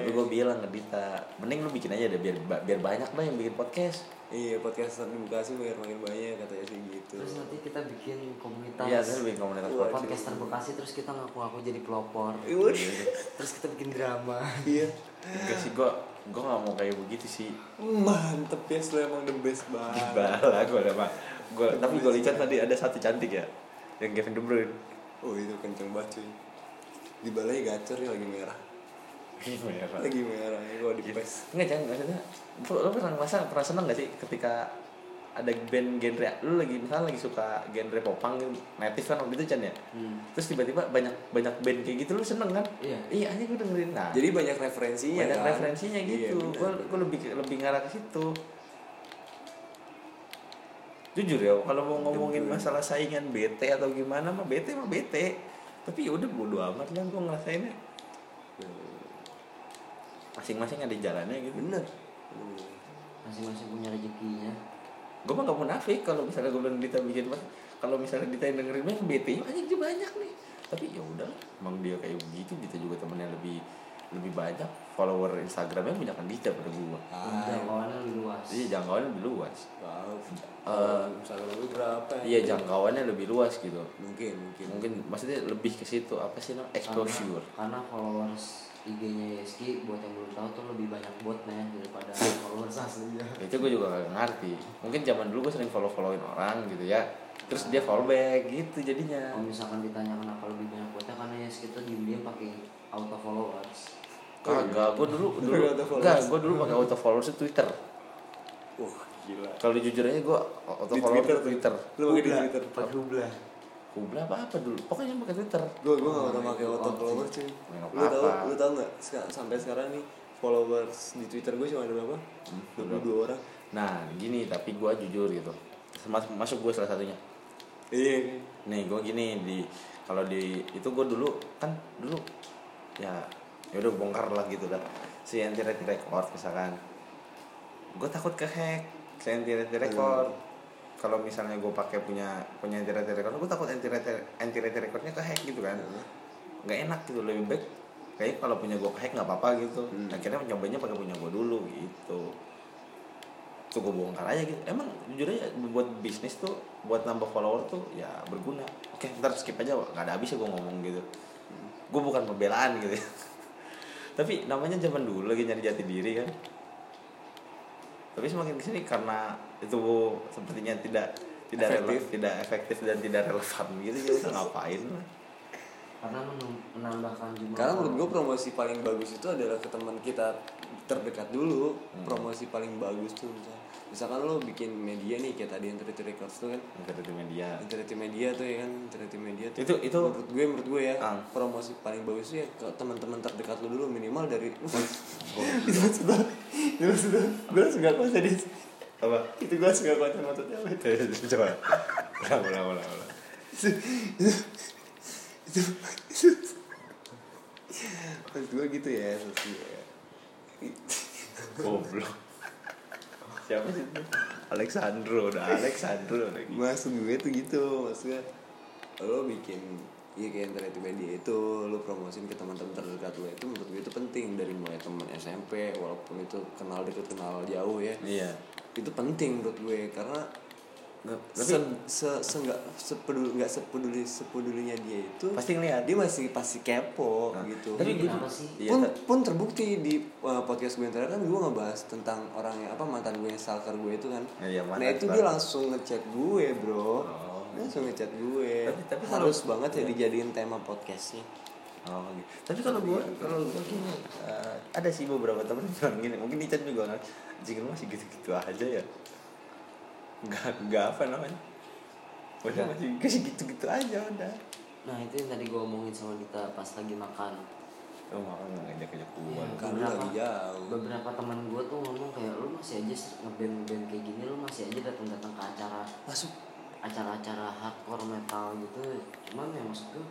Speaker 2: Tapi gue bilang ke Dita, mending lu bikin aja deh biar biar banyak lah yang bikin podcast.
Speaker 1: Iya, podcaster di Bekasi biar makin banyak katanya sih gitu.
Speaker 3: terus nanti kita bikin komunitas
Speaker 2: Iya, terus bikin komunitas
Speaker 1: Wah,
Speaker 2: podcast.
Speaker 3: podcaster Bekasi terus kita ngaku-ngaku jadi pelopor
Speaker 1: Iwur.
Speaker 2: Iya.
Speaker 3: terus kita bikin drama
Speaker 1: Iya.
Speaker 2: Enggak sih gue, gue nggak mau kayak begitu sih.
Speaker 1: Mantep ya, lu emang the best banget.
Speaker 2: Bala gue udah mah. Gua, tapi gue lihat tadi ada satu cantik ya, yang Kevin De Bruyne.
Speaker 1: Oh itu kenceng banget cuy. Di balai gacor ya lagi merah.
Speaker 2: Gimana? Iya, Pak?
Speaker 1: Lagi merah ya kalau di
Speaker 2: Gitu.
Speaker 1: pes.
Speaker 2: Enggak jangan maksudnya Lo lo pernah masa pernah seneng gak sih ketika ada band genre lu lagi misalnya lagi suka genre popang gitu native kan waktu itu Chan ya
Speaker 3: Hmm.
Speaker 2: terus tiba-tiba banyak banyak band kayak gitu lu seneng kan
Speaker 3: Iya.
Speaker 2: iya aja gue dengerin nah
Speaker 1: Jadi banyak referensinya
Speaker 2: banyak
Speaker 1: kan.
Speaker 2: referensinya gitu
Speaker 1: Iya,
Speaker 2: gue
Speaker 1: benar.
Speaker 2: lebih lebih ngarah ke situ jujur ya kalau mau ngomongin
Speaker 1: Bener.
Speaker 2: masalah saingan BT atau gimana mah BT mah BT tapi ya udah bodo amat lah gue ngerasainnya masing-masing ada jalannya gitu
Speaker 1: Bener. Bener.
Speaker 3: masing-masing punya rezekinya
Speaker 2: gue mah gak munafik kalau misalnya gue bilang Dita bikin mas kalau misalnya Dita yang dengerin mah yang bete banyak dia banyak nih tapi ya udah emang dia kayak begitu Dita juga temennya lebih lebih banyak follower Instagramnya banyak kan Dita pada gue Iya.
Speaker 1: Ah,
Speaker 3: jangkauannya lebih luas
Speaker 2: jadi jangkauannya lebih luas
Speaker 1: Wow.
Speaker 2: Eh,
Speaker 1: misalnya lu berapa? ya?
Speaker 2: iya jangkauannya lebih luas gitu
Speaker 1: Mungkin, mungkin.
Speaker 2: mungkin maksudnya lebih ke situ apa sih namanya exposure
Speaker 3: karena, karena followers IG-nya Yeski buat yang belum tahu tuh lebih banyak botnya daripada
Speaker 2: Iya.
Speaker 3: followers aslinya
Speaker 2: itu gue juga gak ngerti mungkin zaman dulu gue sering follow followin orang gitu ya terus dia follow back gitu jadinya
Speaker 3: kalau misalkan ditanya kenapa lebih banyak botnya karena Yeski tuh diem-diem pakai auto followers
Speaker 2: kagak gue dulu dulu
Speaker 1: Auto followers.
Speaker 2: enggak gue dulu pakai auto followers di Twitter
Speaker 1: Wah, gila.
Speaker 2: Kalau jujur aja gue auto
Speaker 1: Di
Speaker 2: follow
Speaker 1: Twitter
Speaker 2: Twitter,
Speaker 1: tuh.
Speaker 2: Twitter.
Speaker 1: Lu pakai di Twitter.
Speaker 4: Pakai hubla.
Speaker 2: Kubla apa apa dulu. Pokoknya pakai Twitter.
Speaker 1: Gue gue gak pernah pakai auto follower cuy.
Speaker 2: Nggak
Speaker 1: Lu tau
Speaker 2: apa-apa.
Speaker 1: lu tau nggak seka- sampai sekarang nih followers di Twitter gue cuma ada berapa?
Speaker 2: Hmm,
Speaker 1: 22 orang.
Speaker 2: Nah gini tapi gue jujur gitu. Mas- Masuk gue salah satunya.
Speaker 1: Iya.
Speaker 2: Nih gue gini di kalau di itu gue dulu kan dulu ya ya udah bongkar lah gitu lah. Si anti record misalkan. Gue takut kehack si anti record. Kalau misalnya gue pakai punya punya anti record, gue takut anti anti recordnya kehack gitu kan. nggak enak gitu lebih baik kayak kalau punya gue hack nggak apa-apa gitu
Speaker 1: Hmm.
Speaker 2: akhirnya nyobanya pakai punya gue dulu gitu tuh gue bongkar aja gitu emang jujur aja buat bisnis tuh buat nambah follower tuh ya berguna oke ntar skip aja Wak. nggak ada habisnya gue ngomong gitu gue bukan pembelaan gitu ya. tapi namanya zaman dulu lagi nyari jati diri kan tapi semakin kesini karena itu sepertinya tidak tidak
Speaker 1: Efektif.
Speaker 2: efektif. tidak efektif dan tidak relevan gitu jadi udah ngapain lah
Speaker 3: karena menum- menambahkan jumlah
Speaker 1: Karena menurut gue
Speaker 3: followers.
Speaker 1: promosi paling bagus itu adalah ke teman kita terdekat dulu. Promosi paling bagus tuh misalkan, misalkan lo bikin media nih kayak tadi yang Twitter Records tuh kan.
Speaker 2: Internet media
Speaker 1: Internet media tuh ya kan, internet media tuh.
Speaker 2: Itu- itu-
Speaker 1: menurut gue menurut gue ya
Speaker 2: Ah.
Speaker 1: promosi paling bagus tuh ya ke teman-teman terdekat lu dulu minimal dari itu sudah itu sudah gue langsung gak kuat tadi
Speaker 2: apa Eh,
Speaker 1: itu gue langsung gak kuat sama tuh apa itu
Speaker 2: coba ulang ulang ulang ulang
Speaker 1: itu itu Maksud gue gitu ya sosial ya.
Speaker 2: goblok siapa sih itu? Alexandro udah Alexandro lagi
Speaker 1: maksud gue tuh gitu maksudnya lo bikin Iya kayak internet media itu lo promosiin ke teman-teman terdekat lo itu menurut gue itu penting dari mulai teman SMP walaupun itu kenal deket kenal jauh ya
Speaker 2: iya
Speaker 1: itu penting menurut gue karena se
Speaker 2: tapi
Speaker 1: se se nggak sepeduli nggak sepeduli sepedulinya dia itu
Speaker 2: Pasti ngeliat.
Speaker 1: dia masih pasti kepo
Speaker 2: Nah,
Speaker 1: gitu
Speaker 2: tapi gue juga-
Speaker 3: Kenapa sih?
Speaker 2: iya,
Speaker 1: pun
Speaker 2: ta-
Speaker 1: pun terbukti di uh, podcast gue yang terakhir kan gue ngebahas tentang orang yang apa mantan gue yang stalker gue itu kan
Speaker 2: Iya,
Speaker 1: nah
Speaker 2: mantan
Speaker 1: itu
Speaker 2: stalker.
Speaker 1: dia langsung ngechat gue bro
Speaker 2: Oh.
Speaker 1: Dia langsung ngechat gue
Speaker 2: Tapi- Iya. tapi
Speaker 1: harus
Speaker 2: kalau-
Speaker 1: banget ya dijadiin tema podcastnya
Speaker 2: Oh, gitu. Tapi kalau gua kalau gua gini eh, ada sih beberapa temen yang bilang gini, mungkin Ican juga kan jika masih gitu-gitu aja ya. Enggak enggak apa namanya.
Speaker 1: Iya.
Speaker 2: Udah masih masih gitu-gitu aja udah.
Speaker 3: Nah itu yang tadi gue omongin sama Dita pas lagi makan
Speaker 2: Oh, makan nggak ngajak-ngajak gua.
Speaker 3: Iya,
Speaker 1: kan lu
Speaker 3: beberapa-
Speaker 1: lagi jauh.
Speaker 3: Beberapa teman gue tuh ngomong kayak lu masih aja ngeband ngeband kayak gini Lu masih aja datang datang ke acara
Speaker 1: Masuk.
Speaker 3: acara-acara hardcore metal gitu Cuman ya maksud gue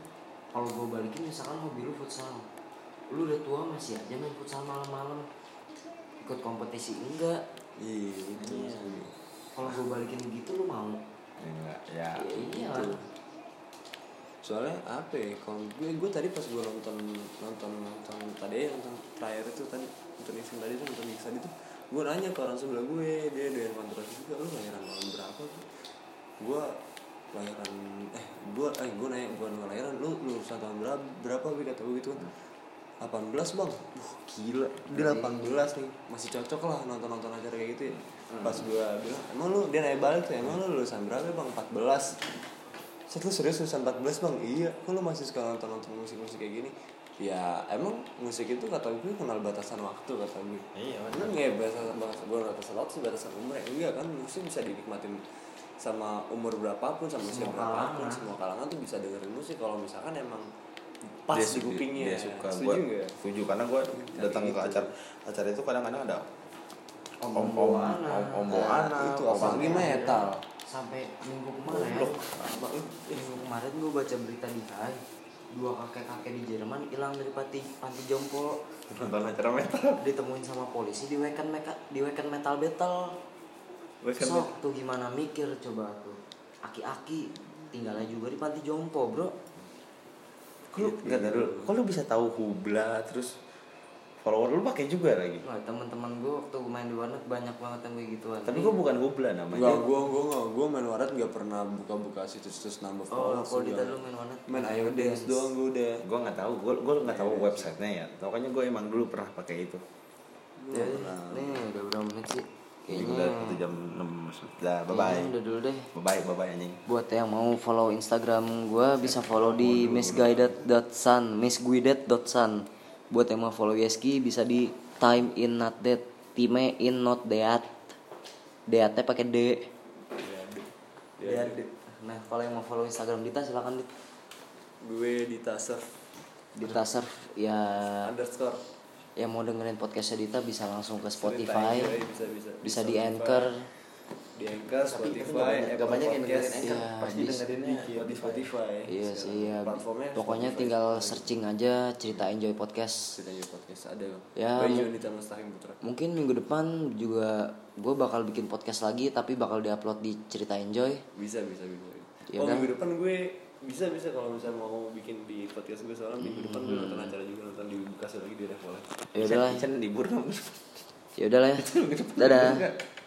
Speaker 3: kalau gue balikin misalkan hobi lu futsal Lu udah tua masih aja main futsal malam-malam Ikut kompetisi enggak
Speaker 1: Iya, itu
Speaker 3: Iya.
Speaker 1: maksudnya.
Speaker 3: Kalau gue balikin gitu lu mau
Speaker 2: Enggak, ya.
Speaker 3: Ya iya
Speaker 1: Gitu. soalnya apa ya kalau gue gue tadi pas gue nonton nonton nonton tadi ya, nonton terakhir itu tadi nonton Nixon tadi tuh nonton Nixon itu gue nanya ke orang sebelah gue dia doyan kontroversi juga lu lahiran tahun berapa tuh gue lahiran eh gue eh gue nanya bukan gue lahiran lu lulusan tahun berapa berapa gue kata gue gitu kan 18 bang Wah gila Dia 18 nih Masih cocok lah nonton-nonton acara kayak gitu ya Pas gue bilang Emang lu Dia nanya balik tuh Emang lu lulusan berapa bang 14 Set lu serius lulusan 14 bang? Iya, kok lu masih suka nonton-nonton musik-musik kayak gini? Ya emang musik itu kata gue kenal batasan waktu kata gue
Speaker 2: Iya,
Speaker 1: Bener nggak ya batasan, batasan, bukan batasan waktu sih batasan umur ya Enggak kan musik bisa dinikmatin sama umur berapapun, sama usia
Speaker 3: Semua
Speaker 1: berapapun
Speaker 3: kalangan.
Speaker 1: Semua kalangan tuh bisa dengerin musik kalau misalkan emang pas
Speaker 2: Dia
Speaker 1: di
Speaker 2: setuju-
Speaker 1: kupingnya ya.
Speaker 2: dia suka
Speaker 1: Setuju
Speaker 2: gua
Speaker 1: nggak?
Speaker 2: setuju karena gua datang ke
Speaker 1: gitu.
Speaker 2: acara acara itu kadang-kadang ada om om om
Speaker 3: Omboana.
Speaker 2: om
Speaker 1: Nah, itu apalagi metal
Speaker 3: Sampai minggu kemarin Minggu kemarin gue baca berita di Hai dua kakek-kakek di Jerman hilang dari panti panti jompo
Speaker 2: nonton acara metal
Speaker 3: ditemuin sama polisi di weekend meka, di weekend metal battle
Speaker 2: Weekend
Speaker 3: sok tuh gimana mikir coba tuh aki-aki tinggalnya juga di panti jompo bro
Speaker 2: Kok
Speaker 1: Iya,
Speaker 2: lu nggak tahu dulu, kok lu bisa tahu hubla terus follower lu pakai juga lagi.
Speaker 3: Wah, teman-teman gue waktu gue main di warnet banyak banget yang kayak gituan
Speaker 2: Tapi
Speaker 3: Nih,
Speaker 2: gua bukan hubla
Speaker 1: Enggak,
Speaker 2: namanya.
Speaker 1: gue gue nggak gue main warat nggak pernah buka-buka situs-situs nambah
Speaker 3: oh kalau
Speaker 1: juga.
Speaker 3: Dita dulu main warnet
Speaker 1: main ayo dance doang gue udah
Speaker 2: Gua nggak tahu, gua gua nggak tahu
Speaker 1: Iya.
Speaker 2: websitenya ya. Makanya gua emang dulu pernah pakai itu.
Speaker 3: Ya, nih udah berapa menit sih
Speaker 2: Ini
Speaker 1: Iya.
Speaker 3: kayaknya
Speaker 2: udah satu jam enam sudah bye bye.
Speaker 3: kayaknya udah dulu deh
Speaker 2: Bye bye bye bye anjing.
Speaker 3: buat yang mau follow Instagram gue bisa follow di misguided.sun misguided.sun buat yang mau follow Yeski bisa di time in not dead time in not dead deadnya pakai d dead nah kalau yang mau follow Instagram Dita silakan di
Speaker 1: gue di taser
Speaker 3: Dita surf ya
Speaker 1: underscore
Speaker 3: yang mau dengerin podcastnya Dita bisa langsung ke
Speaker 1: Cerita
Speaker 3: Spotify
Speaker 1: enjoy, Iya, bisa bisa
Speaker 3: bisa di anchor
Speaker 1: di anchor Spotify
Speaker 2: Gak
Speaker 1: Apple
Speaker 2: Eh, banyak yang dengerin
Speaker 1: Podcast
Speaker 2: Anchor,
Speaker 3: Iya,
Speaker 2: pasti
Speaker 3: bisa.
Speaker 2: dengerinnya
Speaker 1: di Spotify
Speaker 3: iya sih ya
Speaker 1: platformnya
Speaker 3: pokoknya
Speaker 1: Spotify.
Speaker 3: tinggal searching aja cerita enjoy podcast
Speaker 1: Cerita Enjoy podcast ada
Speaker 3: Ya,
Speaker 1: gue
Speaker 3: mu-
Speaker 1: Yunita Mustahim Putra
Speaker 3: mungkin minggu depan juga gue bakal bikin podcast lagi tapi bakal diupload di cerita enjoy
Speaker 1: bisa bisa bisa
Speaker 3: Ya
Speaker 1: oh
Speaker 3: udah.
Speaker 1: minggu depan gue bisa bisa kalau misalnya mau bikin di podcast gue soalnya minggu depan gue nonton acara juga nonton di ya. Bekasi lagi di Revolet
Speaker 3: ya udahlah
Speaker 2: Ican libur dong.
Speaker 3: ya udahlah dadah